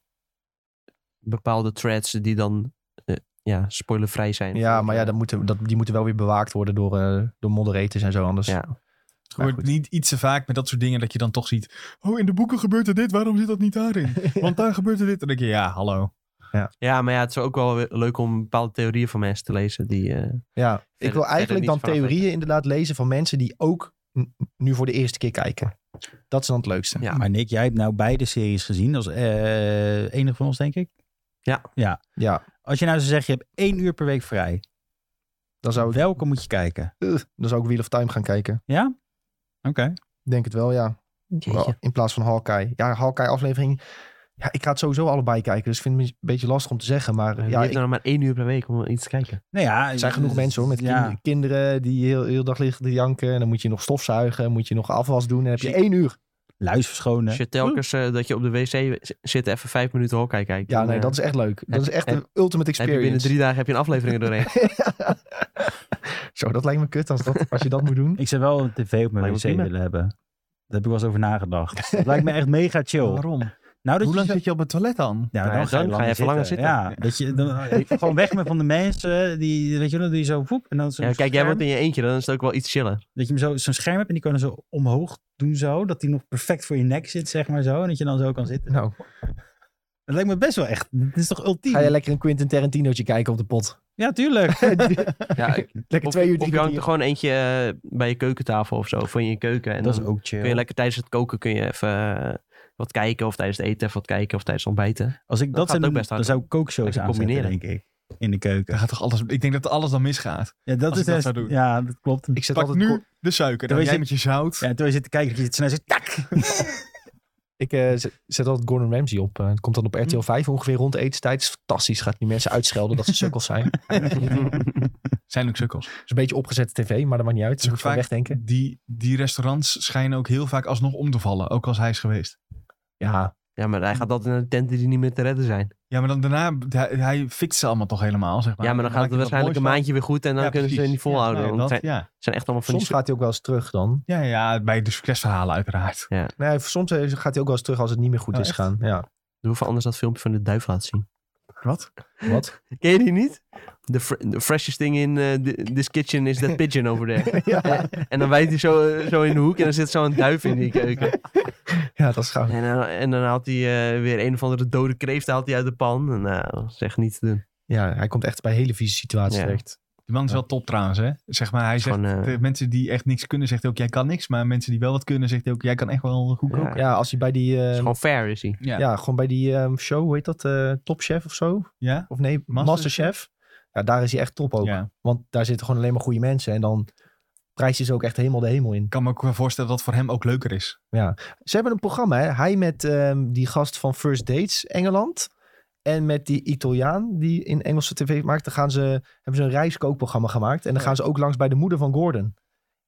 Speaker 2: bepaalde threads die dan eh, ja, spoilervrij zijn.
Speaker 1: Ja, maar ja, dat moeten, dat, die moeten wel weer bewaakt worden door, eh, door moderators en zo anders.
Speaker 2: Ja.
Speaker 3: Het
Speaker 1: Nou,
Speaker 3: wordt niet iets te vaak met dat soort dingen dat je dan toch ziet. Oh, in de boeken gebeurt er dit, waarom zit dat niet daarin? Want daar gebeurt er dit. Dan denk je, ja, hallo.
Speaker 2: Ja, maar ja, het is ook wel weer leuk om bepaalde theorieën van mensen te lezen. Die, eh,
Speaker 1: Ja, ik
Speaker 2: verder-
Speaker 1: wil
Speaker 2: verder
Speaker 1: eigenlijk
Speaker 2: niet
Speaker 1: dan
Speaker 2: vanaf
Speaker 1: theorieën inderdaad lezen van mensen die ook n- nu voor de eerste keer kijken. Dat is dan het leukste.
Speaker 2: Ja.
Speaker 4: Maar Nick, jij hebt nou beide series gezien. Als eh enige van ons, denk ik.
Speaker 1: Ja,
Speaker 4: Als je nou zou zeggen, je hebt één uur per week vrij.
Speaker 1: dan zou ik,
Speaker 4: Welke moet je kijken?
Speaker 1: Ugh, dan zou ik Wheel of Time gaan kijken.
Speaker 4: Ja? Oké.
Speaker 1: Ik Denk het wel, ja.
Speaker 2: Eh,
Speaker 1: Wel, in plaats van Hawkeye. Ja, Hawkeye aflevering. Ja, ik ga het sowieso allebei kijken. Dus ik vind het een beetje lastig om te zeggen. Maar
Speaker 2: je
Speaker 1: ja,
Speaker 2: hebt
Speaker 1: ik-
Speaker 2: er nog maar één uur per week om iets te kijken.
Speaker 4: Nou ja,
Speaker 1: er zijn genoeg mensen hoor. Met
Speaker 4: ja.
Speaker 1: kind- kinderen die heel, heel dag liggen te janken. En dan moet je nog stofzuigen. Moet je nog afwas doen. En dan heb je
Speaker 4: Shit.
Speaker 1: één uur.
Speaker 4: Luis verschonen.
Speaker 2: Als je telkens eh, dat je op de wc z- zit even vijf minuten Hawkeye kijkt.
Speaker 1: Ja,
Speaker 2: dan,
Speaker 1: nee,
Speaker 2: eh,
Speaker 1: dat is echt leuk. Dat is echt
Speaker 2: heb-
Speaker 1: de ultimate
Speaker 2: heb je
Speaker 1: experience.
Speaker 2: binnen drie dagen heb je een aflevering er doorheen.
Speaker 1: Zo, dat lijkt me kut als, dat, als je dat moet doen.
Speaker 4: Ik zou wel een tv op mijn
Speaker 2: Lijkt me
Speaker 4: wc
Speaker 2: prima.
Speaker 4: willen hebben. Daar heb ik wel eens over nagedacht. Dat lijkt me echt mega chill.
Speaker 3: Waarom?
Speaker 4: Nou, Nou, dat
Speaker 3: Hoe
Speaker 4: je
Speaker 3: lang
Speaker 4: zo-
Speaker 3: zit je op het toilet dan?
Speaker 4: Ja,
Speaker 2: Nou ja, dan ga je even langer
Speaker 4: Ja, dat je, dan, gewoon weg met van de mensen. Die, weet je wel, dan doe je zo voep. En dan zo'n
Speaker 2: Ja, kijk, jij
Speaker 4: scherm,
Speaker 2: wordt in je eentje, dan is het ook wel iets chiller.
Speaker 4: Dat je hem zo, zo'n scherm hebt en die kunnen zo omhoog doen zo. Dat die nog perfect voor je nek zit, zeg maar zo. En dat je dan zo kan zitten.
Speaker 1: Nou,
Speaker 4: Dat lijkt me best wel echt. Dat is toch ultiem?
Speaker 1: ga je lekker een Quentin Tarantino'tje kijken op de pot.
Speaker 4: Ja, tuurlijk.
Speaker 2: Ja, ik-
Speaker 1: lekker
Speaker 2: of,
Speaker 1: twee uur, drie
Speaker 2: of je hangt
Speaker 1: kwartier.
Speaker 2: er gewoon eentje eh, bij je keukentafel of zo, van je keuken. En
Speaker 4: dat
Speaker 2: dan
Speaker 4: is ook
Speaker 2: kun je
Speaker 4: chill.
Speaker 2: lekker tijdens het koken kun je even eh, wat kijken, of tijdens het eten even wat kijken, of tijdens het ontbijten.
Speaker 4: Als ik
Speaker 2: gaat
Speaker 4: dat zou
Speaker 2: ook
Speaker 4: doen,
Speaker 2: best hard.
Speaker 4: dan zou ik kookshows
Speaker 2: Lekker
Speaker 4: aanzetten,
Speaker 2: combineren.
Speaker 4: denk ik. In de
Speaker 3: Dan
Speaker 4: keuken.
Speaker 3: gaat toch alles, ik denk dat alles dan misgaat.
Speaker 4: Ja, dat is
Speaker 3: Als ik dat
Speaker 4: best-
Speaker 3: zou doen.
Speaker 4: Ja, dat klopt.
Speaker 1: Ik zet
Speaker 3: Pak
Speaker 1: altijd...
Speaker 3: nu de suiker. Dan
Speaker 4: Dan
Speaker 3: jij
Speaker 4: weet
Speaker 3: met je zout.
Speaker 4: Ja, en terwijl je zit te kijken, je zit snel zit, tak!
Speaker 1: Ik eh, zet- zet altijd Gordon Ramsay op. eh, het komt dan op RTL 5 ongeveer rond de etenstijd. Het is fantastisch. Gaat die mensen uitschelden dat ze sukkels zijn. Het
Speaker 3: Zijn ook sukkels.
Speaker 1: is een beetje opgezette tv, maar dat maakt niet uit. Ze
Speaker 3: Zo
Speaker 1: moet gewoon
Speaker 3: vaak-
Speaker 1: wegdenken.
Speaker 3: Die, die restaurants schijnen ook heel vaak alsnog om te vallen. Ook als hij is geweest.
Speaker 1: Ja,
Speaker 2: Ja, maar hij gaat altijd naar de tenten die niet meer te redden zijn.
Speaker 3: Ja, Hm. maar dan daarna, hij, hij fixt ze allemaal toch helemaal, zeg maar.
Speaker 2: ja, maar dan gaat
Speaker 3: maakt
Speaker 2: het
Speaker 3: hij wat
Speaker 2: waarschijnlijk een
Speaker 3: moois van.
Speaker 2: maandje weer goed en dan
Speaker 3: Ja,
Speaker 2: kunnen ze
Speaker 3: precies.
Speaker 2: niet volhouden.
Speaker 3: Ja,
Speaker 2: want
Speaker 3: nee,
Speaker 2: het
Speaker 3: dat,
Speaker 2: zijn,
Speaker 3: ja.
Speaker 2: het zijn echt allemaal van
Speaker 1: soms
Speaker 2: die...
Speaker 1: gaat hij ook wel eens terug dan.
Speaker 3: Ja, ja, bij de succesverhalen uiteraard.
Speaker 1: Nee, soms eh, gaat hij ook wel eens terug als het niet meer goed
Speaker 3: Oh,
Speaker 1: is
Speaker 3: echt?
Speaker 1: gaan. Ja.
Speaker 2: Doe even anders dat filmpje van de duif laten zien.
Speaker 3: Wat?
Speaker 1: Wat?
Speaker 2: Ken je die niet? The, fr- the freshest thing in eh, thi- this kitchen is that pigeon over there.
Speaker 1: ja.
Speaker 2: en dan wijt hij zo, eh, zo in de hoek en dan zit zo'n duif in die keuken.
Speaker 1: ja, dat is gaaf.
Speaker 2: En, dan- en dan haalt hij eh, weer een of andere dode kreeft haalt hij uit de pan. En, nou, dat is echt niet te doen.
Speaker 1: Ja, hij komt echt bij hele vieze situaties
Speaker 2: Ja.
Speaker 1: terecht.
Speaker 3: Die man is
Speaker 1: Ja.
Speaker 3: wel top trouwens, hè? Zeg maar, hij zegt,
Speaker 2: Gewoon, eh,
Speaker 3: tegen mensen die echt niks kunnen, zegt hij ook, jij kan niks. Maar mensen die wel wat kunnen, zegt hij ook, jij kan echt wel goed
Speaker 2: Ja.
Speaker 3: koken.
Speaker 1: Ja, als hij bij die... eh,
Speaker 2: is gewoon fair is hij.
Speaker 3: Ja.
Speaker 1: ja, gewoon bij die ehm, show, hoe heet dat? eh, Top Chef of zo?
Speaker 3: Ja?
Speaker 1: Of nee,
Speaker 3: Masterchef?
Speaker 1: Masterchef. Ja, daar is hij echt top ook.
Speaker 3: Ja.
Speaker 1: Want daar zitten gewoon alleen maar goede mensen. En dan prijs je ze ook echt helemaal de hemel in.
Speaker 3: Ik kan me ook wel voorstellen dat het voor hem ook leuker is.
Speaker 1: Ze hebben een programma, hè? Hij met ehm, die gast van First Dates Engeland. En met die Italiaan die in Engelse tv maakt. Dan gaan ze, hebben ze een reiskookprogramma gemaakt. En dan gaan ze ook langs bij de moeder van Gordon.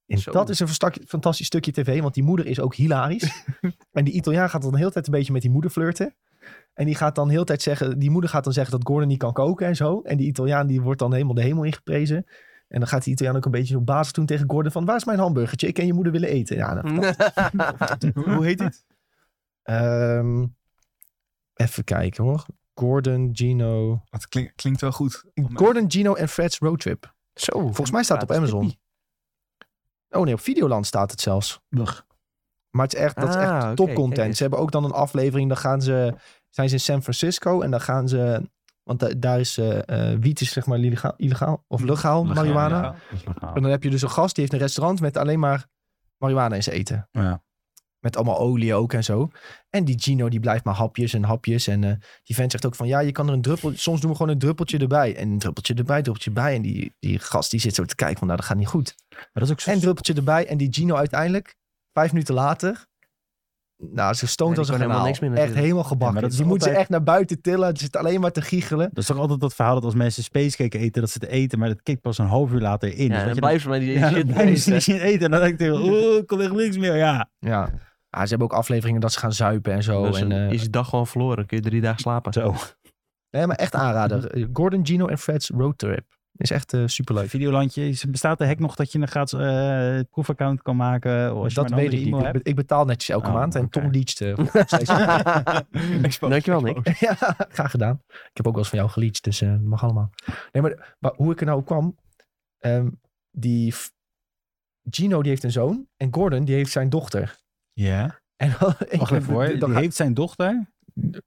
Speaker 1: En
Speaker 2: Zo.
Speaker 1: dat is een verstak- fantastisch stukje tv. Want die moeder is ook hilarisch. en die Italiaan gaat dan de hele tijd een beetje met die moeder flirten. En die gaat dan de hele tijd zeggen... Die moeder gaat dan zeggen dat Gordon niet kan koken en zo. En die Italiaan die wordt dan helemaal de hemel ingeprezen. En dan gaat die Italiaan ook een beetje op basis doen tegen Gordon van... Waar is mijn hamburgertje? Ik en je moeder willen eten. Ja, nou,
Speaker 3: Hoe, hoe heet dit?
Speaker 1: Ehm, even kijken hoor. Gordon, Gino.
Speaker 3: Dat klink- klinkt wel goed.
Speaker 1: Gordon, Gino en Fred's Roadtrip.
Speaker 2: Zo.
Speaker 1: Volgens mij staat het op Amazon. Oh nee, op Videoland staat het zelfs. Maar het is echt, dat is echt
Speaker 2: Ah, oké,
Speaker 1: top
Speaker 2: kijk eens.
Speaker 1: content. Ze hebben ook dan een aflevering. Dan gaan ze, zijn ze in San Francisco en dan gaan ze. Want da- daar is eh, eh, wiet is zeg maar illegaal, illegaal of legaal,
Speaker 4: Legaal,
Speaker 1: marijuana.
Speaker 4: ja. Dat is legaal.
Speaker 1: En dan heb je dus een gast die heeft een restaurant met alleen maar marijuana in zijn eten.
Speaker 4: Ja.
Speaker 1: Met allemaal olie ook en zo. En die Gino die blijft maar hapjes en hapjes. En eh, die vent zegt ook van ja, je kan er een druppel. Soms doen we gewoon een druppeltje erbij. En een druppeltje erbij, druppeltje erbij. En die, die gast die zit zo te kijken van nou, dat gaat niet goed.
Speaker 4: Maar dat is ook zo...
Speaker 1: En druppeltje erbij. En die Gino uiteindelijk, vijf minuten later. Nou, ze
Speaker 2: Ja,
Speaker 1: stoont
Speaker 2: die
Speaker 1: als een
Speaker 2: kan helemaal
Speaker 1: kanaal.
Speaker 2: niks meer
Speaker 1: Echt
Speaker 2: natuurlijk.
Speaker 1: helemaal
Speaker 4: Ja,
Speaker 1: gebakken.
Speaker 4: maar dat
Speaker 1: die
Speaker 4: is
Speaker 1: moeten ze
Speaker 4: altijd-
Speaker 1: echt naar buiten tillen. Het zit alleen maar te giechelen.
Speaker 4: Dat is toch altijd dat verhaal dat als mensen spacecake eten, dat ze het eten, maar dat kikt pas een half uur later in.
Speaker 2: Ja,
Speaker 4: Dus
Speaker 2: dan
Speaker 4: dat je
Speaker 2: blijft ze maar die
Speaker 4: dan- ja,
Speaker 2: shit
Speaker 4: dan blijven ze
Speaker 2: eten.
Speaker 4: niet zien eten. En dan denk ik tegen, oeh, ik kon echt niks meer. Ja.
Speaker 1: Ja. Ah, ze hebben ook afleveringen dat ze gaan zuipen en zo.
Speaker 2: Dus
Speaker 1: en,
Speaker 2: dan
Speaker 1: eh,
Speaker 2: is je dag gewoon verloren. Kun je drie dagen slapen.
Speaker 4: Zo.
Speaker 1: Nee, maar echt aanrader.
Speaker 4: Mhm.
Speaker 1: Gordon, Gino en Fred's Roadtrip. Is echt eh, superleuk.
Speaker 4: Videolandje. is- Bestaat de hack nog dat je een gratis eh, proefaccount kan maken? Of als je
Speaker 1: dat
Speaker 4: maar een
Speaker 1: weet
Speaker 4: andere
Speaker 1: ik niet.
Speaker 4: e-mail
Speaker 1: Ik,
Speaker 4: hebt?
Speaker 1: be- ik betaal netjes elke
Speaker 4: Oh,
Speaker 1: maand. En
Speaker 4: oké.
Speaker 1: Tom leacht. eh, nog steeds.
Speaker 3: Exposed,
Speaker 2: Dankjewel, Nick.
Speaker 3: exposed.
Speaker 1: ja, graag gedaan. Ik heb ook wel eens van jou geleached, dus eh mag allemaal. Nee, maar, maar hoe ik er nou op kwam. ehm, die f- Gino die heeft een zoon. En Gordon die heeft zijn dochter.
Speaker 3: Ja.
Speaker 1: En dan,
Speaker 4: Wacht even hoor.
Speaker 1: dan
Speaker 4: Die Oh,
Speaker 1: gaat- Oh,
Speaker 4: heeft zijn dochter.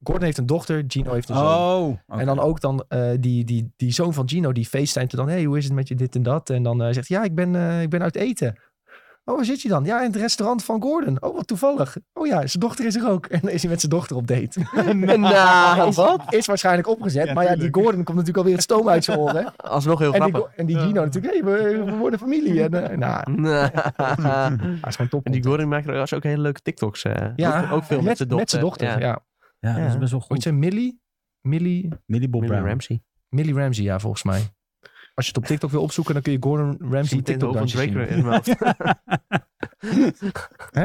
Speaker 1: Gordon heeft een dochter, Gino heeft een zoon.
Speaker 4: oké.
Speaker 1: En dan ook dan eh, die, die, die zoon van Gino, die facetimet dan. Hé, hey, hoe is het met je dit en dat? En dan eh, zegt hij, ja, ik ben, eh, ik ben uit eten. Oh, waar zit je dan? Ja, in het restaurant van Gordon. Oh, wat toevallig. Oh ja, zijn dochter is er ook. En dan is hij met zijn dochter op date.
Speaker 2: Nou,
Speaker 1: is,
Speaker 2: wat?
Speaker 1: is waarschijnlijk opgezet.
Speaker 3: Ja,
Speaker 1: maar ja, die
Speaker 3: tuurlijk.
Speaker 1: Gordon komt natuurlijk alweer het stoom uit zijn oren. hè?
Speaker 2: Alsnog heel
Speaker 1: En die,
Speaker 2: grappig.
Speaker 1: Go- en die Gino natuurlijk, hé, we, we worden familie. En, eh, nou, hij is gewoon top.
Speaker 2: en die Gordon maakt er ook hele leuke TikToks. eh.
Speaker 1: Ja,
Speaker 2: ook, ook veel met zijn dochter.
Speaker 1: ja.
Speaker 2: Ja.
Speaker 4: Ja, dat is best wel
Speaker 1: Hoe heet
Speaker 4: goed.
Speaker 1: ze? Millie? Millie?
Speaker 4: Millie Bob
Speaker 2: Millie
Speaker 4: Brown.
Speaker 2: Ramsey.
Speaker 1: Millie Ramsey, ja, volgens mij. Als je het op TikTok wil opzoeken, dan kun je Gordon Ramsey
Speaker 2: Misschien
Speaker 1: TikTok
Speaker 2: TikTok van
Speaker 1: dansjes
Speaker 2: Drake
Speaker 1: zien.
Speaker 2: in mijn hoofd.
Speaker 1: Hè?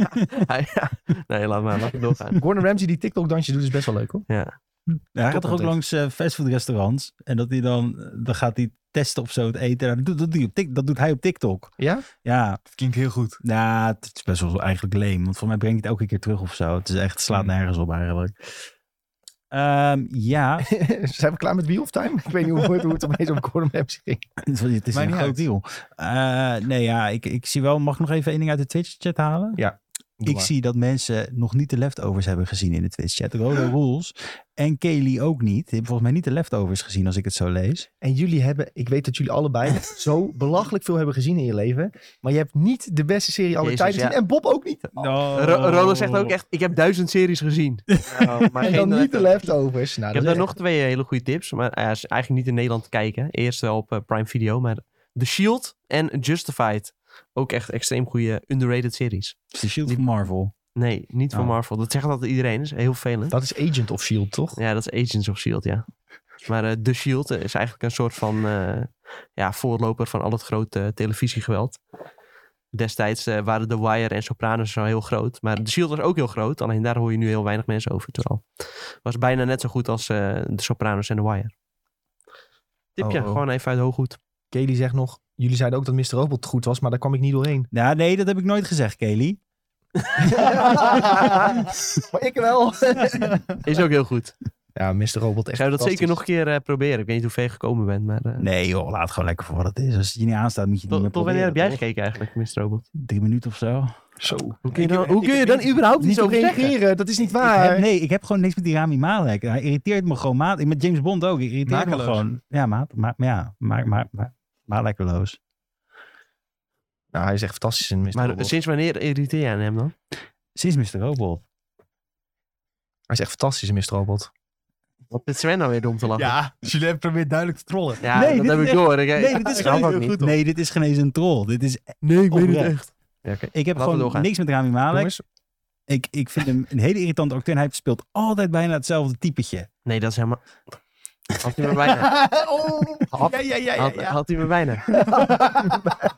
Speaker 2: Ja, Ah, ja. Nee, laat maar. Laat het doorgaan.
Speaker 1: Gordon Ramsay die TikTok dansje doet is best wel leuk hoor.
Speaker 4: Ja, hij gaat toch ook
Speaker 1: Topcontent.
Speaker 4: langs eh, fastfoodrestaurants. En dat hij dan, dan gaat hij testen of zo het eten. Nou, Dat doet, dat, doe je op Tik- dat doet hij op TikTok.
Speaker 1: Ja?
Speaker 4: Ja,
Speaker 3: Dat klinkt heel goed.
Speaker 4: ja, het is best wel eigenlijk leem. Want voor mij brengt het elke keer terug of zo. Het is echt, het slaat nergens op eigenlijk. Ehm, ja,
Speaker 1: Zijn we klaar met Wheel of Time? Ik weet niet hoe het, hoe het opeens op Gordon Ramsay ging.
Speaker 4: het is- het is
Speaker 3: Maakt
Speaker 4: een
Speaker 3: niet
Speaker 4: groot
Speaker 3: uit.
Speaker 4: deal. Eh, nee, ja, ik, ik zie wel... Mag ik nog even één ding uit de Twitch-chat halen? Ik zie dat mensen nog niet de leftovers hebben gezien in de Twitch-chat. Rode Rules en Kelly ook niet. Die hebben volgens mij niet de leftovers gezien als ik het zo lees.
Speaker 1: En jullie hebben, ik weet dat jullie allebei zo belachelijk veel hebben gezien in je leven. Maar je hebt niet de beste serie aller
Speaker 2: Jezus,
Speaker 1: tijden gezien.
Speaker 2: ja.
Speaker 1: En Bob ook niet.
Speaker 4: Oh.
Speaker 2: Ro- Ronald zegt ook echt, ik heb duizend series gezien. maar
Speaker 1: en dan niet de leftovers. Nou, dat
Speaker 2: eh, Ik heb
Speaker 1: is
Speaker 2: daar
Speaker 1: echt-
Speaker 2: nog twee hele goede tips, maar eh, is eigenlijk niet in Nederland te kijken. Eerst wel op eh, Prime Video, maar The Shield en Justified. Ook echt extreem goede underrated series.
Speaker 4: De Shield van Marvel.
Speaker 2: Nee, niet van
Speaker 4: Oh.
Speaker 2: Marvel. Dat zegt altijd iedereen, is heel vervelend.
Speaker 1: Dat is Agent of S.H.I.E.L.D. E toch?
Speaker 2: Ja, dat is Agents of S.H.I.E.L.D., E ja. Maar eh, The S.H.I.E.L.D. is eigenlijk een soort van eh, ja, voorloper van al het grote eh, televisiegeweld. Destijds eh, waren The Wire en Sopranos zo heel groot. Maar The S.H.I.E.L.D. E was ook heel groot. Alleen daar hoor je nu heel weinig mensen over. Terwijl was bijna net zo goed als eh The Sopranos en The Wire. Tipje,
Speaker 1: Oh, oh.
Speaker 2: gewoon even uit de hooghoed.
Speaker 1: Kelly zegt nog, jullie zeiden ook dat Mr. Robot goed was, maar daar kwam ik niet doorheen.
Speaker 4: Nou, nee, dat heb ik nooit gezegd, Kelly.
Speaker 1: maar ik wel.
Speaker 2: Is ook heel goed.
Speaker 1: Ja, Mr. Robot
Speaker 2: Ik
Speaker 1: echt
Speaker 2: zou dat zeker
Speaker 1: fantastisch.
Speaker 2: nog een keer eh, proberen. Ik weet niet hoe ver je gekomen bent, maar... eh,
Speaker 4: Nee joh, laat gewoon lekker voor wat het is. Als het je niet aanstaat, moet je het niet meer
Speaker 2: tot, tot wanneer heb
Speaker 4: proberen,
Speaker 2: jij
Speaker 4: toch?
Speaker 2: gekeken eigenlijk, Mr. Robot?
Speaker 4: Drie minuten of zo.
Speaker 3: Zo.
Speaker 2: Hoe kun
Speaker 1: Ik-
Speaker 2: je dan, hoe
Speaker 1: ik-
Speaker 2: kun je
Speaker 1: ik-
Speaker 2: dan überhaupt
Speaker 1: Niet
Speaker 2: iets
Speaker 1: zo
Speaker 2: over zeggen?
Speaker 1: reageren, dat is niet
Speaker 4: Ik heb-
Speaker 1: waar.
Speaker 4: nee, ik heb gewoon niks met die Rami Malek. Hij irriteert me gewoon maat. Met James Bond ook. Ik irriteer me
Speaker 3: Makeloos.
Speaker 4: gewoon. Ja, maat. Maar ja, maar, maar, maar, Malekeloos.
Speaker 1: Nou, hij is echt fantastisch in Mr.
Speaker 2: Maar
Speaker 1: Robot.
Speaker 2: sinds wanneer irriteer je aan hem dan?
Speaker 4: Sinds Mr. Robot.
Speaker 1: Hij is echt fantastisch in Mr. Robot.
Speaker 2: Wat zit Sven nou weer dom te lachen? Ja,
Speaker 3: Ja, dus Julien probeert duidelijk te trollen.
Speaker 4: Nee,
Speaker 2: dat
Speaker 4: dit
Speaker 2: heb
Speaker 4: is
Speaker 2: ik
Speaker 4: echt-
Speaker 2: door. Ik,
Speaker 4: Nee, dit is
Speaker 2: ik hou
Speaker 4: geen
Speaker 2: ook niet.
Speaker 4: Nee, dit is geen eens een troll. Dit is,
Speaker 2: Nee, ik
Speaker 4: weet het
Speaker 2: echt. Ja, oké.
Speaker 4: ik heb
Speaker 2: Laten we
Speaker 4: gewoon
Speaker 2: doorgaan.
Speaker 4: niks met Rami Malek.
Speaker 1: Jongens,
Speaker 4: Ik, ik vind hem een hele irritante acteur. En hij speelt altijd bijna hetzelfde typetje.
Speaker 2: Nee, dat is helemaal... Had hij me bijna.
Speaker 3: oh,
Speaker 2: Had,
Speaker 3: ja, ja, ja, ja,
Speaker 2: had,
Speaker 3: ja.
Speaker 2: had hij me bijna.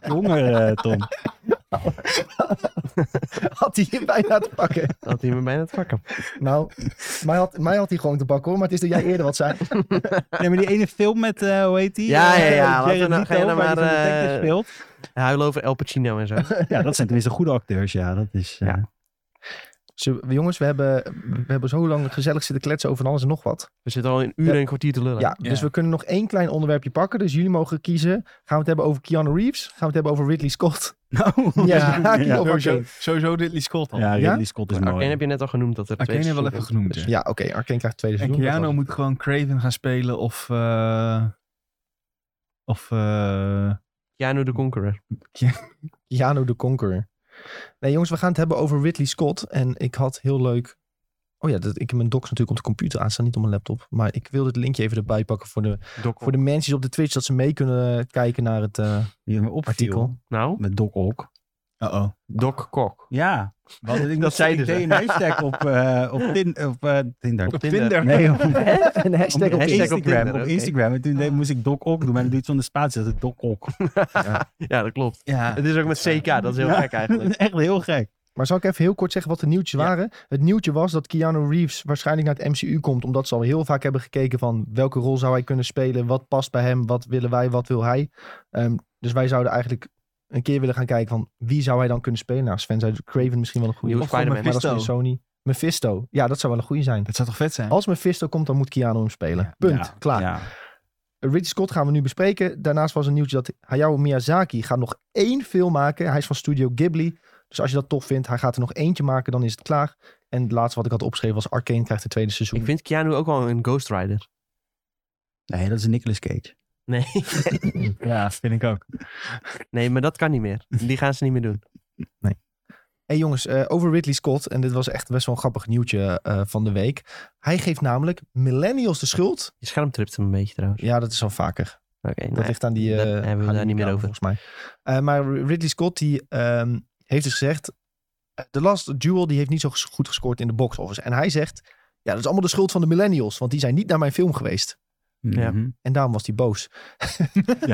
Speaker 4: Jonger, eh, Tom.
Speaker 1: had hij hem bijna te pakken.
Speaker 2: Had hij me bijna te pakken.
Speaker 1: Nou, mij had, mij had hij gewoon te pakken hoor, maar het is dat jij eerder wat zei.
Speaker 4: Nee, maar die ene film met, eh, hoe heet die?
Speaker 2: Ja, ja, ja.
Speaker 4: Eh,
Speaker 2: Laten we
Speaker 4: Jared
Speaker 2: nou-
Speaker 4: Leto,
Speaker 2: ga je nou
Speaker 4: waar die
Speaker 2: maar,
Speaker 4: zo'n detective
Speaker 2: eh,
Speaker 4: speelt.
Speaker 2: Huilen over El Pacino en zo.
Speaker 4: Ja, dat zijn tenminste goede acteurs. Ja, dat is... eh,
Speaker 2: Ja.
Speaker 1: Zullen we- jongens, we hebben, we hebben zo lang gezellig zitten kletsen over van alles en nog wat.
Speaker 2: We zitten al een uur en een kwartier te lullen.
Speaker 1: Ja, dus
Speaker 3: Ja.
Speaker 1: we kunnen nog één klein onderwerpje pakken. Dus jullie mogen kiezen. Gaan we het hebben over Keanu Reeves? Gaan we het hebben over Ridley Scott?
Speaker 4: Nou,
Speaker 1: Ja,
Speaker 4: ja,
Speaker 1: ja.
Speaker 4: ja.
Speaker 3: Sowieso, sowieso Ridley Scott al.
Speaker 4: Ja,
Speaker 1: Ja?
Speaker 4: Ridley Scott is mooi.
Speaker 2: Arcane heb je net al genoemd dat er twee
Speaker 3: Arcane hebben we wel even
Speaker 2: seizoenen-
Speaker 3: genoemd.
Speaker 1: Ja, oké. Arkane krijgt tweede
Speaker 3: En
Speaker 1: seizoen.
Speaker 3: Keanu moet gewoon Craven gaan spelen of... eh, of... eh,
Speaker 2: Keanu de Conqueror.
Speaker 1: Keanu de Conqueror. Nee jongens, we gaan het hebben over Ridley Scott. En ik had heel leuk... Oh ja, dat, ik heb mijn docs natuurlijk op de computer aanstaan, niet op mijn laptop. Maar ik wil dit linkje even erbij pakken voor de,
Speaker 2: Doc
Speaker 1: voor de mensen op de Twitch. Dat ze mee kunnen kijken naar het eh,
Speaker 4: Die hebben me opgeviel.
Speaker 1: artikel.
Speaker 2: Nou,
Speaker 4: Met Doc Ock.
Speaker 3: Uh-oh.
Speaker 2: Doc Kok.
Speaker 4: Ja. Wat, ik dus.
Speaker 2: Dat
Speaker 4: dat
Speaker 2: zeiden
Speaker 4: Ik
Speaker 2: ze.
Speaker 4: deed een hashtag op, eh, op, tin, op eh, Tinder.
Speaker 2: Op
Speaker 3: Tinder.
Speaker 2: Tinder.
Speaker 4: Nee, op,
Speaker 1: Een hashtag
Speaker 4: op
Speaker 1: op Insta.
Speaker 4: Instagram. Op Instagram.
Speaker 2: Tinder, oké.
Speaker 4: En toen deed, moest ik Doc Ock doen. Maar dan doe je het zonder spatie. Dat is Doc Ock.
Speaker 2: Ja, dat klopt.
Speaker 3: Ja.
Speaker 2: Het is ook met CK, dat is heel
Speaker 4: Ja.
Speaker 2: gek eigenlijk.
Speaker 4: Echt heel gek.
Speaker 1: Maar zal ik even heel kort zeggen wat de nieuwtjes
Speaker 2: Ja.
Speaker 1: waren? Het nieuwtje was dat Keanu Reeves waarschijnlijk naar het MCU komt. Omdat ze al heel vaak hebben gekeken van welke rol zou hij kunnen spelen. Wat past bij hem? Wat willen wij? Wat wil hij? Ehm, dus wij zouden eigenlijk een keer willen gaan kijken van wie zou hij dan kunnen spelen. Nou, Sven zei Craven misschien wel een goede.
Speaker 2: Nieuwe
Speaker 1: Maar
Speaker 3: Of gewoon
Speaker 2: Spider-Man.
Speaker 1: dat is
Speaker 3: Mephisto.
Speaker 1: van Sony. Mephisto. Ja, dat zou wel een goede zijn.
Speaker 3: Dat zou toch vet zijn?
Speaker 1: Als Mephisto komt, dan moet Keanu hem spelen. Punt.
Speaker 4: Ja,
Speaker 1: Klaar.
Speaker 4: Ja.
Speaker 1: Ridley Scott gaan we nu bespreken. Daarnaast was een nieuwtje dat Hayao Miyazaki gaat nog één film maken. Hij is van Studio Ghibli. Dus als je dat tof vindt, hij gaat er nog eentje maken, dan is het klaar. En het laatste wat ik had opgeschreven was Arcane krijgt het tweede seizoen.
Speaker 2: Ik vind Keanu ook wel een Ghost Rider.
Speaker 4: Nee, dat is Nicolas Cage.
Speaker 2: Nee.
Speaker 3: Ja, vind ik ook.
Speaker 2: nee, maar dat kan niet meer. Die gaan ze niet meer doen.
Speaker 1: Hey jongens, eh, over Ridley Scott. En dit was echt best wel een grappig nieuwtje eh, van de week. Hij geeft namelijk millennials de schuld.
Speaker 2: Je scherm tript hem een beetje trouwens.
Speaker 1: Ja, dat is al vaker.
Speaker 2: Oké,
Speaker 1: Dat
Speaker 2: nou,
Speaker 1: ligt aan die...
Speaker 2: dat
Speaker 1: eh,
Speaker 2: hebben we
Speaker 1: aan
Speaker 2: daar
Speaker 1: die
Speaker 2: niet meer
Speaker 1: vrouw,
Speaker 2: over.
Speaker 1: Volgens mij. Eh, maar Ridley Scott die, ehm, heeft dus gezegd... The Last Duel die heeft niet zo ges- goed gescoord in de box office. En hij zegt... Ja, dat is allemaal de schuld van de millennials. Want die zijn niet naar mijn film geweest.
Speaker 2: Ja.
Speaker 4: Mhm.
Speaker 1: En daarom was hij boos.
Speaker 4: Ja,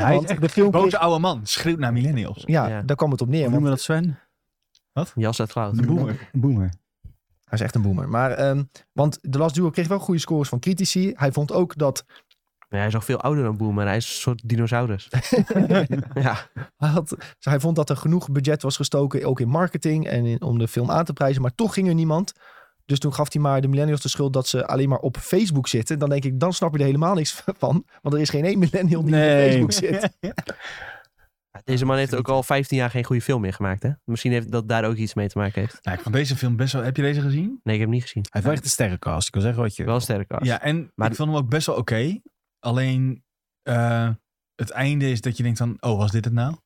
Speaker 4: hij is
Speaker 1: Want
Speaker 4: echt...
Speaker 1: de film kreeg-
Speaker 3: Boze oude man schreeuwt naar millennials.
Speaker 1: ja,
Speaker 2: Ja.
Speaker 1: daar kwam het op neer.
Speaker 4: Noemen
Speaker 1: Want
Speaker 4: we dat Sven?
Speaker 2: Jas uit Cloud.
Speaker 3: De boemer.
Speaker 4: Boomer.
Speaker 1: hij is echt een boomer. Maar, ehm, want The Last Duel kreeg wel goede scores van critici. Hij vond ook dat
Speaker 2: Maar hij is al veel ouder dan Boomer. Hij is een soort dinosaurus. ja.
Speaker 1: Hij, had, dus hij vond dat er genoeg budget was gestoken, ook in marketing en in, om de film aan te prijzen. Maar toch ging er niemand. Dus toen gaf hij maar de millennials de schuld dat ze alleen maar op Facebook zitten. Dan denk ik, dan snap je er helemaal niks van. Want er is geen één millennial die op
Speaker 4: Nee.
Speaker 1: Facebook zit.
Speaker 2: Deze man heeft ook al 15 jaar geen goede film meer gemaakt. Hè? Misschien heeft dat daar ook iets mee te maken heeft.
Speaker 3: Nou, ik vond deze film best wel... Heb je deze gezien?
Speaker 2: Nee, ik heb hem niet gezien.
Speaker 4: heeft wel echt een sterrenkast. Ik wil zeggen wat je...
Speaker 2: Wel sterk. Lars.
Speaker 3: Ja, en
Speaker 2: Maar-
Speaker 3: ik vond hem ook best wel oké. Alleen eh, het einde is dat je denkt van... Oh, was dit het nou?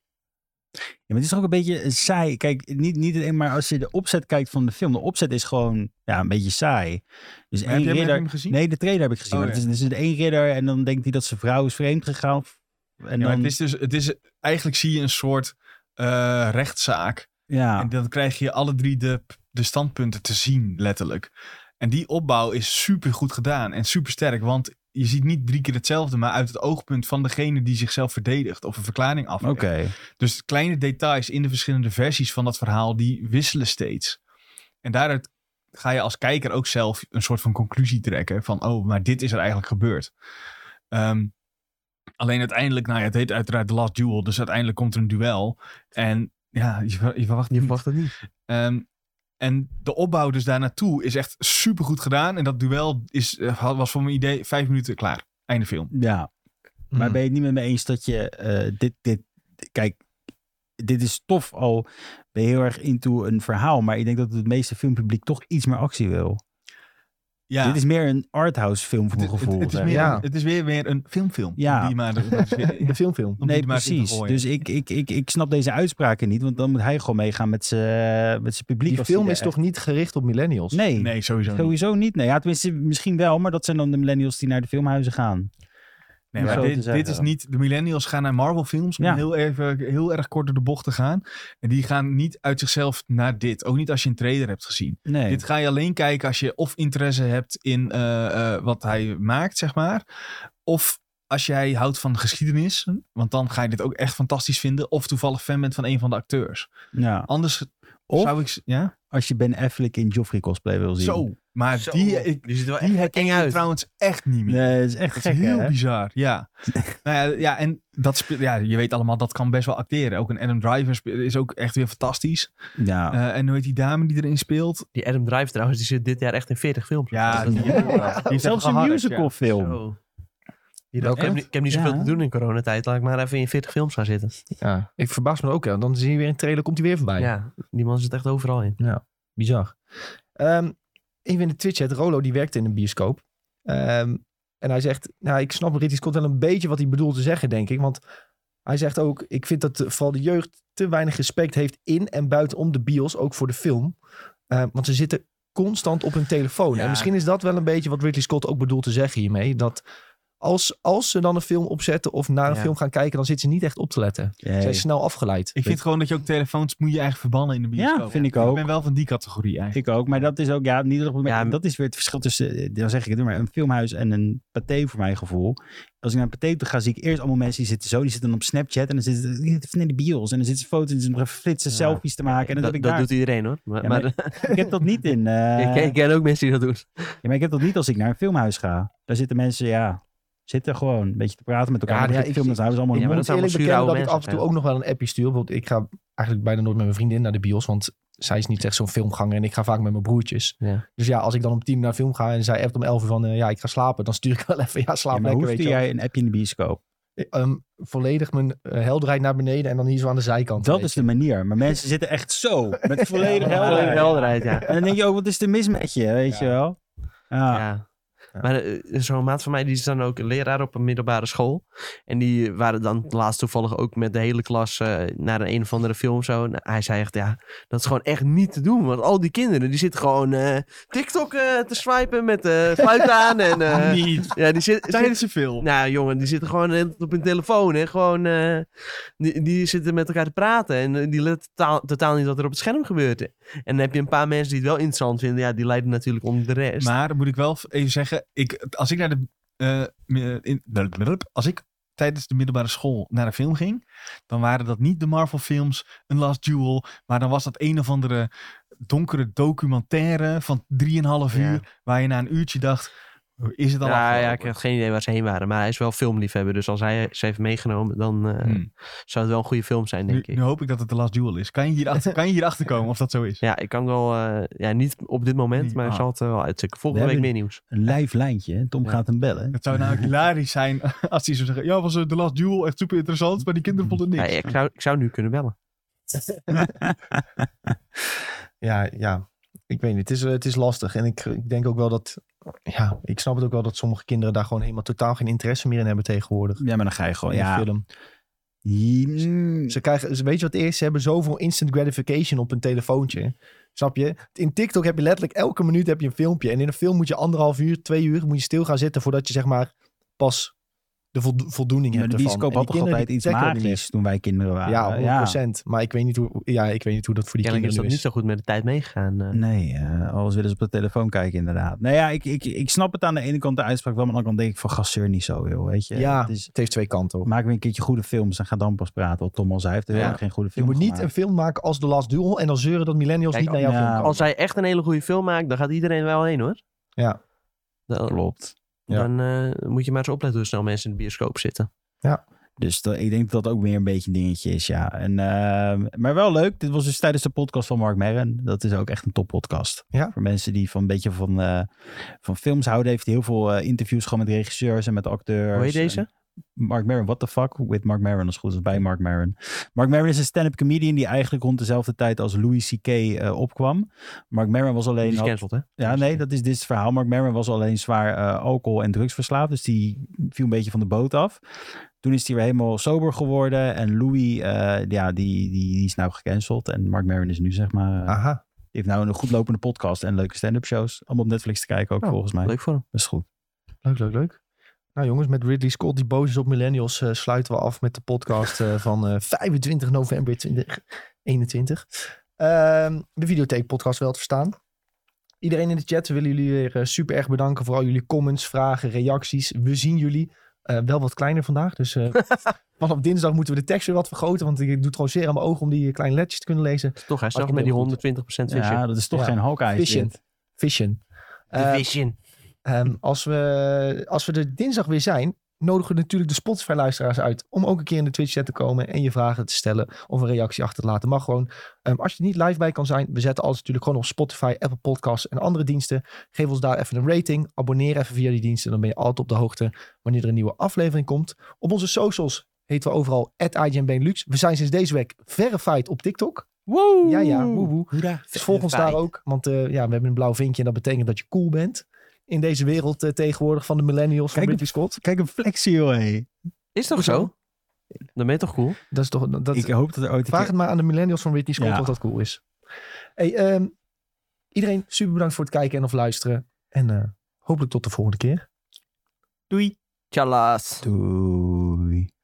Speaker 4: Ja, maar het is toch ook een beetje saai. Kijk, niet, niet alleen maar als je de opzet kijkt van de film. De opzet is gewoon ja, een beetje saai. Dus
Speaker 3: Maar
Speaker 4: één
Speaker 3: heb, je, hem- heb je
Speaker 4: ridder...
Speaker 3: hem gezien?
Speaker 4: Nee, de trailer heb ik gezien.
Speaker 3: Oh,
Speaker 4: maar het is, er zit één ridder en dan denkt hij dat zijn vrouw is vreemd gegaan. En
Speaker 3: Ja, maar
Speaker 4: dan,
Speaker 3: het is dus, het is, eigenlijk zie je een soort eh, rechtszaak.
Speaker 4: ja.
Speaker 3: En dan krijg je alle drie de, de standpunten te zien, letterlijk. En die opbouw is super goed gedaan en super sterk. Want je ziet niet drie keer hetzelfde, maar uit het oogpunt van degene die zichzelf verdedigt of een verklaring
Speaker 4: Oké.
Speaker 3: aflegt. Dus kleine details in de verschillende versies van dat verhaal, die wisselen steeds. En daaruit ga je als kijker ook zelf een soort van conclusie trekken van, oh, maar dit is er eigenlijk gebeurd. Ehm, alleen uiteindelijk, nou ja, het heet uiteraard The Last Duel, dus uiteindelijk komt er een duel. En ja, je, ver- je verwacht
Speaker 2: Je
Speaker 3: niet.
Speaker 2: verwacht het niet.
Speaker 3: Ehm, en de opbouw dus daar naartoe is echt super goed gedaan. En dat duel is, eh, had- was voor mijn idee vijf minuten klaar. Einde film.
Speaker 4: Ja.
Speaker 3: Mhm.
Speaker 4: Maar ben je het niet met me eens dat je eh, dit, dit, kijk, dit is tof al, ben je heel erg into een verhaal, maar ik denk dat het meeste filmpubliek toch iets meer actie wil.
Speaker 3: Ja.
Speaker 4: Dit is meer een arthouse film voor mijn
Speaker 3: het, het-
Speaker 4: gevoel.
Speaker 3: het is
Speaker 4: zeg
Speaker 3: meer,
Speaker 4: maar.
Speaker 1: Ja.
Speaker 3: het is weer, weer een filmfilm.
Speaker 4: Ja.
Speaker 3: Die maar, dat is weer-
Speaker 1: Mm. De filmfilm.
Speaker 3: om
Speaker 4: Nee,
Speaker 3: die maar in te
Speaker 4: precies.
Speaker 3: gooien.
Speaker 4: Dus ik, ik, ik, ik snap deze uitspraken niet, want dan moet hij gewoon meegaan met zijn met zijn publiek.
Speaker 1: Die
Speaker 4: als hij
Speaker 1: film
Speaker 4: er
Speaker 1: is
Speaker 4: echt-
Speaker 1: toch niet gericht op millennials?
Speaker 4: Nee,
Speaker 3: nee, sowieso niet.
Speaker 4: sowieso niet. Nee, ja, tenminste, misschien wel, maar dat zijn dan de millennials die naar de filmhuizen gaan.
Speaker 3: Nee,
Speaker 4: om
Speaker 3: maar
Speaker 4: zo te
Speaker 3: dit,
Speaker 4: zeggen.
Speaker 3: dit is niet... De millennials gaan naar Marvel films om
Speaker 4: Ja.
Speaker 3: heel, even, heel erg kort door de bocht te gaan. En die gaan niet uit zichzelf naar dit. Ook niet als je een trailer hebt gezien.
Speaker 4: Nee.
Speaker 3: Dit ga je alleen kijken als je of interesse hebt in eh, eh, wat hij maakt, zeg maar. Of als jij houdt van geschiedenis. Want dan ga je dit ook echt fantastisch vinden. Of toevallig fan bent van een van de acteurs.
Speaker 4: ja.
Speaker 3: Anders
Speaker 4: Of
Speaker 3: zou ik... s- Ja?
Speaker 4: als je Ben Affleck in Joffrey cosplay wil zien.
Speaker 3: Zo. Maar die... Ik,
Speaker 2: ziet er wel
Speaker 3: die
Speaker 2: echt
Speaker 3: herken
Speaker 2: eng
Speaker 3: je
Speaker 2: uit.
Speaker 3: trouwens echt niet meer.
Speaker 4: Nee, dat is echt
Speaker 3: Dat
Speaker 4: gek,
Speaker 3: is heel
Speaker 4: hè?
Speaker 3: bizar, ja. nou ja, ja, en dat speel- ja, je weet allemaal, dat kan best wel acteren. Ook een Adam Driver spe- is ook echt weer fantastisch.
Speaker 4: Ja.
Speaker 3: Eh, en hoe heet die dame die erin speelt?
Speaker 2: Die Adam Drive trouwens, die zit dit jaar echt in 40 films.
Speaker 3: Ja,
Speaker 2: Dat is
Speaker 3: die,
Speaker 2: wel-
Speaker 3: die heeft
Speaker 4: Zelfs
Speaker 3: echt
Speaker 4: een
Speaker 3: gehad,
Speaker 4: musicalfilm.
Speaker 2: Zo. Ik
Speaker 1: Welke?
Speaker 2: heb, niet- ik heb niet zoveel
Speaker 4: Ja.
Speaker 2: te doen in coronatijd. Laat ik maar even in 40 films gaan zitten.
Speaker 1: Ja. Ik verbaas me ook. Hè. Dan zie je weer een trailer, komt hij weer voorbij.
Speaker 2: Ja, die man zit echt overal in.
Speaker 1: Bizar. Ehm even in de Twitch chat. Rolo die werkte in een bioscoop. Ehm, en hij zegt, nou ik snap Ridley Scott wel een beetje wat hij bedoelt te zeggen denk ik. Want hij zegt ook, ik vind dat eh, vooral de jeugd te weinig respect heeft in en buitenom de bios. Ook voor de film. Ehm, want ze zitten constant op hun telefoon.
Speaker 3: Ja.
Speaker 1: En misschien is dat wel een beetje wat Ridley Scott ook bedoelt te zeggen hiermee. Dat als, als ze dan een film opzetten of naar een
Speaker 2: Ja.
Speaker 1: film gaan kijken, dan zitten ze niet echt op te letten.
Speaker 4: Nee.
Speaker 1: Ze zijn snel afgeleid.
Speaker 3: Ik vind gewoon dat je ook telefoons moet je eigen verbannen in de bioscoop.
Speaker 4: Ja, vind ik
Speaker 3: Ik
Speaker 4: ook.
Speaker 3: ben wel van die categorie eigenlijk.
Speaker 4: Ik ook, maar dat is ook, ja, niet maar
Speaker 2: Ja,
Speaker 4: dat is weer het verschil tussen, eh, dan zeg ik het maar, een filmhuis en een paté voor mijn gevoel. Als ik naar een paté toe ga, zie ik eerst allemaal mensen die zitten zo, die zitten op Snapchat en dan zitten ze die zitten in de bios en dan zitten ze foto's en ze nog even flitsen,
Speaker 2: Ja.
Speaker 4: selfies te maken. En dan
Speaker 2: dat
Speaker 4: heb ik
Speaker 2: dat
Speaker 4: daar,
Speaker 2: doet iedereen hoor. Maar,
Speaker 4: Ja,
Speaker 2: maar,
Speaker 4: maar- ik heb dat niet in, eh,
Speaker 2: ik, ken, ik ken ook mensen die dat doen.
Speaker 4: ja, maar ik heb dat niet als ik naar een filmhuis ga. Daar zitten mensen, ja, zitten gewoon een beetje te praten met elkaar.
Speaker 1: Ja,
Speaker 4: Ja,
Speaker 1: ja,
Speaker 4: ik
Speaker 1: ik-
Speaker 4: film, dat houden ze allemaal in
Speaker 2: Ja, maar
Speaker 4: de
Speaker 1: ik
Speaker 2: dat
Speaker 1: moet
Speaker 2: zijn
Speaker 1: eerlijk
Speaker 2: allemaal
Speaker 1: bekennen
Speaker 2: zure
Speaker 1: dat ik
Speaker 2: oude
Speaker 1: af en toe ook
Speaker 2: mensen,
Speaker 1: nog wel een appje stuur. Bijvoorbeeld, ik ga eigenlijk bijna nooit met mijn vriendin naar de bios, want zij is niet echt zo'n filmganger en ik ga vaak met mijn broertjes.
Speaker 2: Ja.
Speaker 1: Dus ja, als ik dan om tien uur naar de film ga en zij appt om elf uur van, eh, ja, ik ga slapen, dan stuur ik wel even, ja,
Speaker 4: mond.
Speaker 1: slaap
Speaker 4: Ja, maar
Speaker 1: lekker,
Speaker 4: hoe
Speaker 1: weet je
Speaker 4: stuur
Speaker 1: wel.
Speaker 4: jij een appje in de bioscoop?
Speaker 1: Ehm, volledig mijn eh, helderheid naar beneden en dan hier zo aan de zijkant.
Speaker 4: Dat
Speaker 1: weet
Speaker 4: is
Speaker 1: je.
Speaker 4: de manier, maar mensen zitten echt zo, met volledig
Speaker 1: Ja,
Speaker 4: helderheid.
Speaker 2: Volledig helderheid, ja.
Speaker 4: En dan denk je ook, wat is er mis met je, weet
Speaker 1: Ja.
Speaker 4: je wel? Ah. Ja.
Speaker 2: Ja. Maar eh, zo'n maat van mij, die is dan ook leraar op een middelbare school. En die waren dan laatst toevallig ook met de hele klas eh, naar een, een of andere film of zo. En hij zei echt, ja, dat is gewoon echt niet te doen. Want al die kinderen, die zitten gewoon eh, TikTok eh, te swipen met eh fluit aan. En, eh,
Speaker 3: Niet.
Speaker 2: ja, die zit,
Speaker 3: Tijdens de film.
Speaker 2: Nou jongen, die zitten gewoon de hele tijd op hun telefoon. Hè? Gewoon, eh, die, die zitten met elkaar te praten. En eh, die letten totaal, totaal niet wat er op het scherm gebeurt. En dan heb je een paar mensen die het wel interessant vinden. Ja, die lijden natuurlijk onder de rest.
Speaker 3: Maar moet ik wel even zeggen, ik, als ik naar de. eh, mi- in- als ik tijdens de middelbare school naar een film ging, dan waren dat niet de Marvel films, een Last Duel, maar dan was dat een of andere donkere documentaire van 3,5 uur,
Speaker 2: Ja.
Speaker 3: waar je na een uurtje dacht, Is het al
Speaker 2: ja,
Speaker 3: afgelopen?
Speaker 2: ja, ik heb geen idee waar ze heen waren. Maar hij is wel filmliefhebber. Dus als hij ze heeft meegenomen, dan eh,
Speaker 3: Hmm.
Speaker 2: zou het wel een goede film zijn,
Speaker 3: Nu,
Speaker 2: denk ik.
Speaker 3: nu hoop ik dat het de Last Duel is. Kan je hierachter, kan je hierachter komen of dat zo is?
Speaker 2: Ja, ik kan wel... eh, ja, niet op dit moment,
Speaker 3: Niet-
Speaker 2: maar ik
Speaker 3: ah.
Speaker 2: zal het eh, wel uitzoeken. Volgende
Speaker 4: We
Speaker 2: week meer
Speaker 4: hebben-
Speaker 2: nieuws.
Speaker 4: Een lijf lijntje. hè? Tom
Speaker 2: Ja.
Speaker 4: gaat hem bellen.
Speaker 3: Het zou nou hilarisch zijn als hij zou zeggen... Ja, was eh, de Last Duel echt super interessant, maar die kinderen vonden
Speaker 2: Ja,
Speaker 3: niks.
Speaker 2: ik, zou, ik zou nu kunnen bellen.
Speaker 1: Ja, ja. Ik weet niet. Het is, eh, het is lastig. En ik, ik denk ook wel dat... Ja, ik snap het ook wel dat sommige kinderen daar gewoon helemaal totaal geen interesse meer in hebben tegenwoordig.
Speaker 4: Ja, maar dan ga je gewoon.
Speaker 1: in de
Speaker 4: Ja,
Speaker 1: film.
Speaker 4: Mm.
Speaker 1: Ze krijgen, ze- weet je wat het is? Ze hebben zoveel instant gratification op hun telefoontje. Snap je? In TikTok heb je letterlijk elke minuut heb je een filmpje. En in een film moet je anderhalf uur, twee uur moet je stil gaan zitten voordat je zeg maar pas de voldo- voldoening
Speaker 4: Maar
Speaker 1: hebt
Speaker 4: de
Speaker 1: ervan.
Speaker 4: bioscoop
Speaker 1: En
Speaker 4: had
Speaker 1: die
Speaker 4: toch
Speaker 1: kinderen,
Speaker 4: altijd
Speaker 1: die
Speaker 4: iets
Speaker 1: checken dat niet
Speaker 4: magisch toen wij kinderen
Speaker 1: meer.
Speaker 4: waren.
Speaker 1: Ja, 100%. Maar ik weet, niet hoe, ja, ik weet niet hoe dat voor die
Speaker 2: Kennelijk is dat
Speaker 1: kinderen nu
Speaker 2: niet
Speaker 1: is.
Speaker 2: zo goed met de tijd meegegaan. eh.
Speaker 4: Nee, eh, alles willen ze op de telefoon kijken inderdaad. Nou ja, ik, ik, ik snap het aan de ene kant de uitspraak wel, maar aan de andere kant denk ik van gasteur niet zo, joh. Weet je?
Speaker 1: Ja.
Speaker 4: Het is,
Speaker 1: Het heeft twee kanten op.
Speaker 4: maak weer een keertje goede films en ga dan pas praten. Wat Tom al zei, heeft er
Speaker 2: Ja.
Speaker 4: helemaal geen goede
Speaker 1: Je
Speaker 4: film
Speaker 1: moet niet
Speaker 4: gemaakt. oh,
Speaker 1: een film maken als The Last Duel en dan zeuren dat millennials
Speaker 2: Kijk,
Speaker 1: niet naar jouw
Speaker 4: ja,
Speaker 1: film komen.
Speaker 2: Nou, Als hij echt een hele goede film maakt, dan gaat iedereen wel heen hoor.
Speaker 1: Ja.
Speaker 2: Dan,
Speaker 4: Klopt.
Speaker 1: Ja.
Speaker 2: dan eh, moet je maar eens opletten hoe snel mensen in de bioscoop zitten.
Speaker 4: Dus dat- ik denk dat dat ook weer een beetje een dingetje is, ja. En, eh, maar wel leuk. Dit was dus tijdens de podcast van Mark Merren. Dat is ook echt een toppodcast.
Speaker 1: Ja.
Speaker 4: Voor mensen die van een beetje van, eh, van films houden. Heeft hij heel veel eh, interviews gewoon met regisseurs en met acteurs.
Speaker 2: Hoor je deze?
Speaker 4: En- Mark Maron, what the fuck with Mark Maron, als het goed is bij Mark Maron. Mark Maron is een stand-up comedian die eigenlijk rond dezelfde tijd als Louis C.K. eh, opkwam. Mark Maron was alleen...
Speaker 2: Die is
Speaker 4: had-
Speaker 2: gecanceld hè?
Speaker 4: ja, nee, dat is dit is het verhaal. Mark Maron was alleen zwaar eh, alcohol- en drugsverslaafd. Dus die viel een beetje van de boot af. Toen is hij weer helemaal sober geworden. En Louis, eh, ja, die, die, die is nou gecanceld. En Mark Maron is nu, zeg maar... eh,
Speaker 1: Aha.
Speaker 4: die heeft nou een goed lopende podcast en leuke stand-up shows. Allemaal op Netflix te kijken ook,
Speaker 2: Oh,
Speaker 4: volgens mij.
Speaker 2: Leuk voor hem.
Speaker 4: Best goed.
Speaker 1: Leuk, leuk, leuk. Nou jongens, met Ridley Scott die boos is op millennials eh, sluiten we af met de podcast eh, van eh, 25 november 2021. Ehm, de videotheek podcast wel te verstaan. Iedereen in de chat, we willen jullie weer eh, super erg bedanken voor al jullie comments, vragen, reacties. We zien jullie eh, wel wat kleiner vandaag. Dus eh, vanaf dinsdag moeten we de tekst weer wat vergroten. Want ik doe het gewoon zeer aan mijn ogen om die eh, kleine ledjes te kunnen lezen.
Speaker 2: Toch, hij
Speaker 1: Had
Speaker 2: zelfs
Speaker 1: je
Speaker 2: met die
Speaker 1: heel
Speaker 2: 120% vision.
Speaker 4: Ja, dat is toch
Speaker 1: Ja.
Speaker 4: geen Hawkeye.
Speaker 1: Vision.
Speaker 4: shit.
Speaker 1: Vision.
Speaker 2: De
Speaker 1: Eh,
Speaker 2: vision.
Speaker 1: Ehm, als, we, als we er dinsdag weer zijn, nodigen we natuurlijk de Spotify-luisteraars uit om ook een keer in de Twitch-chat te komen en je vragen te stellen of een reactie achter te laten. Mag gewoon. Ehm, als je er niet live bij kan zijn, we zetten alles natuurlijk gewoon op Spotify, Apple Podcasts en andere diensten. Geef ons daar even een rating. Abonneer even via die diensten, dan ben je altijd op de hoogte wanneer er een nieuwe aflevering komt. Op onze socials heten we overal @IGNBenelux. We zijn sinds deze week verified op TikTok.
Speaker 2: Woe!
Speaker 1: Ja, ja, woe, woe.
Speaker 4: Hoera.
Speaker 1: Dus volg ons daar ook, want eh, ja, we hebben een blauw vinkje en dat betekent dat je cool bent. In deze wereld eh, tegenwoordig van de millennials van
Speaker 4: Kijk,
Speaker 1: Ridley Scott.
Speaker 4: Kijk, een flexie, joh. hé.
Speaker 2: Is toch zo? Dan ben je toch cool?
Speaker 1: Dat is toch, dat,
Speaker 4: Ik hoop dat er ooit een
Speaker 1: vraag
Speaker 4: keer-
Speaker 1: het maar aan de millennials van Ridley Scott
Speaker 4: Ja.
Speaker 1: of dat cool is. Hey, ehm, iedereen, super bedankt voor het kijken en of luisteren. En eh, hopelijk tot de volgende keer.
Speaker 2: Doei. Tjallas.
Speaker 4: Doei.